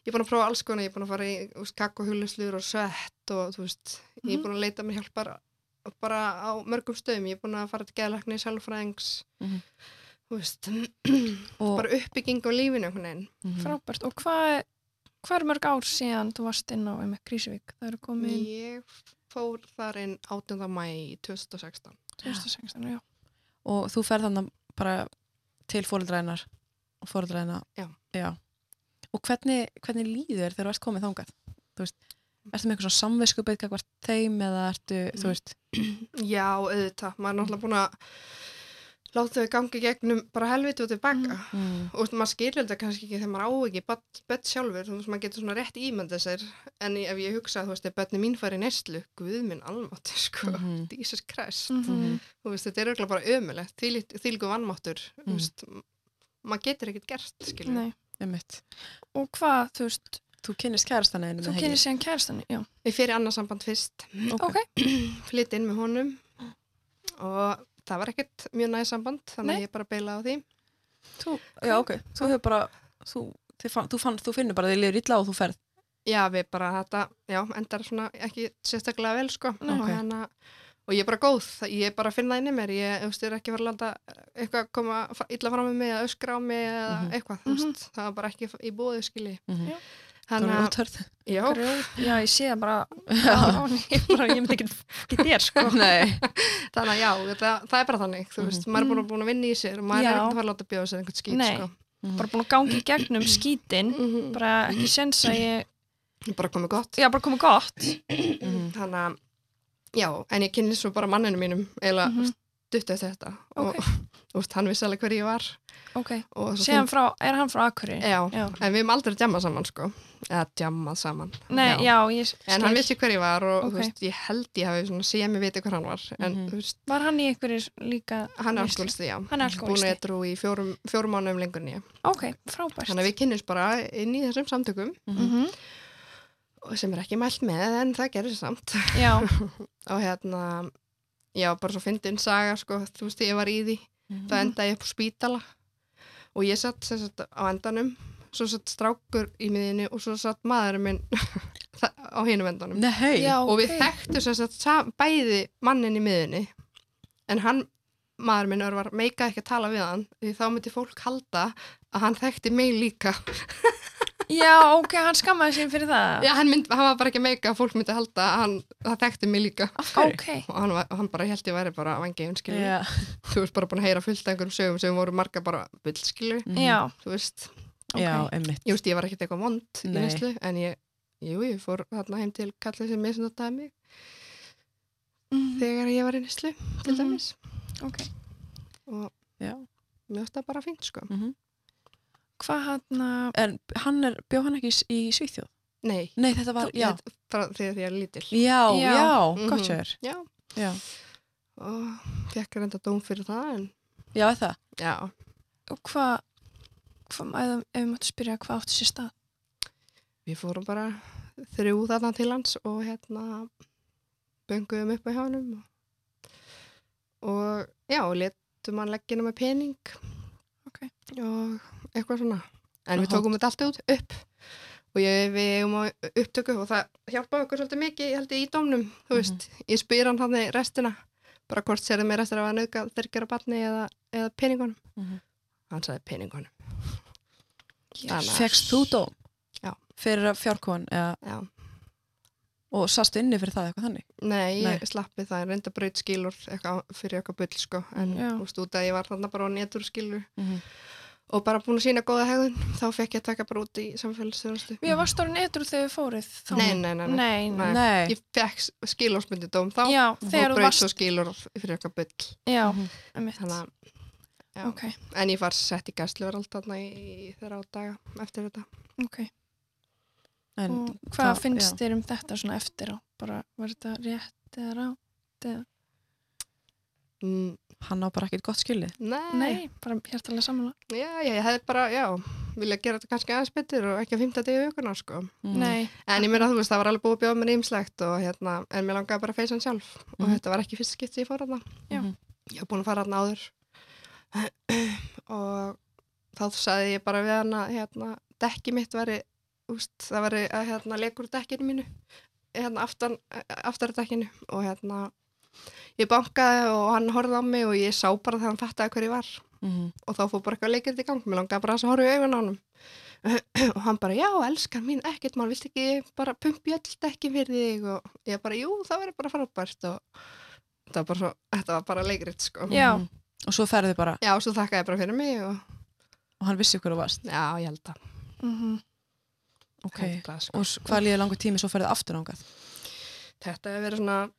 Speaker 3: ég er búin að prófa alls konar, ég er búin að fara í þú veist, kakkohuglusluður og svett og þú veist,
Speaker 2: Mhm.
Speaker 3: ég er búin að leita mér hjálpar bara á mörgum stöðum ég er búin að fara til geðlakni, sálfræðings
Speaker 2: Mhm.
Speaker 3: þú veist,
Speaker 2: Og,
Speaker 3: bara uppbygging á lífinu einhvern veginn
Speaker 2: Mhm.
Speaker 1: frábært, og hvað hvað er mörg ár síðan þú varst inn á einmitt Grísvík, það eru komið
Speaker 3: ég fór þar inn 18. mæ 2016
Speaker 1: 2016, já
Speaker 2: og þú ferð þannig bara til fóreldræðinar og fóreldræðina.
Speaker 3: Já.
Speaker 2: Og hvernig, hvernig líður þér þegar þú ert komið þangað? Þú veist, ertu með eitthvað svona samveiskupið hvert þeim eða ertu, þú veist,
Speaker 3: já, auðvitað, maður er náttúrulega búin að láta þau gangi gegnum bara helviti og tilbaka
Speaker 1: Mhm.
Speaker 2: Mm.
Speaker 3: og þú veist, maður skilur þetta kannski ekki þegar maður á ekki börn börn sjálfur, þú veist, maður getur svona rétt ímynda sér, en ef ég hugsa, þú veist, ef börni mín fari í neyslu, guð minn almátt, sko,
Speaker 2: Mhm.
Speaker 3: Jesus Christ
Speaker 1: Mhm.
Speaker 3: þú veist, þetta er auðvitað bara ömulegt þýlgu vannmáttur, þú
Speaker 2: Mhm.
Speaker 3: veist maður getur ekkert gert, skilur
Speaker 1: Nei.
Speaker 2: Einmitt.
Speaker 1: Og hvað, þú veist,
Speaker 2: Þú kynist kærastan einu
Speaker 1: þú kynir síðan kærastanu, já.
Speaker 3: Ég fyrir annarsamband fyrst,
Speaker 1: Ok,
Speaker 3: flytt inn með honum og það var ekkert mjög næði samband, þannig
Speaker 1: Nei.
Speaker 3: að ég bara beila á því.
Speaker 2: Þú, já, ok. Þú hefur bara, þú, þið fann, þú, fann, þú finnur bara að þið liður illa og þú ferð.
Speaker 3: Já, við bara þetta, já, endar svona ekki sérstaklega vel, sko.
Speaker 1: Nei.
Speaker 3: Og,
Speaker 2: Ok.
Speaker 3: hana, og ég er bara góð, það- ég er bara að finna það inni í mér, ég, þú veist, ég er ekki að fara að láta eitthvað koma fa- illa fram með mig eða öskra á mig eða
Speaker 2: Mhm.
Speaker 3: eitthvað, þú
Speaker 1: Mhm.
Speaker 3: veist, það var bara ekki í bóðu, skilji.
Speaker 2: Mhm.
Speaker 1: Já.
Speaker 2: Þú
Speaker 3: Þannig
Speaker 2: er
Speaker 3: að,
Speaker 2: útörð.
Speaker 3: já,
Speaker 1: grjót, já, ég sé það bara, á henni, ég bara, ég myndi ekki, ekki þér, sko.
Speaker 2: Nei.
Speaker 3: þannig að já, það, það er bara þannig, þú veist, maður er búin að, búin að vinna í sér og maður
Speaker 1: Mhm.
Speaker 3: er
Speaker 1: Já.
Speaker 3: ekkert að fara að láta bjóða sér einhvern skýt,
Speaker 1: Nei.
Speaker 3: sko.
Speaker 1: Bara búin að gangi gegnum skítin,
Speaker 3: Mm -hmm.
Speaker 1: bara ekki sens að ég,
Speaker 3: Bara komið gott.
Speaker 1: já, bara komið gott.
Speaker 2: Mhm.
Speaker 3: þannig að, já, en ég kynni svo bara manninu mínum, eiginlega mm
Speaker 1: Mhm.
Speaker 3: stutt eftir þetta
Speaker 1: Ok.
Speaker 3: og, og veist, hann vissi alveg hver ég var
Speaker 1: Ok,
Speaker 3: og svo
Speaker 1: sé hann frá, er hann frá Akureyri?
Speaker 3: já,
Speaker 1: Já.
Speaker 3: en við hefum aldrei djammað saman sko eða djammað saman
Speaker 1: Nei, já, ég
Speaker 3: en hann
Speaker 1: skil.
Speaker 3: vissi hver ég var og
Speaker 1: Ok.
Speaker 3: þú veist, ég held ég hafi svona séð mig viti hver hann var en
Speaker 2: Mhm.
Speaker 3: þú veist,
Speaker 1: Var hann í einhverjir líka?
Speaker 3: hann er
Speaker 1: Veislu.
Speaker 3: alkoholisti, já
Speaker 1: Hann er
Speaker 3: búin
Speaker 1: alkoholisti.
Speaker 3: eitthvað í fjórum, fjórum mánuðum lengur nýja
Speaker 1: Ok, frábært.
Speaker 3: þannig að við kynnumst bara inn í þessum samtökum
Speaker 1: Mhm.
Speaker 3: og sem er ekki mælt með en það gerir samt
Speaker 1: Já,
Speaker 3: og hérna, já, bara svo fyndin saga sko, þú veist, ég var í því
Speaker 1: Mhm.
Speaker 3: það endaði ég upp á spítala og ég satt sem sagt á endanum svo satt strákur í miðinni og svo satt maðurinn minn þa- á hinum endanum
Speaker 2: Nei.
Speaker 1: já,
Speaker 3: og við
Speaker 1: ok.
Speaker 3: þekktu sem sagt sa- bæði mannin í miðinni en hann maður minn var meikað ekki að tala við hann því þá myndi fólk halda að hann þekkti mig líka
Speaker 1: Já, ok, hann skammaði sín fyrir það.
Speaker 3: já, hann, mynd, hann var bara ekki meika að fólk myndi halda að hann það þekkti mig líka
Speaker 1: Ok,
Speaker 3: og hann, var, hann bara held ég væri bara vangiðin skilju,
Speaker 2: Já.
Speaker 3: þú veist bara búin að heyra fullt af einhverjum sögum sem voru marga bara bull skilju,
Speaker 1: já,
Speaker 3: þú veist
Speaker 2: Mhm. Já,
Speaker 1: ok.
Speaker 2: einmitt.
Speaker 3: Ég veist, ég var ekkert eitthvað vond í
Speaker 2: Nei.
Speaker 3: neslu, en ég, jú, ég fór þarna heim til kallið sem misnotaði mig
Speaker 1: Mhm,
Speaker 3: þegar ég var í neslu, til
Speaker 1: Mhm.
Speaker 3: dæmis.
Speaker 1: Ok,
Speaker 3: Og
Speaker 2: Já.
Speaker 3: mér finnst það bara fínt, sko.
Speaker 1: hvað hann að...
Speaker 2: En hann er, bjóð hann ekki í, S- í Svíþjóð?
Speaker 3: Nei,
Speaker 2: Nei, þetta var, já.
Speaker 3: Ég, frá þegar ég er lítil.
Speaker 2: Já,
Speaker 1: Já.
Speaker 2: já,
Speaker 3: Mhm.
Speaker 2: gott sér.
Speaker 3: Já,
Speaker 2: Já,
Speaker 3: og fekk reynda dóm fyrir það, en
Speaker 2: já, er það.
Speaker 3: já.
Speaker 1: og hvað, hvað eða, ef við máttu spyrja hvað átti sér stað
Speaker 3: Við fórum bara þrjú þarna til hans og hérna bönguðum upp á hjá honum. Og, og já, og letum hann leggina með pening
Speaker 1: Ok.
Speaker 3: og eitthvað svona. En við
Speaker 2: Aha.
Speaker 3: tókum þetta allt út upp og ég, við eigum á upptöku og það hjálpaði okkur svolítið mikið, ég held ég í dómnum,
Speaker 2: Mhm.
Speaker 3: þú veist. Ég spyr hann hann restina, bara hvort sérðu mér restina að nöðga þyrkjara barni eða, eða peningunum.
Speaker 2: Mhm.
Speaker 3: Hann sagði peningunum.
Speaker 1: Yes.
Speaker 2: Fekst þú dóm?
Speaker 3: Já.
Speaker 2: Fyrir að fjárkóan, eða,
Speaker 3: Já.
Speaker 2: og sastu inni fyrir það eitthvað þannig?
Speaker 3: Nei, ég
Speaker 2: Nei.
Speaker 3: slappi það, reynda braut skilur eitthvað, fyrir eitthvað bull sko en
Speaker 1: Já.
Speaker 3: þú veist út að ég var þarna bara á netur skilur
Speaker 2: Mhm.
Speaker 3: og bara búin að sína góða hegðun þá fekk ég að taka bara út í samfélagsþjónustu
Speaker 1: Við varst orðin eitthvað þegar við fórið þá
Speaker 3: nei, nei, nei, nei,
Speaker 1: nei, nei.
Speaker 3: Nei.
Speaker 2: Nei.
Speaker 3: ég fekk skilórsmyndi dóm þá
Speaker 1: Já,
Speaker 3: og
Speaker 1: þegar þú
Speaker 3: braut svo
Speaker 1: varst
Speaker 3: skilur fyrir eitthvað bull
Speaker 1: Já,
Speaker 2: Mhm.
Speaker 1: einmitt
Speaker 3: Þannig, að- já.
Speaker 1: Ok,
Speaker 3: en ég var sett í gæsluver alltaf þarna í, í þeirra á daga eftir þetta
Speaker 1: ok
Speaker 2: En,
Speaker 1: Og hvað
Speaker 2: það-
Speaker 1: finnst
Speaker 2: já.
Speaker 1: þér um þetta svona eftir á? Bara, var þetta rétt eða rá?
Speaker 3: mm,
Speaker 2: hann á bara ekkert gott skilið.
Speaker 3: nei,
Speaker 1: Nei, bara hjartalega samanlega
Speaker 3: Já, já, ég hefði bara, já, vilja gera þetta kannski aðeins betur og ekki að fymta degi aukuna sko
Speaker 1: Nei,
Speaker 3: En ég meina þú veist, það var alveg búið að bjóða mér ímslegt og hérna, en mér langaði bara að feysa hann sjálf og
Speaker 2: Mhm.
Speaker 3: þetta var ekki fyrst skipt sem ég fór hann.
Speaker 1: Já.
Speaker 2: Mhm.
Speaker 3: Ég var búin að fara hann áður og þá sagði ég bara við hann að hérna, dekki mitt veri, úst, það veri að hérna, leikur úr dekkinu mínu, hérna aftan, aftara dekkinu og hérna, ég bankaði og hann horfði á mig og ég sá bara þegar hann fattaði hver ég var
Speaker 2: Mhm.
Speaker 3: og þá fór bara eitthvað leikrit í gang, mér langaði bara að horfa í augun á hann og hann bara, já, elskar mín, ekkert maður, vilt ekki bara pumpi öll ekki fyrir þig og ég bara, jú, það verður bara frábært og þetta var bara, svo, þetta var bara leikrit, sko.
Speaker 1: Já.
Speaker 2: Mhm. Og svo ferðu bara,
Speaker 3: Já, svo þakkaði ég bara fyrir mig og
Speaker 2: og hann vissi hverju varst.
Speaker 3: já, ég held að,
Speaker 1: mhm
Speaker 2: Ok.
Speaker 3: held að sko.
Speaker 2: Og s- hvað líður langur tími, svo ferðu aftur ángað?
Speaker 3: Þetta hefur verið svona,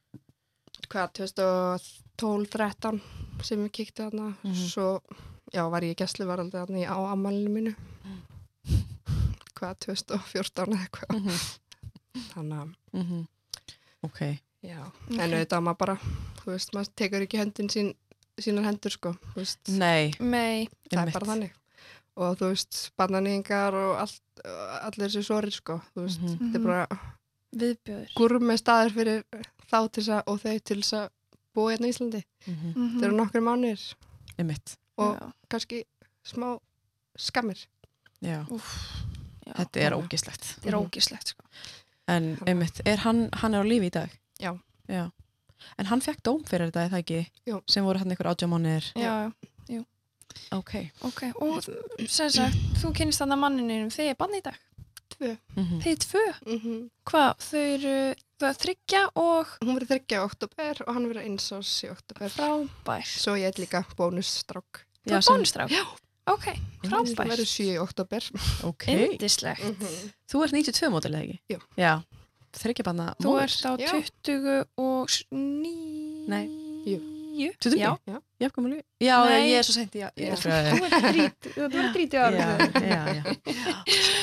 Speaker 3: hvað, 2012-13 sem ég kíkti þarna
Speaker 2: Mhm.
Speaker 3: svo, já, var ég gæsluvaraldi þarna í- á ammælinu mínu
Speaker 2: Mm.
Speaker 3: hvað, 2014 eða eitthvað þannig að,
Speaker 2: Mhm. Ok,
Speaker 3: já, en auðvitað maður bara, þú veist, maður tekur ekki höndin sín, sínar hendur, sko þú veist,
Speaker 2: nei,
Speaker 1: Nei,
Speaker 3: það
Speaker 2: einmitt.
Speaker 3: er bara þannig og þú veist, barnaníðingar og allt, allir þessi sorir, sko þú veist,
Speaker 2: Mhm.
Speaker 3: þetta er bara
Speaker 1: viðbjöður.
Speaker 3: gurmi staður fyrir þá til þess að, og þau til þess að búa hérna í Íslandi,
Speaker 2: Mhm.
Speaker 1: Mm
Speaker 3: þetta eru nokkri mánir
Speaker 2: einmitt,
Speaker 3: og kannski smá skammir
Speaker 2: já,
Speaker 1: Já,
Speaker 2: þetta er
Speaker 3: já.
Speaker 2: ógislegt.
Speaker 1: þetta
Speaker 3: Mhm.
Speaker 1: er ógislegt sko.
Speaker 2: En einmitt, er hann, hann er á lífi í dag?
Speaker 3: Já.
Speaker 2: Já. En hann fekk dóm fyrir þetta, er það ekki?
Speaker 3: Jú.
Speaker 2: Sem voru hann einhver átjámánir.
Speaker 1: Já, já,
Speaker 2: Ok.
Speaker 1: ok. Og sem sagt, þú kynist þannig að manninum, þið er bann í dag.
Speaker 2: Mhm.
Speaker 1: Þið er tvö.
Speaker 3: mm
Speaker 1: Hvað, þau eru þau að þryggja og
Speaker 3: Hún verið þryggja í oktober og hann verið eins árs í oktober.
Speaker 1: frábær.
Speaker 3: Svo ég er líka bónusstrák.
Speaker 1: Þú
Speaker 2: Já,
Speaker 1: er
Speaker 2: sem-
Speaker 1: bónustrák?
Speaker 3: Já.
Speaker 1: Ok,
Speaker 3: Hann
Speaker 1: frábær.
Speaker 3: verið 7 í oktober.
Speaker 2: Ok.
Speaker 1: Indislegt.
Speaker 2: Þú ert 92 mótilega, ekki?
Speaker 3: Jú.
Speaker 2: Já. Þryggja banna
Speaker 1: Þú
Speaker 2: móður.
Speaker 1: ert á
Speaker 3: Já.
Speaker 1: 20 og s- níu.
Speaker 2: Nei.
Speaker 3: Jú.
Speaker 2: 20?
Speaker 1: Já.
Speaker 2: Já, komuleg. Já,
Speaker 1: Nei.
Speaker 2: ég er svo sent, já. Ég
Speaker 3: Já.
Speaker 2: er svo sent.
Speaker 1: Þú ert 30
Speaker 2: Já, já, já.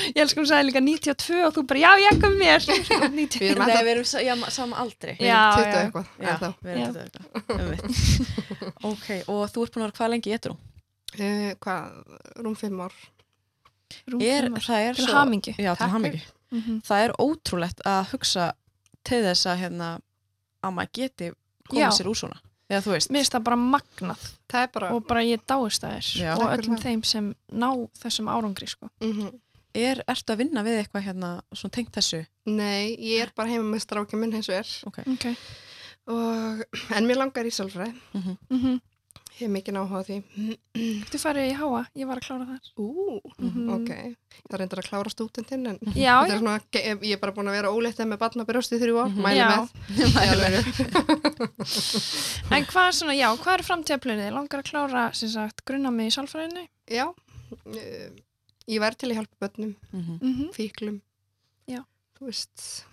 Speaker 1: Ég elskum að segja líka 92 og þú bara, já, ég kom mér.
Speaker 3: Við
Speaker 1: 92.
Speaker 3: erum
Speaker 2: Nei,
Speaker 3: alltaf
Speaker 2: við erum sa- já, sama aldri.
Speaker 1: Já,
Speaker 3: já, 20
Speaker 1: já.
Speaker 3: eitthvað.
Speaker 2: Já,
Speaker 3: ennþá.
Speaker 2: við erum
Speaker 1: Já.
Speaker 2: þetta auðvitað. Einmitt. Ok, og þú ert búin að vera hvað lengi í etru?
Speaker 3: Uh, hvað, rúm 5 ár.
Speaker 1: Rúm
Speaker 2: Er,
Speaker 1: fimm Mhm. ár.
Speaker 2: það er
Speaker 1: Til
Speaker 2: svo...
Speaker 1: hamingi.
Speaker 2: Já, til
Speaker 3: Takk
Speaker 2: hamingi. það er ótrúlegt að hugsa til þess að hérna að maður geti koma
Speaker 1: Já.
Speaker 2: sér úr svona eða þú veist
Speaker 1: Mér finnst það bara magnað
Speaker 3: Það er bara,
Speaker 1: og bara ég dáist að þér
Speaker 2: Já.
Speaker 1: og
Speaker 3: Takk fyrir
Speaker 1: öllum
Speaker 3: það.
Speaker 1: þeim sem ná þessum árangri sko.
Speaker 3: mhm.
Speaker 2: er, ertu að vinna við eitthvað hérna svona tengt þessu
Speaker 3: nei, ég er bara heima með strákja minn eins og er.
Speaker 1: okay.
Speaker 3: Og, en mér langar í sálfræði.
Speaker 1: mm -hmm.
Speaker 3: Ég hef mikið náhuga því. Mm,
Speaker 1: Þú farið í háa, ég var að klára þar
Speaker 3: Ú,
Speaker 1: Mhm.
Speaker 3: ok. Það reyndar að klára stúdentinn en
Speaker 1: Já,
Speaker 3: þetta
Speaker 1: já,
Speaker 3: er svona, ég er bara búin að vera óleitt með barnabrjóst í þrjú ár.
Speaker 2: Mhm.
Speaker 3: Mæli
Speaker 1: Já.
Speaker 3: með. Mæli með.
Speaker 1: en hvað er svona, já, hvað er framtíðaplunið? Langar að klára, sem sagt, grunna mig í sálfræðinu
Speaker 3: Já, uh, ég væri til að hjálpa börnum,
Speaker 2: mm -hmm.
Speaker 1: mm -hmm.
Speaker 3: fíklum,
Speaker 1: Já.
Speaker 3: þú veist,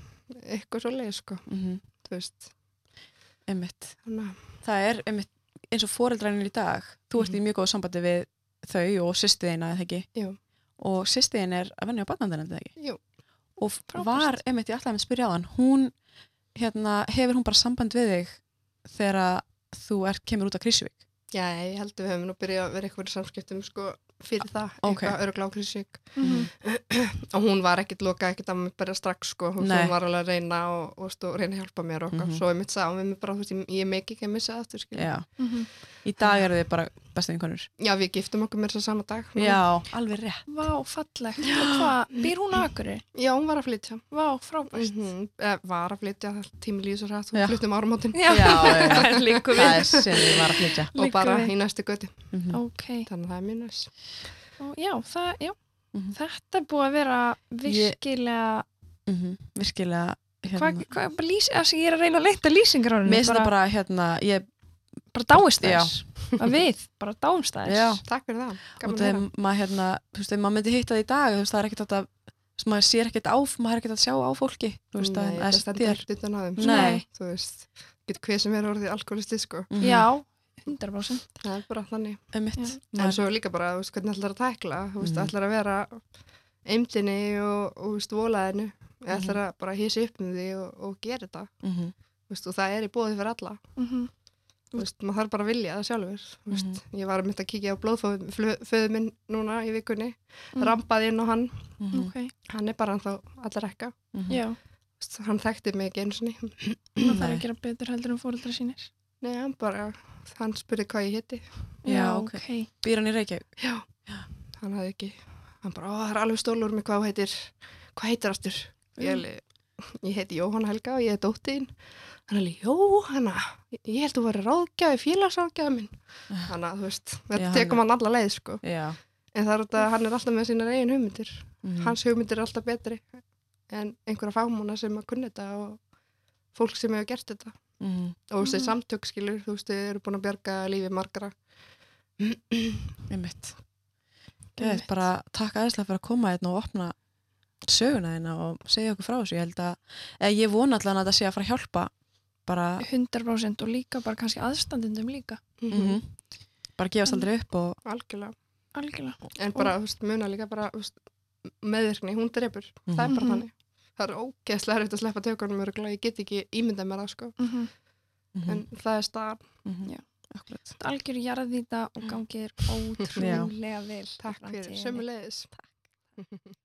Speaker 3: eitthvað svo leið, sko, þú veist,
Speaker 2: mhm, einmitt
Speaker 3: þannig að,
Speaker 2: það er einmitt eins og foreldrænir í dag þú
Speaker 1: Mhm.
Speaker 2: ert í mjög góð sambandi við þau og sýstiðina eða ekki
Speaker 3: Jú.
Speaker 2: og sýstiðin er að venja á barnandarinn eða ekki
Speaker 3: jú,
Speaker 2: og
Speaker 1: Frábært.
Speaker 2: var einmitt ég ætlaði að spyrja á hann hún, hérna, hefur hún bara samband við þig þegar að þú er, kemur út af Krísuvík
Speaker 3: já, ég held að við höfum nú byrjað að vera eitthvað í samskiptum, sko, fyrir það,
Speaker 2: ok.
Speaker 3: eitthvað öruglega ákrisík,
Speaker 1: Mm
Speaker 2: mhm,
Speaker 3: og hún var ekkit loka, ekkit að mig bara strax, sko, hún
Speaker 2: Nei.
Speaker 3: hún var alveg að reyna og, og, og reyna að hjálpa mér og okkar,
Speaker 2: Mhm.
Speaker 3: svo ég mitt sá, við mér bara, þú veist, ég, ég megi ekki að missa það aftur, skilja.
Speaker 2: já
Speaker 1: -hmm.
Speaker 2: Í dag eru þið bara bestu vinkonur.
Speaker 3: Já, við giftum okkur mér svo sama dag. núna.
Speaker 2: Já, alveg rétt.
Speaker 1: Vá, fallegt Og hvað, býr hún á akkurir?
Speaker 3: Já, hún var að flytja.
Speaker 1: Vá, frábært
Speaker 2: Mhm.
Speaker 3: Mm Var að flytja, tími líður svo rætt,
Speaker 2: Já.
Speaker 3: hún fluttum áramótin
Speaker 1: Já,
Speaker 2: já,
Speaker 1: það er líku
Speaker 2: það
Speaker 1: við
Speaker 2: er sem við Mhm. var að flytja.
Speaker 3: og
Speaker 1: Liggur
Speaker 3: bara
Speaker 1: við.
Speaker 3: í næstu götu.
Speaker 1: Ok,
Speaker 3: þannig að það er mjög næst
Speaker 1: og já, það, já
Speaker 2: Mhm.
Speaker 1: Þetta er búið að vera virkilega
Speaker 2: mhm. Virkilega, hérna,
Speaker 1: Hvað, hvað, bara lýs, þess að ég er að reyna að leita lýsingar á henni
Speaker 2: mér finnst þetta bara, hérna, ég,
Speaker 1: bara dáist þess að við bara dáumst
Speaker 2: Já.
Speaker 1: þess
Speaker 3: Takk fyrir það,
Speaker 2: og
Speaker 3: gaman að
Speaker 2: þegar
Speaker 3: vera
Speaker 2: maður, hérna, þú veist, ef maður myndi hitta það í dag, þú veist, það er ekkert hægt að, þú veist, maður sér ekkert á, maður er ekkert að sjá á fólki, þú veist,
Speaker 3: Nei,
Speaker 2: að
Speaker 3: það
Speaker 2: að
Speaker 3: stendur
Speaker 2: þér.
Speaker 3: ekkert utan á þeim
Speaker 2: Nei.
Speaker 3: sko. Þú veist, getur hver sem er orðið alkoholisti sko.
Speaker 2: Mhm.
Speaker 1: já, 100%
Speaker 3: Það er bara þannig
Speaker 2: Einmitt.
Speaker 3: En
Speaker 2: Maður-
Speaker 3: svo líka bara, Mm. þú veist, hvernig ætlar að tækla Þú veist,
Speaker 2: Mhm.
Speaker 3: ætlar að vera eimdini og, og þú veist, volaðinu mm.
Speaker 2: Mhm.
Speaker 3: ætlar að bara hýsa upp með því og, og gera þetta
Speaker 2: Mhm.
Speaker 3: Þú veist, og það er í bóði fyrir alla
Speaker 1: Mhm.
Speaker 3: Þú veist, maður þarf bara að vilja það sjálfur Þú veist, Ég var að mynda að kíkja á blóðföðu minn núna í vikunni
Speaker 1: Mm.
Speaker 3: Rampaði inn á hann,
Speaker 2: Mhm.
Speaker 1: ok,
Speaker 3: hann er bara ennþá allir ekka
Speaker 2: Mhm.
Speaker 1: já,
Speaker 3: Hann þekkti mig ekki eins og ný
Speaker 1: það þarf
Speaker 2: Nei.
Speaker 1: að gera betur heldur en fóreldra sínir
Speaker 3: Nei, hann bara, hann spurði hvað ég hétti.
Speaker 2: Já, ok. Býr hann í Reykjavík?
Speaker 3: Hann hafði ekki, hann bara, ó, það er alveg stólur með hvað hún heitir, hvað heitir aftur? Ég, alveg, ég heiti Jóhanna Helga og ég er dóttiðin. Hann hefði, Jóhanna, ég- ég held þú verið ráðgjafi, félagsáðgjafi minn. Þannig að, þú veist,
Speaker 2: Já,
Speaker 3: þetta
Speaker 2: hann
Speaker 3: tekum hann alla leið, sko.
Speaker 2: Já.
Speaker 3: En það er þetta, hann er alltaf með sínar eigin hugmyndir.
Speaker 2: Mhm.
Speaker 3: Hans hugmyndir er alltaf betri en einhverja fagmúna sem að kunna þetta og fólk sem hefur gert þetta.
Speaker 2: Mhm.
Speaker 3: Og þessi
Speaker 1: Mhm.
Speaker 3: samtök, skilur, þú veist, þau eru búin að bjarga lífi margra.
Speaker 2: Einmitt. Geðið, bara takk aðeinslega fyrir að koma hérna og opna söguna hérna og segja okkur frá þessu. Ég held að, eða ég vona allan að þetta sé að fara að hjálpa bara
Speaker 1: 100% og líka bara kannski aðstandendum líka
Speaker 2: mm
Speaker 3: Mhm.
Speaker 2: bara gefast aldrei upp og
Speaker 3: Algjörlega.
Speaker 1: algjörlega
Speaker 3: En bara, þú veist, muna líka bara, þú veist, meðvirkni, hún drefur. Það er bara
Speaker 1: Mhm.
Speaker 3: þannig. Það er ógeðslega erfitt að sleppa tökunum örgulega, ég get ekki ímyndað mér það, sko.
Speaker 1: mm -hmm.
Speaker 3: En
Speaker 1: Mhm.
Speaker 3: það er staðan.
Speaker 2: Mhm.
Speaker 1: Já.
Speaker 2: Akkúrat.
Speaker 1: algjör jarðýta og gangið er ótrúlega vel í
Speaker 3: Takk fyrir,
Speaker 1: framtíðinni.
Speaker 3: sömulegis.